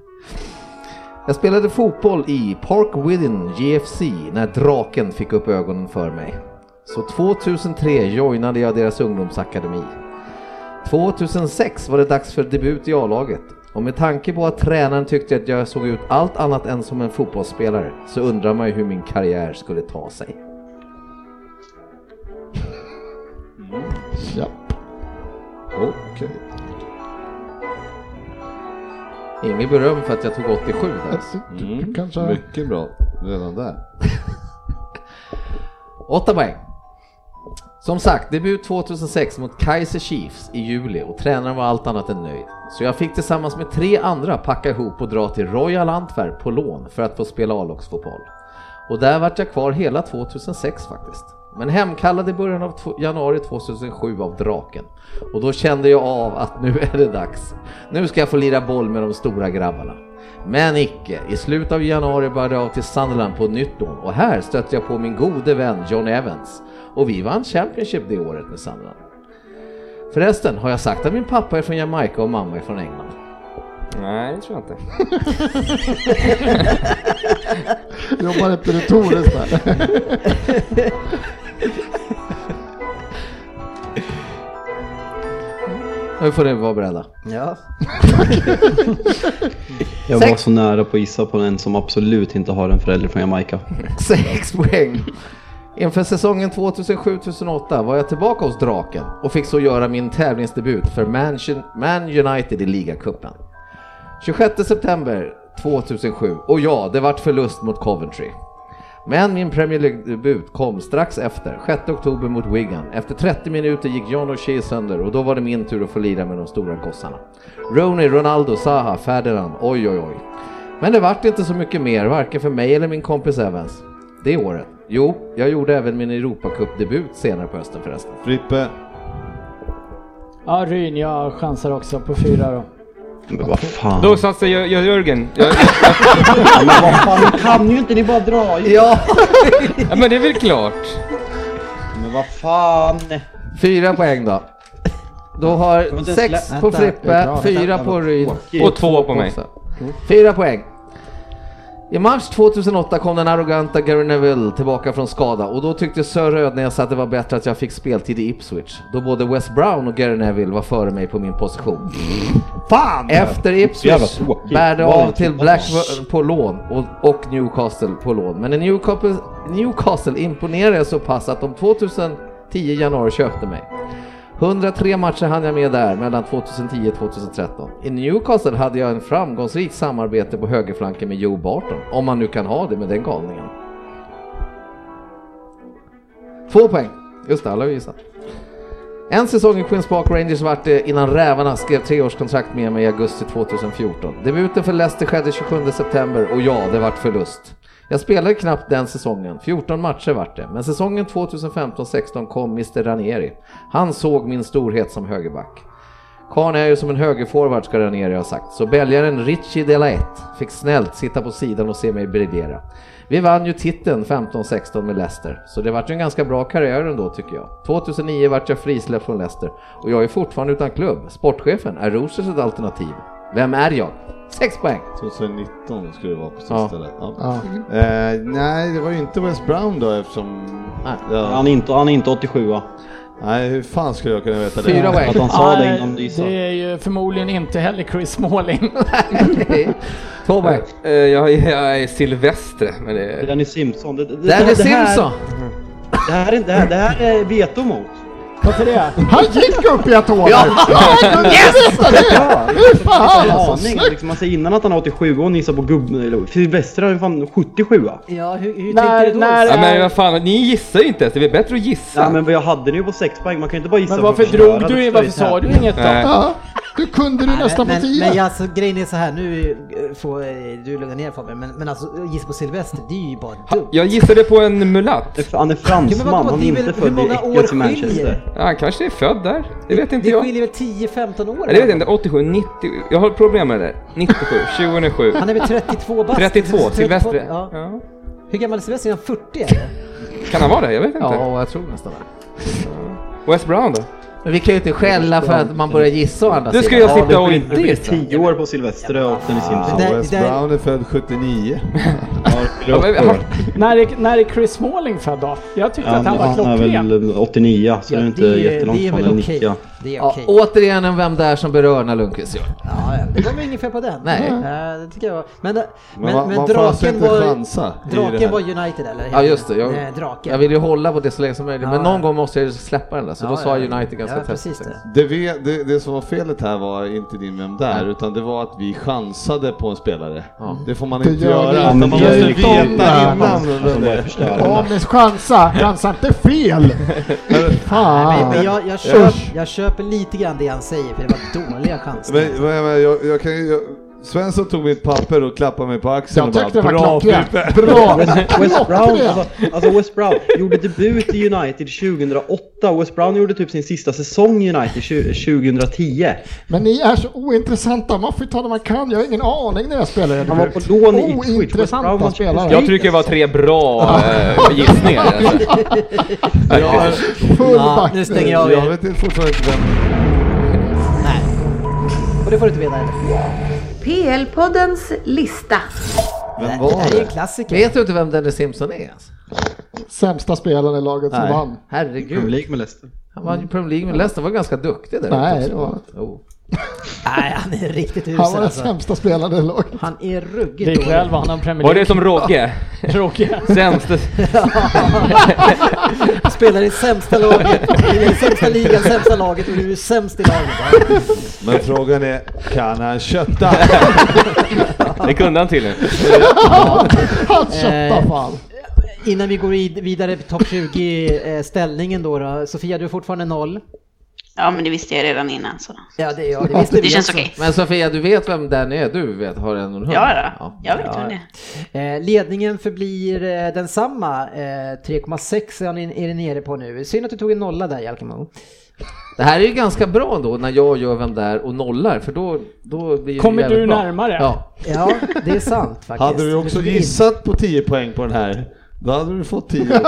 C: Jag spelade fotboll i Park Widden GFC när draken fick upp ögonen för mig. Så 2003 joinade jag deras ungdomsakademi. 2006 var det dags för debut i A-laget och med tanke på att tränaren tyckte att jag såg ut allt annat än som en fotbollsspelare så undrar man ju hur min karriär skulle ta sig.
G: Japp.
K: Okej.
C: Inget beröm för att jag tog 87 där. alltså.
G: Du kanske har...
K: Mycket bra redan där.
C: Åtta poäng. Som sagt, debut 2006 mot Kaiser Chiefs i juli och tränaren var allt annat än nöjd. Så jag fick tillsammans med tre andra packa ihop och dra till Royal Antwerp på lån för att få spela A-lagsfotboll. Och där vart jag kvar hela 2006 faktiskt. Men hemkallad i början av tw- januari 2007 av Draken. Och då kände jag av att nu är det dags. Nu ska jag få lira boll med de stora grabbarna. Men icke, i slutet av januari började jag av till Sunderland på nytt då och här stötte jag på min gode vän John Evans och vi vann Championship det året med Sunderland. Förresten, har jag sagt att min pappa är från Jamaica och mamma är från England?
E: Nej, det tror jag inte.
G: Jobbar inte du Tores där?
C: Nu får ni vara beredda.
B: Ja.
D: Jag
C: Sex.
D: var så nära på att gissa på en som absolut inte har en förälder från Jamaica.
C: 6 poäng. Inför säsongen 2007-2008 var jag tillbaka hos Draken och fick så göra min tävlingsdebut för Mansion- Man United i ligacupen. 26 september 2007 och ja, det vart förlust mot Coventry. Men min Premier League-debut kom strax efter, 6 oktober mot Wigan. Efter 30 minuter gick John O'Shea sönder och då var det min tur att få lira med de stora gossarna. Rooney, Ronaldo, Zaha, Ferdinand, oj oj oj. Men det vart inte så mycket mer, varken för mig eller min kompis Evans. Det året. Jo, jag gjorde även min Europacup-debut senare på hösten förresten.
K: Frippe.
F: Ja, Ryn, jag chansar också på fyra då.
D: Men vad fan.
E: Då satsar jag, jag Jörgen. Jag,
D: kan ju inte ni bara dra ju.
C: Ja!
E: ja, men det är väl klart.
D: Men vad fan.
C: Fyra poäng då. Då har
D: inte
C: sex
D: slä-
C: på
D: vänta, det
C: Frippe,
D: är bra.
C: fyra
D: Vänta,
C: på
D: vad
C: Ryd
D: tråkigt.
E: Och två på mig.
C: också. Fyra poäng. I mars 2008 kom den arroganta Gary Neville tillbaka från skada och då tyckte Sir Rödnäs att det var bättre att jag fick speltid i Ipswich då både Wes Brown och Gary Neville var före mig på min position.
G: Fan!
C: Efter
D: Jävla
C: Ipswich
D: tråkigt.
C: bär det
D: Vad
C: av
D: är det
C: till
D: som-
C: Blackburn på lån och, och Newcastle på lån. Men i Newcastle, Newcastle imponerade så pass att de 2010 januari köpte mig. 103 matcher hann jag med där mellan 2010 och 2013. I Newcastle hade jag en framgångsrik samarbete på högerflanken med Joe Barton, om man nu kan ha det med den galningen. Två poäng. Just det, alla har ju gissat. En säsong i Queens Park Rangers vart det innan rävarna skrev treårskontrakt med mig i augusti 2014. Debuten för Leicester skedde 27 september och ja, det vart förlust. Jag spelade knappt den säsongen, 14 matcher vart det, men säsongen 2015-16 kom Mr Ranieri. Han såg min storhet som högerback. Karn är ju som en högerforward ska Ranieri ha sagt, så belgaren Ricci Dela Ett fick snällt sitta på sidan och se mig briljera. Vi vann ju titeln 15-16 med Leicester, så det vart ju en ganska bra karriär ändå tycker jag. 2009 vart jag frisläppt från Leicester och jag är fortfarande utan klubb. Sportchefen, är Rosers ett alternativ? Vem är jag? 6 poäng!
K: 2019 skulle det vara på
C: Ja.
K: sista stället. Ja.
C: Ja.
K: Eh, nej, det var ju inte West Brown då eftersom... Ja.
D: Han är inte, han är inte 87
K: Nej, hur fan skulle jag kunna veta det?
D: Fyra poäng. Att han sa det
F: Nej,
D: innan du gissade.
F: Det är ju förmodligen inte heller Chris Smalling.
C: Tobbe?
E: Eh, Jag, jag är Silvestre, men det är...
D: Danny Simpson. Det, det,
E: Danny
D: här-
E: Simpson.
D: Det här, är- det här, det här är veto mot.
F: Varför det?
G: Han gick upp i ett år!
D: Ja.
G: jag kunde yes! veta det! Fy fan alltså!
D: Aning, liksom, man säger innan att han är 87 och ni gissar på gubben. eller- Silvestre har ju fan 77
A: Ja, hur, hur
F: När-
A: tänker du då?
F: när-
E: Ja, men vad fan, ni gissar ju inte ens. Det är väl bättre att gissa?
D: Ja, men jag hade det ju på 6 poäng, man kan ju inte bara gissa
F: Men
D: för
F: varför
D: att förstöra.
F: drog
D: Det
F: du
D: ska
F: in?
D: ju
F: Varför sa
D: tävla.
F: du inget då?
E: Nej.
G: Ja, du kunde du
B: Nej,
G: nästan på
B: men, men,
G: 10.
B: men alltså, grejen är så här, nu eh, får eh, du lugna ner Fabian, men, men alltså gissa på Silvester, det är ju bara dumt.
E: Jag gissade på en mulatt.
D: Det- Han är
B: Ja, men
D: fransman,
B: vadå,
D: han
B: det
D: är
B: är väl-
D: inte
B: hur
D: född i
B: många
D: äcklet
B: år
D: i
B: skiljer?
D: Manchester.
E: Ja, han kanske är född där. Det vet inte
B: Det
E: jag.
B: skiljer väl 10-15 år?
E: Ja, Det vet jag inte. 87, 90. Jag har problem med det. 97, 2007.
B: Han är väl 32 bast?
E: 32,
B: 32,
E: Silvestre.
B: ja.
E: Ja.
B: Hur gammal är Silvester? Är han 40 eller?
E: Kan han vara det? Jag vet inte.
C: Ja, jag tror nästan det.
E: Wes Brown då?
C: Men vi kan ju inte skälla för att man börjar gissa å andra
E: Du ska
C: sidan.
E: jag
D: Ja,
E: sitta och
D: det
E: inte
D: blir- det
E: gissa.
D: blir 10 år på Silvestre och Danny
K: Ah,
D: Simpson.
B: där-
K: West
B: där-
K: Brown är född 79.
E: Ja, men, han,
F: När är, när är Chris Smalling född då? Jag tyckte
D: Ja,
F: att han var
D: han är
F: klockren.
D: väl 89, så det är inte jättelångt
B: det är
D: från
B: väl
D: en
B: okej.
D: 90.
B: Det är
C: Ja,
B: okej.
C: återigen en Vem där som berör när Lundqvist gör.
B: Ja, ja, det var väl inget fel på den.
C: Nej.
B: Ja, det tycker jag var. Men, men,
K: Men,
B: men,
K: man, man får alltså
B: draken
K: inte
B: var...
K: chansa. i det här.
B: Draken var United eller?
C: Ja just det,
B: Nej,
C: jag,
B: draken.
C: jag vill ju hålla på det så länge som möjligt.
B: Ja,
C: Men
B: ja.
C: någon gång måste jag ju släppa den där, så
B: Ja,
C: då sa
B: ja.
C: United ganska
B: Ja, precis
C: tätt. liksom.
B: det.
K: Det, vi, det, det som var felet här var inte din Vem Där, utan det var att vi chansade på en spelare. Det får man
G: Det
K: inte
G: gör
K: göra.
G: vi
K: utan
G: inte.
K: Man måste
G: Vi gör ju
K: veta
G: inte det.
K: innan.
D: Alltså, bara förstöra.
G: Om ni chansar, chansa inte fel!
B: Nej, men
G: Fan!
B: jag, jag, köp, jag köper lite grann det han säger för det var dåliga chanser.
K: Men, men, men, jag, jag kan ju... Jag, Svensson tog mitt papper och klappade mig på axeln
G: Jag
K: och
G: tyckte det
K: bara
G: var
K: bra
G: klockrent.
K: Frippe!
G: Bra!
D: West Brown,
G: Klockrent.
D: alltså, alltså West Brown gjorde debut i United 2008 och West Brown gjorde typ sin sista säsong i United 20- 2010.
G: Men ni är så ointressanta, man får ju ta det man kan. Jag har ingen aning när jag spelar
D: Han var på
G: er.
D: lån i Ipswich. West Brown
G: Ointressanta
D: var-
G: spelare.
E: jag tycker det var tre bra eh, gissningar. Alltså.
K: Ja,
G: Full
B: Ja,
G: back.
B: nu stänger jag
K: jag
B: er.
K: vet inte fortfarande inte vem...
B: Och det får du inte veta heller.
I: PL-poddens lista.
K: Vem
B: Det här
K: var
B: är ju en
K: det?
B: klassiker.
C: Vet du inte vem Dennis Simpson är? ens?
G: Sämsta spelaren i laget som
K: Nej.
G: vann.
D: Premier
C: Herregud.
D: League med Leicester.
C: Han vann ju Premier League med Leicester, var ganska duktig där
G: Nej,
C: ute
G: det
C: också.
G: var han inte.
C: Jo.
B: Nej, han är riktigt usel
G: Han var den
B: alltså.
G: sämsta spelaren i laget.
B: Han är ruggigt
F: Det är ikväll var han en Premier
E: Var det
F: League.
E: som Rogge?
F: Tråkigt.
E: Sämste...
B: Spelar i sämsta laget, i den sämsta ligan, sämsta laget och du är sämst i laget. va?
K: Men frågan är, kan han kötta?
E: Det kunde han tydligen.
G: Han köttade
B: Eh,
G: fan.
B: Innan vi går i- vidare till topp 20-ställningen då, då. Sofia, du är fortfarande noll.
H: Ja, men det visste jag redan innan så.
B: Ja, det, ja, det visste
H: Det
B: vi
H: känns
B: också.
H: okej.
C: Men Sofia, du vet vem den är? Du vet, har en och en hund?
H: Ja, då. Jag vet
B: Ja.
H: vem det är.
B: Eh, ledningen förblir eh, densamma. Eh, 3,6 är, han in- är det nere på nu. Synd att du tog en nolla där Jalkemo.
C: Det här är ju ganska bra då när jag gör vem där och nollar, för då, då blir det
F: Kommer
C: jävligt
F: du
C: bra.
F: närmare?
C: Ja.
B: Ja, det är sant faktiskt.
K: Hade du också
B: In-
K: gissat på 10 poäng på den här, då hade du fått 10.
G: Han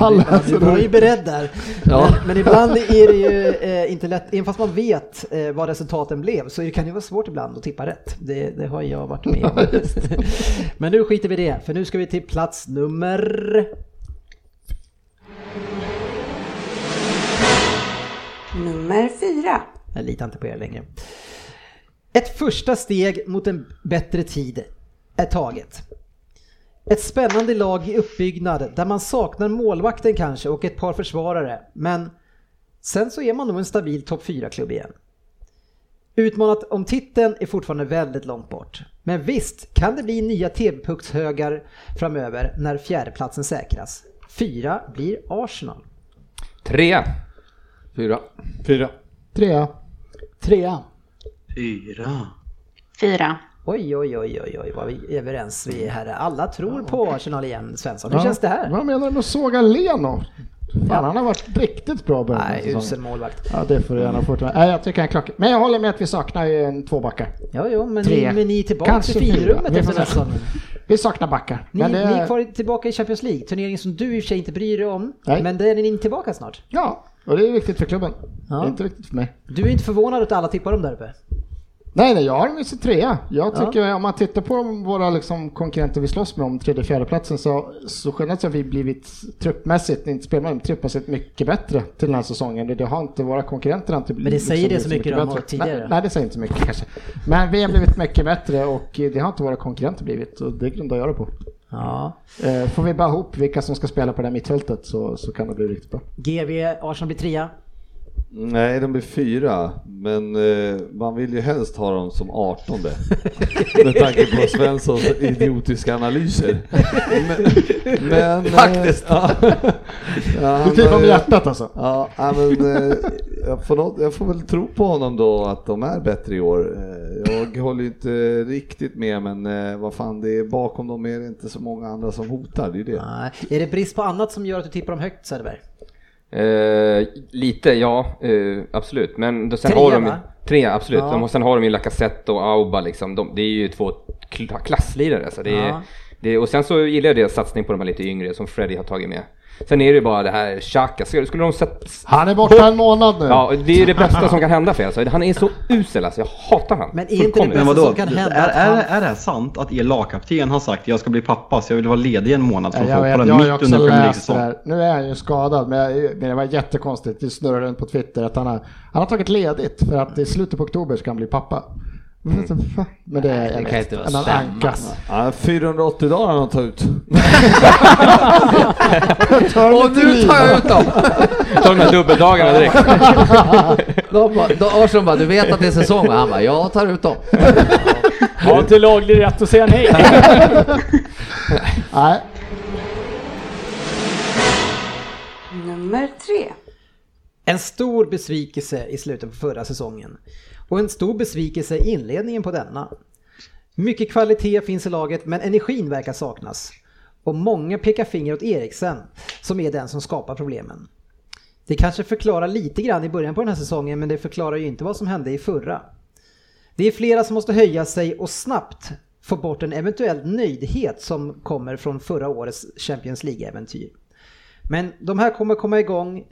B: Ja, du
G: läser
B: var ju
G: det.
B: beredd där.
C: Ja.
B: Men, men ibland är det ju eh, inte lätt, även fast man vet eh, vad resultaten blev så kan det vara svårt ibland att tippa rätt. Det, det har jag varit med om. men nu skiter vi i det, för nu ska vi till plats nummer...
I: Nummer fyra.
B: Jag litar inte på er längre. Ett första steg mot en bättre tid är taget. Ett spännande lag i uppbyggnad där man saknar målvakten kanske och ett par försvarare, men sen så är man nog en stabil topp 4-klubb igen. Utmanat om titeln är fortfarande väldigt långt bort. Men visst kan det bli nya TV-puckshögar framöver när fjärdeplatsen säkras. Fyra blir Arsenal.
E: Tre.
C: Fyra.
K: Fyra.
G: Trea.
F: Trea.
D: Fyra.
H: Fyra.
B: Oj, oj, oj, oj, oj, vad vi är överens vi är här. Alla tror på Arsenal igen, Svensson. Hur känns det här?
G: Vad menar du med att såga Leno? Fan, han har varit riktigt bra början
B: Nej,
G: på säsongen.
B: usel målvakt.
G: Ja, det får du
B: Mm.
G: gärna fortfarande. Nej, jag tycker han klackar. Men jag håller med att vi saknar ju en tvåbackar.
B: Ja, jo, men ni- men ni är tillbaka i fyrrummet
G: Vi får
B: efter
G: se.
B: nästa säsong.
G: Vi saknar backar.
B: Ni,
G: men
B: ni
G: det-
B: är kvar i- tillbaka i Champions League, turneringen som du i och för sig inte bryr dig om.
G: Nej.
B: Men där är ni tillbaka snart.
G: Ja, och det är viktigt för klubben. Det är inte viktigt för mig.
B: Du är inte förvånad att alla tippar dem där uppe?
G: Nej, nej, jag har dem i sin trea. Jag
B: Ja.
G: tycker, om man tittar på de- våra liksom, konkurrenter vi slåss med om tredje fjärde platsen så, så generellt har vi blivit truppmässigt, inte spelmässigt, truppmässigt mycket bättre till den här säsongen. Och Det har inte våra konkurrenter inte blivit.
B: Men det säger det
G: blivit
B: så mycket om
G: bättre.
B: tidigare.
G: Nej, nej, det säger inte så mycket kanske. Men vi har blivit mycket bättre och eh, det har inte våra konkurrenter blivit och det grundar jag det på. Eh,
B: Ja.
G: Får vi bara ihop vilka som ska spela på det här mittfältet så, så kan det bli riktigt bra.
B: GV, Arsenal blir trea.
K: Nej, de blir fyra, men eh, man vill ju helst ha dem som artonde. Med tanke på Svenssons idiotiska analyser. Men, men, eh,
G: Faktiskt.
K: ja. Ja,
G: Du
K: han
G: typ
K: har
G: om
K: ju-
G: hjärtat alltså.
K: Ja, ja, men, eh, jag, får något, jag får väl tro på honom då att de är bättre i år. Eh, Jag håller ju inte riktigt med, men eh, vad fan, det är, bakom dem är det inte så många andra som hotar. Det är ju det.
B: Nej. Är det brist på annat som gör att du tippar dem högt Söderberg?
E: Eh, lite, ja, eh, absolut. Men då, sen
B: Tre,
E: har de
B: va?
E: Tre, absolut.
B: Ja.
E: De, och sen har de ju Lacazette och Auba liksom. De, det är ju två kla- klasslirare. Så det är,
B: Ja.
E: det, och sen så gillar jag deras satsning på de här lite yngre som Freddy har tagit med. Sen är det ju bara det här Xhaka. Skulle skulle de sätta...
G: Han är borta en månad nu.
E: Ja, det är ju det bästa som kan hända för er. Alltså. Han är så usel alltså. Jag hatar han. Fullkomligt.
D: Men vadå? Är, är, är det här sant att er lagkapten har sagt jag ska bli pappa så jag vill vara ledig en månad från
G: Jag, vet,
D: fotbollen
G: jag har ju
D: mitt
G: också
D: under Premier
G: läst det
D: League-säsong?
G: där. Nu är han ju skadad, men, jag, men det var jättekonstigt. Det snurrade runt på Twitter att han har, han har tagit ledigt för att i slutet på oktober ska han bli pappa. Så,
E: Mm.
G: fan, Men det är jag vet, en ankas.
K: Ja, 480 dagar har han tagit ut.
G: Och nu tar jag ut dem!
E: Ta de här dubbeldagarna direkt.
C: De bara, de, Arsson bara, du vet att det är säsong va? Han bara, jag tar ut dem.
F: Har inte laglig rätt att säga nej.
G: Nej.
B: Nummer tre. En stor besvikelse i slutet på förra säsongen. Och en stor besvikelse i inledningen på denna. Mycket kvalitet finns i laget men energin verkar saknas. Och många pekar finger åt Eriksen som är den som skapar problemen. Det kanske förklarar lite grann i början på den här säsongen men det förklarar ju inte vad som hände i förra. Det är flera som måste höja sig och snabbt få bort en eventuell nöjdhet som kommer från förra årets Champions League-äventyr. Men de här kommer komma igång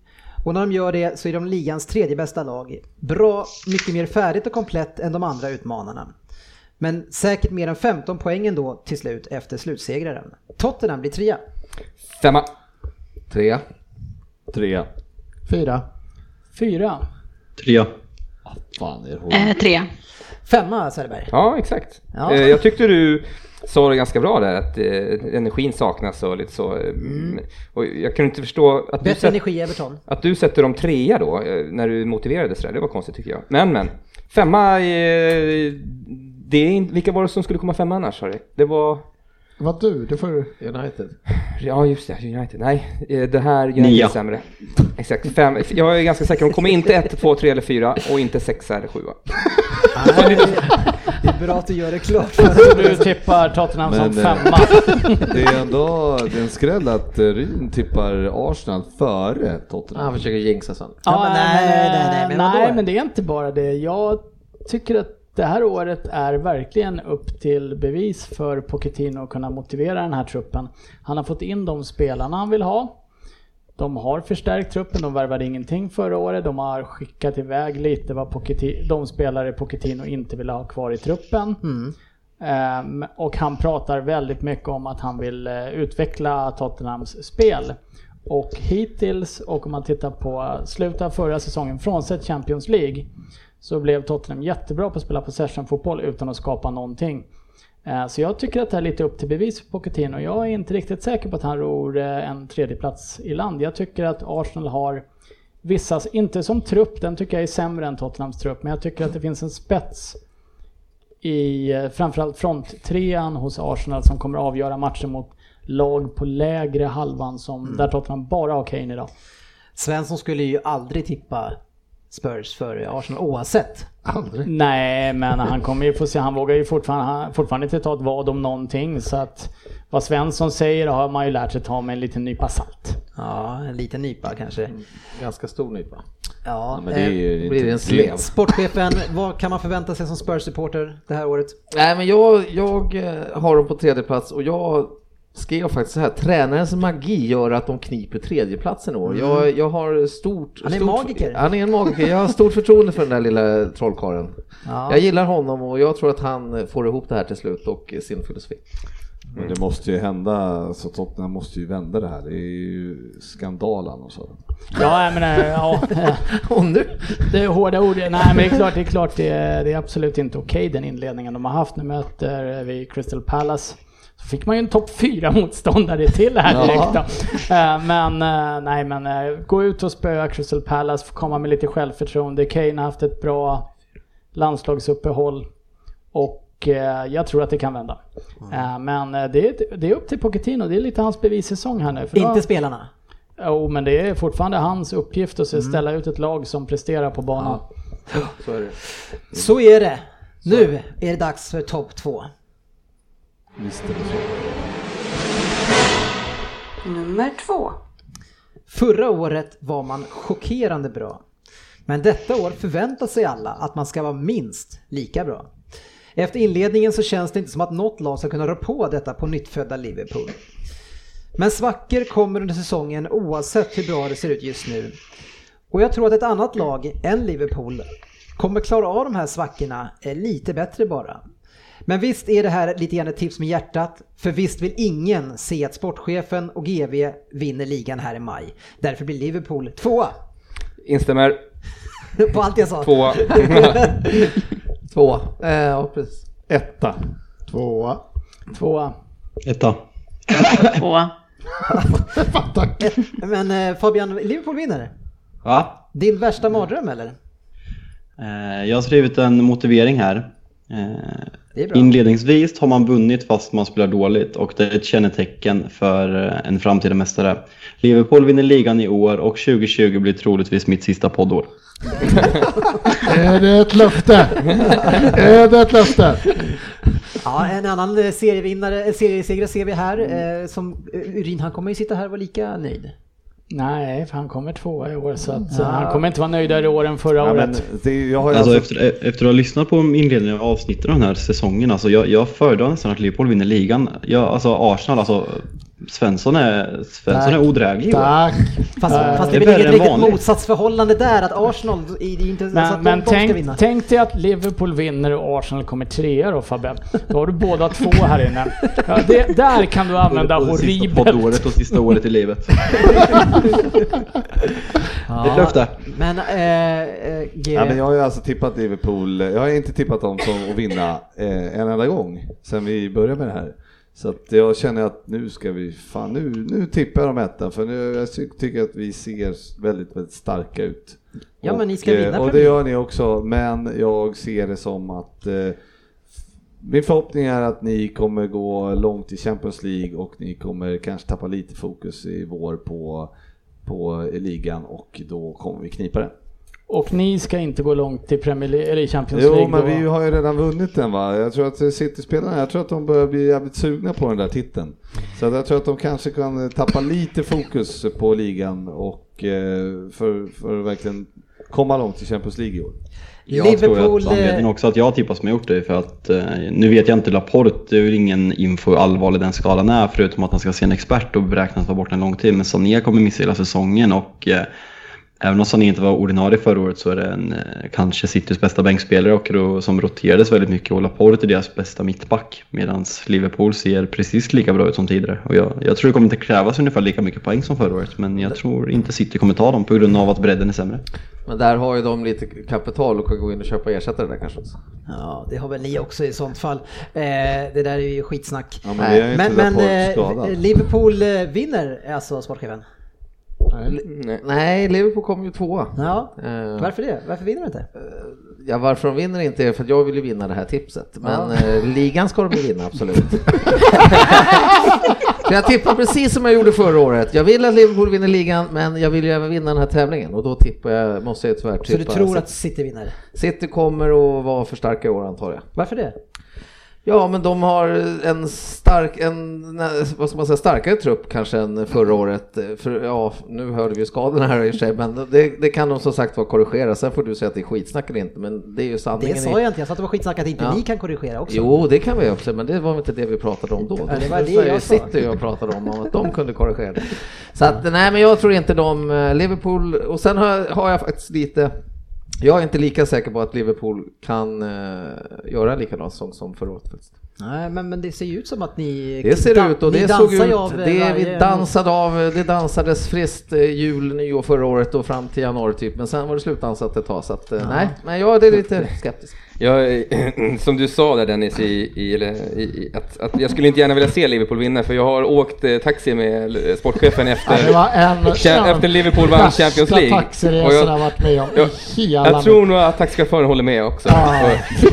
B: och när de gör det så är de ligans tredje bästa lag. Bra, mycket mer färdigt och komplett än de andra utmanarna. Men säkert mer än 15 poäng ändå till slut efter slutsegraren. Tottenham blir trea.
E: Femma.
C: Trea.
K: Trea.
G: Fyra.
F: Fyra.
D: Trea.
K: Fan, är
L: Eh, tre.
B: Femma Söderberg.
E: Ja, exakt.
B: Ja.
E: Eh, Jag tyckte du sa det ganska bra där, att eh, energin saknas och lite så. eh, Och jag kunde inte förstå att du,
B: Mm. Bättre
E: sätt,
B: energi Everton.
E: att du sätter dem trea då, eh, när du motiverade sådär. Det var konstigt tycker jag. Men, men. Femma, eh, det är in, vilka var det som skulle komma femma annars? Sorry. Det var...
G: Vad du, det får du.
K: United.
E: Ja, just det. United. Nej, eh, det här United
D: Nia.
E: är sämre. Exakt. Fem. Jag är ganska säker. De kommer inte ett, två, tre eller fyra och inte sexa eller sjua.
B: Det är bra att du gör det klart.
F: Du tippar Tottenham som
K: Men, eh,
F: femma.
K: Det är ändå det är en skräll att eh, Ryn tippar Arsenal före Tottenham.
C: Han försöker jinxa sen.
B: Ja, men nej,
F: men,
B: nej, nej,
F: eh,
B: men vadå?
F: nej, men det är inte bara det. Jag tycker att det här året är verkligen upp till bevis för Pochettino att kunna motivera den här truppen. Han har fått in de spelarna han vill ha. De har förstärkt truppen, de värvade ingenting förra året, de har skickat iväg lite vad Pochetti- de spelare Pochettino inte ville ha kvar i truppen. Ehm, och han pratar väldigt mycket om att han vill eh, utveckla Tottenhams spel. Och hittills, och om man tittar på slutet av förra säsongen, frånsett Champions League, så blev Tottenham jättebra på att spela possession-fotboll utan att skapa någonting. Eh, Så jag tycker att det här är lite upp till bevis för Pochettino. Jag är inte riktigt säker på att han ror eh, en tredjeplats i land. Jag tycker att Arsenal har vissa, inte som trupp, den tycker jag är sämre än Tottenhams trupp, men jag tycker att det finns en spets i eh, framförallt fronttrean hos Arsenal som kommer avgöra matchen mot lag på lägre halvan som, där Tottenham bara har Kane idag.
B: Svensson skulle ju aldrig tippa Spurs före Arsenal oavsett.
G: Aldrig.
F: Nej, men han kommer ju få se. Han vågar ju fortfarande, han, fortfarande inte ta ett vad om någonting. Så att vad Svensson säger har man ju lärt sig ta med en liten nypa salt. Mm.
B: Ja, en liten nypa kanske.
K: Ganska stor nypa.
B: Ja,
K: men det är ju
B: eh,
K: inte
B: blir det en
K: ett
B: slev.
K: slev.
B: Sportchefen, vad kan man förvänta sig som Spurs-supporter det här året?
C: Nej men jag, jag eh, har dem på tredje plats och jag skrev faktiskt så här, tränarens magi gör att de kniper tredjeplatsen i år.
B: Mm.
C: Jag, jag har stort...
B: Han är
C: stort,
B: magiker.
C: Han är en magiker. Jag har stort förtroende för den där lilla trollkarlen.
B: Ja.
C: Jag gillar honom och jag tror att han får ihop det här till slut och sin filosofi.
K: Men det måste ju hända, så Tottenham måste ju vända det här. Det är ju skandal annars.
F: Ja, jag menar, ja.
C: Och nu?
F: Det är hårda ord. Nej, men det är klart, det är, klart, det är, det är absolut inte okej den inledningen de har haft. Nu möter vi Crystal Palace. Så fick man ju en topp fyra motståndare till här
A: Ja.
F: direkt då. Eh, Men eh, nej, men eh, gå ut och spöa Crystal Palace, få komma med lite självförtroende. Kane har haft ett bra landslagsuppehåll och eh, jag tror att det kan vända.
C: Mm.
F: Eh, Men eh, det är, det är upp till Pochettino, det är lite hans bevissäsong här nu. för då-
B: Inte spelarna?
F: Jo, men det är fortfarande hans uppgift att se-
B: Mm.
F: ställa ut ett lag som presterar på banan.
C: Så är det.
B: Så är det. Nu är det dags för topp två.
K: Visst är det så.
B: Nummer två. Förra året var man chockerande bra. Men detta år förväntar sig alla att man ska vara minst lika bra. Efter inledningen så känns det inte som att något lag ska kunna rå på detta på nyttfödda Liverpool. Men svackor kommer under säsongen oavsett hur bra det ser ut just nu. Och jag tror att ett annat lag än Liverpool kommer klara av de här svackorna eh, lite bättre bara. Men visst är det här lite grann ett tips med hjärtat, för visst vill ingen se att sportchefen och GV vinner ligan här i maj. Därför blir Liverpool tvåa.
E: Instämmer.
B: På allt jag sa.
E: Tvåa.
C: Tvåa. Eh, ja, precis.
K: Etta.
G: Tvåa.
F: Tvåa.
D: Etta.
M: Tvåa.
B: Men eh, Fabian, Liverpool vinner.
D: Va?
B: Din värsta mardröm eller?
D: Eh, Jag har skrivit en motivering här. Eh,
B: Det är bra.
D: Inledningsvis har man vunnit fast man spelar dåligt och det är ett kännetecken för eh, en framtida mästare. Liverpool vinner ligan i år och 2020 blir troligtvis mitt sista poddår.
G: Är det ett löfte? Är det ett löfte?
B: Ja, en annan eh, serievinnare, eh, seriesegrare ser vi här.
G: Mm.
B: Eh, som, eh, Urin, han kommer ju sitta här och vara lika nöjd.
F: Nej, för han kommer tvåa i år så att eh,
B: Ja.
F: han kommer inte vara nöjdare i år än förra
D: Ja, men
F: året.
D: Alltså, efter, e- efter att ha lyssnat på inledningen av avsnitten av den här säsongen, alltså jag, jag föredrar nästan att Liverpool vinner ligan. Jag, alltså Arsenal, alltså Svensson är, Svensson är odräglig i år. Eh,
F: Tack.
B: Fast,
F: Nej.
D: Det
B: fast det
D: är
B: blir
D: värre
B: inget
D: än
B: riktigt
D: vanligt.
B: motsatsförhållande där att Arsenal, det är inte så
F: Men,
B: Alltså, att
F: men
B: de ska
F: tänk,
B: vinna.
F: tänk dig att Liverpool vinner och Arsenal kommer trea då Fabbe. Då har du båda två här inne. Ja, det, där kan du använda
D: Både sista
F: horribelt.
D: poddåret och sista året i livet.
B: Ja,
D: Ett löfte.
B: Men, eh, eh, G-
K: Ja, men jag har ju alltså tippat Liverpool, jag har inte tippat dem som att vinna eh, en enda gång sen vi började med det här. Så att jag känner att nu ska vi, fan nu, nu tippar jag dem etta för nu jag ty- tycker att vi ser väldigt, väldigt starka ut.
B: Ja, men ni ska
K: eh,
B: vinna
K: Och det
B: Premier
K: gör ni också, men jag ser det som att eh, min förhoppning är att ni kommer gå långt i Champions League och ni kommer kanske tappa lite fokus i vår på, på ligan och då kommer vi knipa det.
F: Och ni ska inte gå långt i, Premier League, eller i Champions
K: Jo,
F: League
K: men
F: då.
K: vi har ju redan vunnit den va. Jag tror att City-spelarna, jag tror att de börjar bli jävligt sugna på den där titeln. Så att jag tror att de kanske kan eh, tappa lite fokus på ligan och eh, för, för att verkligen komma långt i Champions League i år.
D: Jag tror
B: Liverpool,
D: att
B: eh,
D: anledningen också att jag tippas med gjort det är för att eh, nu vet jag inte Laporte, det är väl ingen info hur allvarlig den skalan är förutom att han ska se en expert och beräknas vara borta en lång tid. Men Sané kommer missa hela säsongen och eh, även om Sané inte var ordinarie förra året så är det en, eh, kanske Citys bästa bänkspelare och då, som roterades väldigt mycket och Laporte är deras bästa mittback medan Liverpool ser precis lika bra ut som tidigare. Och jag, jag tror det kommer inte krävas ungefär lika mycket poäng som förra året men jag tror inte City kommer ta dem på grund av att bredden är sämre.
C: Men där har ju de lite kapital och kan gå in och köpa ersättare där kanske också.
B: Ja, det har väl ni också i sånt fall. Eh, det där är ju skitsnack.
C: men vi har ju inte
B: men
C: dragit
B: men,
C: på
B: eh,
C: skadad.
B: Liverpool eh, vinner alltså sportchefen?
C: Nej. Nej, Liverpool kom ju tvåa.
B: Ja.
C: Eh,
B: Varför det? Varför vinner de inte?
C: Ja, varför de vinner inte är för att jag vill ju vinna det här tipset. Men
B: Ja.
C: eh, ligan ska de ju vinna, absolut. Så jag tippar precis som jag gjorde förra året. Jag vill att Liverpool vinner ligan, men jag vill ju även vinna den här tävlingen och då tippar jag, måste jag tyvärr
B: Så du
C: tippa.
B: tror att City vinner?
C: City kommer att vara för starka i år antar jag.
B: Varför det?
C: Ja, men de har en stark, en, vad ska man säga, starkare trupp kanske än förra året. För, ja, nu hörde vi ju skadorna här i och för sig, men det, det kan de som sagt vara korrigera. Sen får du säga att det är skitsnack eller inte, men det är ju sanningen.
B: Det
C: i-
B: sa jag inte, jag sa att det var skitsnack att inte
C: Ja.
B: ni kan korrigera också.
C: Jo, det kan vi också, men det var väl inte det vi pratade om då.
B: Ja, det var det
C: sa ju
B: jag sa.
C: City och jag pratade om, om att de kunde korrigera det. Så att, nej, men jag tror inte de, eh, Liverpool, och sen har jag, har jag faktiskt lite, jag är inte lika säker på att Liverpool kan eh, göra en likadan säsong som förra året. faktiskt.
B: Nej, men, men det ser ju ut som att ni...
C: Det ser
B: dan-
C: ut och
B: ni
C: det
B: dansar
C: såg
B: ju
C: ut,
B: av eh,
C: det, vi
B: varje-
C: dansade av, det dansades friskt eh, jul, nyår förra året och fram till januari typ, men sen var det slutdansat ett tag så att, eh, nej, men jag är lite skeptisk.
E: Jag, är- som du sa där Dennis, i, i, eller, i, i, att, att jag skulle inte gärna vilja se Liverpool vinna för jag har åkt eh, taxi med eh, sportchefen efter,
G: Ja, det var en-
E: cha- efter Liverpool vann
G: Värsta
E: Champions League.
G: taxiresan
E: Och
G: jag varit med om i hela
E: jag
G: mitt-
E: tror nog att taxichauffören håller med också.
G: Ja.
E: Och-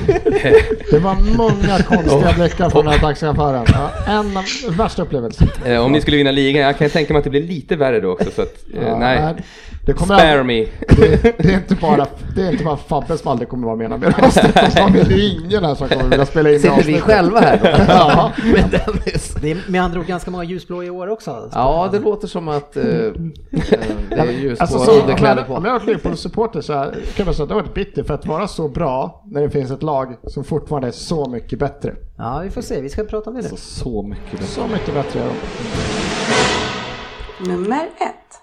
G: Det var många konstiga blickar från den här taxichauffören. Ja, en av värsta upplevelser.
E: Eh, Om ni skulle vinna ligan, jag kan tänka mig att det blir lite värre då också så att, eh,
G: Ja,
E: nej.
G: nej. Det kommer
E: Spare
G: aldrig-
E: me.
G: Det, det, är inte bara, det är inte bara Fabbe som aldrig kommer vara med när vi röstar. Det är ingen här som kommer vilja spela in det
B: Sitter vi
G: avsnittet.
B: själva här då?
G: ja.
C: Men Dennis.
B: Det är med andra ord ganska många ljusblå i år också. alltså.
C: Ja, det låter som att eh, eh, det är ljus
G: Mm. Alltså,
C: på
G: så, om,
C: underkläder
G: jag,
C: på.
G: om jag har varit Liverpool-supporter så här, kan man säga att det har varit bitter för att vara så bra när det finns ett lag som fortfarande är så mycket bättre.
B: Ja, vi får se. Vi ska prata med det. Så,
K: mycket bättre.
G: Så mycket bättre. är de.
I: Nummer ett.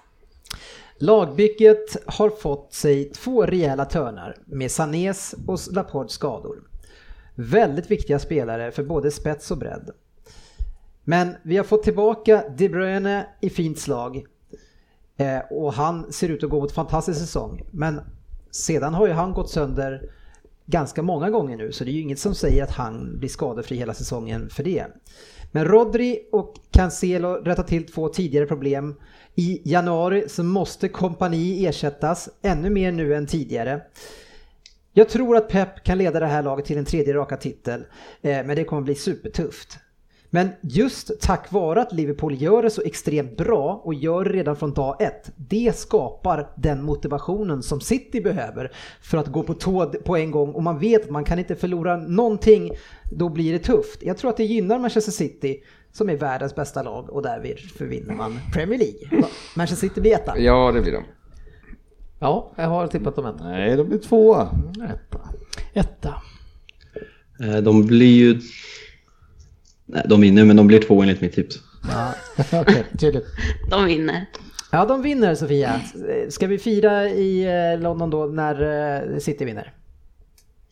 B: Lagbygget har fått sig två rejäla törnar med Sanés och Laports skador. Väldigt viktiga spelare för både spets och bredd. Men vi har fått tillbaka De Bruyne i fint slag eh, och han ser ut att gå mot fantastisk säsong. Men sedan har ju han gått sönder ganska många gånger nu så det är ju inget som säger att han blir skadefri hela säsongen för det. Men Rodri och Cancelo rättar till två tidigare problem. I januari så måste kompani ersättas ännu mer nu än tidigare. Jag tror att Pep kan leda det här laget till en tredje raka titel, eh, men det kommer bli supertufft. Men just tack vare att Liverpool gör det så extremt bra och gör det redan från dag ett, det skapar den motivationen som City behöver för att gå på tå på en gång och man vet att man kan inte förlora någonting, då blir det tufft. Jag tror att det gynnar Manchester City som är världens bästa lag och därför vinner man Premier League. Manchester City blir etta.
E: Ja, det blir de.
C: Ja, jag har tippat dem etta.
K: Nej, de blir tvåa.
F: Etta.
D: Eh, De blir ju... Nej, de vinner, men de blir två enligt mitt tips.
B: Okej, tydligt.
H: De vinner.
B: Ja, de vinner Sofia. Ska vi fira i eh, London då när eh, City vinner?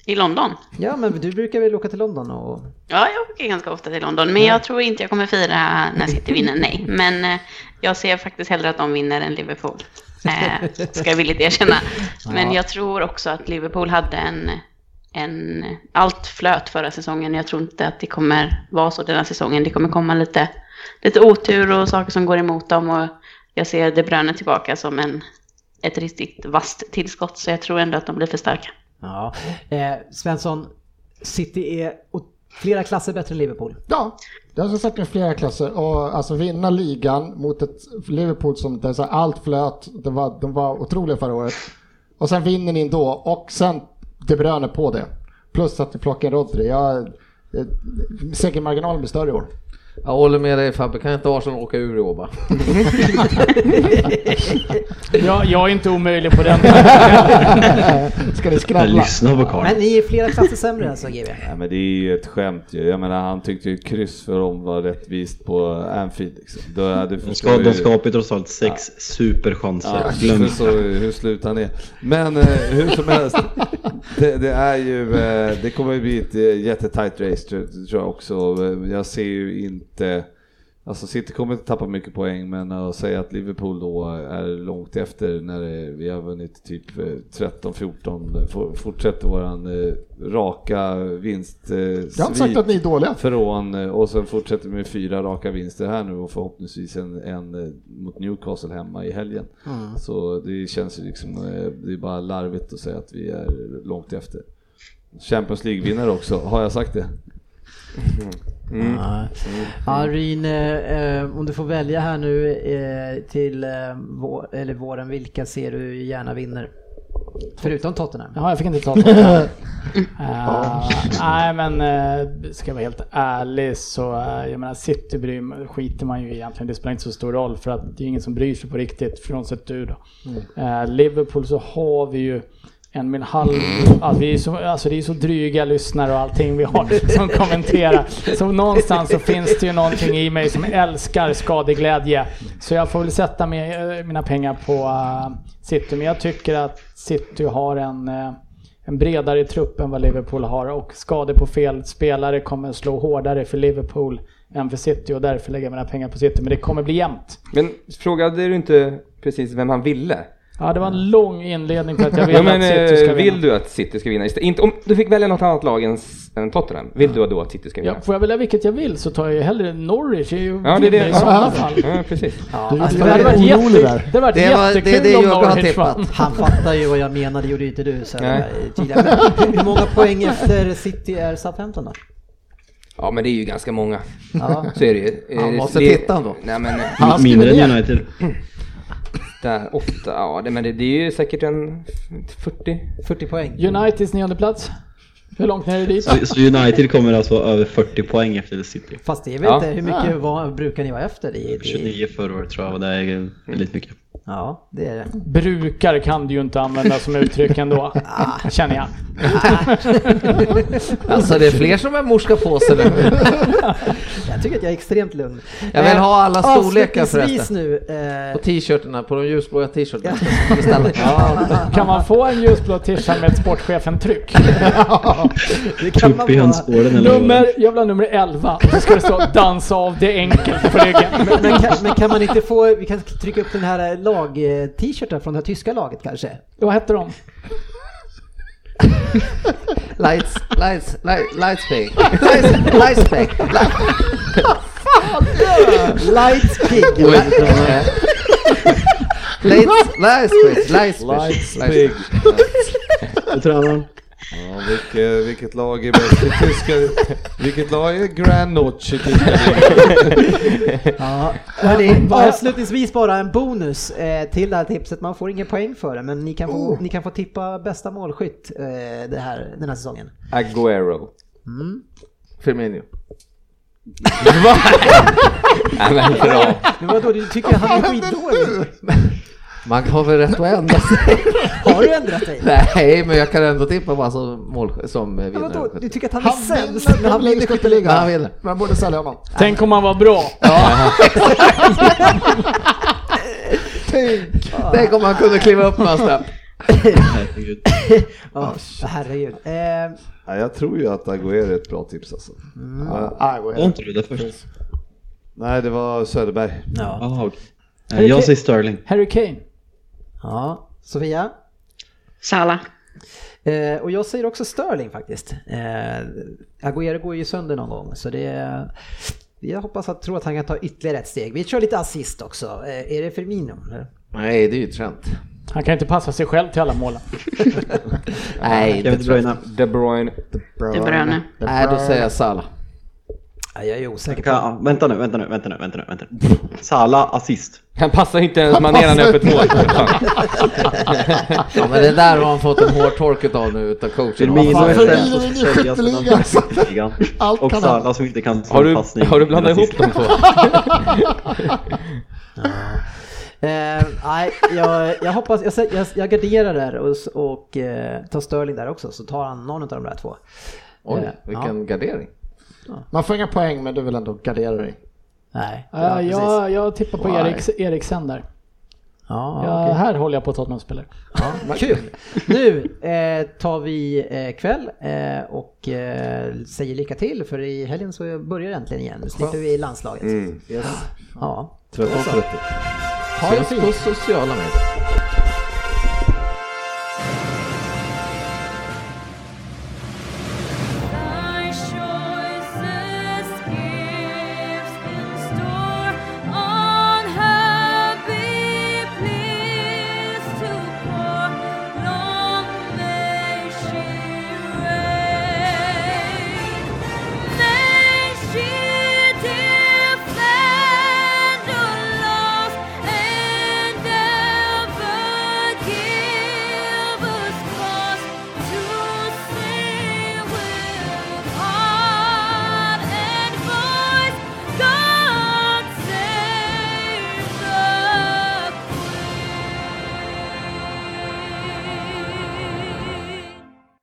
H: I London?
B: Ja, men du brukar väl åka till London och...
H: Ja, jag åker ganska ofta till London, men jag tror inte jag kommer fira när City vinner, nej. Men eh, jag ser faktiskt hellre att de vinner än Liverpool, eh, ska jag villigt erkänna. Men
N: Ja.
H: jag tror också att Liverpool hade en, en... Allt flöt förra säsongen, jag tror inte att det kommer vara så den här säsongen. Det kommer komma lite, lite otur och saker som går emot dem och jag ser De Bruyne tillbaka som en, ett riktigt vasst tillskott, så jag tror ändå att de blir för starka.
B: Ja. Eh, Svensson, City är o- flera klasser bättre än Liverpool.
G: Ja, det har jag sagt med flera klasser. Och alltså vinna ligan mot ett Liverpool som där så här allt flöt. Det var, de var otroliga förra året. Och sen vinner ni ändå och sen De Bruyne på det. Plus att ni plockar in Rodri. Jag, eh, segermarginalen blir större i år.
C: Jag håller med dig Fabbe, kan inte Arsenal åka ur i år bara?
F: Jag, jag är inte omöjlig på den.
G: Ska det
K: skravla? Jag lyssnar på Karl.
B: Men Äh, ni är flera klasser sämre alltså GB.
K: Nej, men det är ju ett skämt ju. Jag menar han tyckte ju kryss för dem var rättvist på Anfield. Liksom. Då hade
D: De ska- de skapar ju trots allt sex superchanser.
K: Ja,
D: Glöm
K: för
D: inte.
K: så hur slut han är. Men eh, hur som helst, det, det är ju, eh, det kommer ju bli ett eh, jättetajt race tror tror jag också. Eh, Jag ser ju inte, alltså City kommer inte tappa mycket poäng men att säga att Liverpool då är långt efter när det, vi har vunnit typ eh, 13-14, for- fortsätter våran eh, raka vinst. eh,
G: Jag har inte sagt att ni är dåliga.
K: Från, eh, och sen fortsätter vi med fyra raka vinster här nu och förhoppningsvis en, en eh, mot Newcastle hemma i helgen.
B: Mm.
K: Så det känns ju liksom, eh, det är bara larvigt att säga att vi är långt efter. Champions League-vinnare också, har jag sagt det?
E: Mm.
B: Nej. Ja, Rin, eh, om du får välja här nu eh, till eh, vår, eller våren, vilka ser du gärna vinner? Förutom Tottenham.
F: Ja, jag fick inte ta Tottenham. Eh, nej men eh, ska jag vara helt ärlig så eh, jag menar City bryr, skiter man ju egentligen det spelar inte så stor roll för att det är ingen som bryr sig på riktigt frånsett du då. Eh, Liverpool så har vi ju en min halv, alltså, vi är så, alltså det är så dryga lyssnare och allting vi har som kommenterar. Så någonstans så finns det ju någonting i mig som älskar skadeglädje. Så jag får väl sätta med, eh, mina pengar på eh, City. Men jag tycker att City har en eh, en bredare trupp än vad Liverpool har och skador på fel spelare kommer slå hårdare för Liverpool än för City och därför lägger jag mina pengar på City. Men det kommer bli jämnt.
E: Men frågade du inte precis vem han ville?
F: Ja, det var en lång inledning för att jag ville
E: ja, men,
F: att City ska
E: eh,
F: vinna.
E: vill du att City ska vinna? Istä- Inte, om du fick välja något annat lag än, s- än Tottenham, vill du då att City ska vinna?
F: Ja, får jag välja vilket jag vill så tar jag ju hellre Norwich. Jag är ju
E: Ja, det är det.
F: i sådana
E: Ja.
F: fall.
E: Ja, precis. Ja,
F: alltså,
E: alltså,
F: det hade
E: jag är
F: varit,
E: orolig
F: jätte,
E: där.
F: det hade varit
E: Det var- det-
F: jättekul
E: det
F: om
E: jag har
F: Norwich
E: tippat.
F: vann.
B: Han fattar ju vad jag menar, det gjorde ju inte du så eh,
E: Nej.
B: tidigare. Men Hur många poäng efter City är Southampton då?
E: Ja, men det är ju ganska många.
B: Ja.
E: Så är det ju. Eh,
B: Han måste
E: det-
B: titta ändå.
E: Nej, men, eh,
B: Han skriver Mindre än ner. United.
E: Där, åtta, ja det, men det, det är ju säkert en 40,
B: 40 poäng.
F: Uniteds nionde plats. Hur långt ner är det dit?
D: Så, så United kommer alltså över 40 poäng efter City.
B: Fast det är
D: är
B: väl
D: Ja.
B: inte, hur mycket
F: Ja.
B: var, brukar ni vara efter? I, i,
D: 29 förra året tror jag och det är väldigt mycket.
B: ja, det är det.
F: Brukar kan du ju inte använda som uttryck ändå,
B: Ah.
F: känner jag.
C: Alltså det är fler som är morska på sig nu.
B: Jag tycker att jag är extremt lugn.
C: Jag vill ha alla
B: Eh,
C: storlekar
B: avslutningsvis
C: förresten.
B: nu. Eh,
C: På t-shirtarna, på de ljusblåa t-shirtarna.
F: Kan man få en ljusblå t-shirt med ett sportchefen-tryck?
B: det
D: kan Tupp i man hönsgården bara. eller vad
F: nummer, Jag vill ha nummer 11. Och så ska det stå dansa av, det är enkelt på ryggen.
B: men, men, kan, men kan man inte få, vi kan trycka upp den här eh, lag-t-shirten från det här tyska laget kanske?
F: Vad hette de?
C: Lights, lights, light, lights pig. Lights, lights pig.
B: Lights pig.
C: Lights, lights pig. Lights pig.
K: Lights
C: Lights
K: pig.
C: Hur tränar han?
K: Ja, vilket, eh, vilket lag är bäst i tyska... Vilket lag är Grand Notch i tyska
B: Ja, Hörni, avslutningsvis bara en bonus eh, till det här tipset. Man får ingen poäng för det, men ni kan få,
C: Oh.
B: ni kan få tippa bästa målskytt eh, det här, den här säsongen.
E: Aguero.
B: Mm.
C: Firmino.
E: Nej men bra.
B: Men vadå, du tycker han är skitdålig?
C: Man har väl rätt att ändra sig?
B: Har du ändrat dig?
C: Nej, men jag kan ändå tippa bara som, mål, som eh,
B: Men vadå,
C: vinnare.
B: du tycker att han är
G: Han
B: sämst?
G: vinner
B: men
G: Premier
B: han vinner
G: League
B: skytteligan.
G: skytteligan.
C: Han vinner.
G: Man borde sälja honom.
F: Tänk om man var bra.
C: Tänk om man kunde kliva upp några snäpp.
D: Herregud. Ah,
B: Ja, herregud. Eh,
K: Ja, jag tror ju att Agüero är ett bra tips alltså. Ja,
D: Var inte du där först?
K: nej, det var Söderberg.
B: ja.
D: Jaha, okej. Eh, Jag säger Sterling.
F: Harry Kane.
B: ja, Sofia?
O: Sala.
B: Eh, och jag säger också Sterling faktiskt. Eh, Agüero går ju sönder någon gång så det... Jag hoppas att, tror att han kan ta ytterligare ett steg. Vi kör lite assist också. Eh, är det Firmino? eller?
C: Nej, det är ju Trent.
F: Han kan inte passa sig själv till alla målen.
C: Nej,
D: Kevin De
C: inte Trent.
D: Bruyne.
E: De Bruyne.
O: De Bruyne.
C: Nej, då säger jag Salah.
B: Ja, jag är osäker. På.
D: Ka- Vänta nu, vänta nu, vänta nu, vänta nu, vänta nu. Sala assist.
E: Han passar ju inte ens manegen
G: passar
E: öppet mål.
C: Ja, men det där har han fått en hård tork utav nu utav coachen.
D: Firmino
G: fan,
D: är
G: Firmino
D: sämst
G: vinner
D: att sälja sedan
G: skytteligan.
D: han kom till ligan.
G: Allt
D: Och
G: kan
D: Sala
G: hända.
D: som inte kan slå
E: Har
D: en
E: du,
D: passning.
E: har du blandat
D: Assist.
E: ihop de två?
B: Eh, nej, jag, jag hoppas... Jag, sä- jag, jag garderar där och, s- och eh, tar Sterling där också så tar han någon av de där två. Eh,
C: Oj, vilken gardering.
G: Man får inga poäng men du vill ändå gardera dig.
B: Nej,
F: Ja,
B: precis.
F: jag, jag tippar på
G: Why?
F: Eriks, Eriksen där.
B: Ja,
F: Ja,
B: okej.
F: Här håller jag på att Tottenham-spelare.
B: Ja, kul! Nu eh, tar vi eh, kväll eh, och eh, säger lycka till för i helgen så börjar det äntligen igen. Nu slipper vi landslaget.
E: Mm.
B: Ja.
K: 13.30.
C: Syns på sociala medier.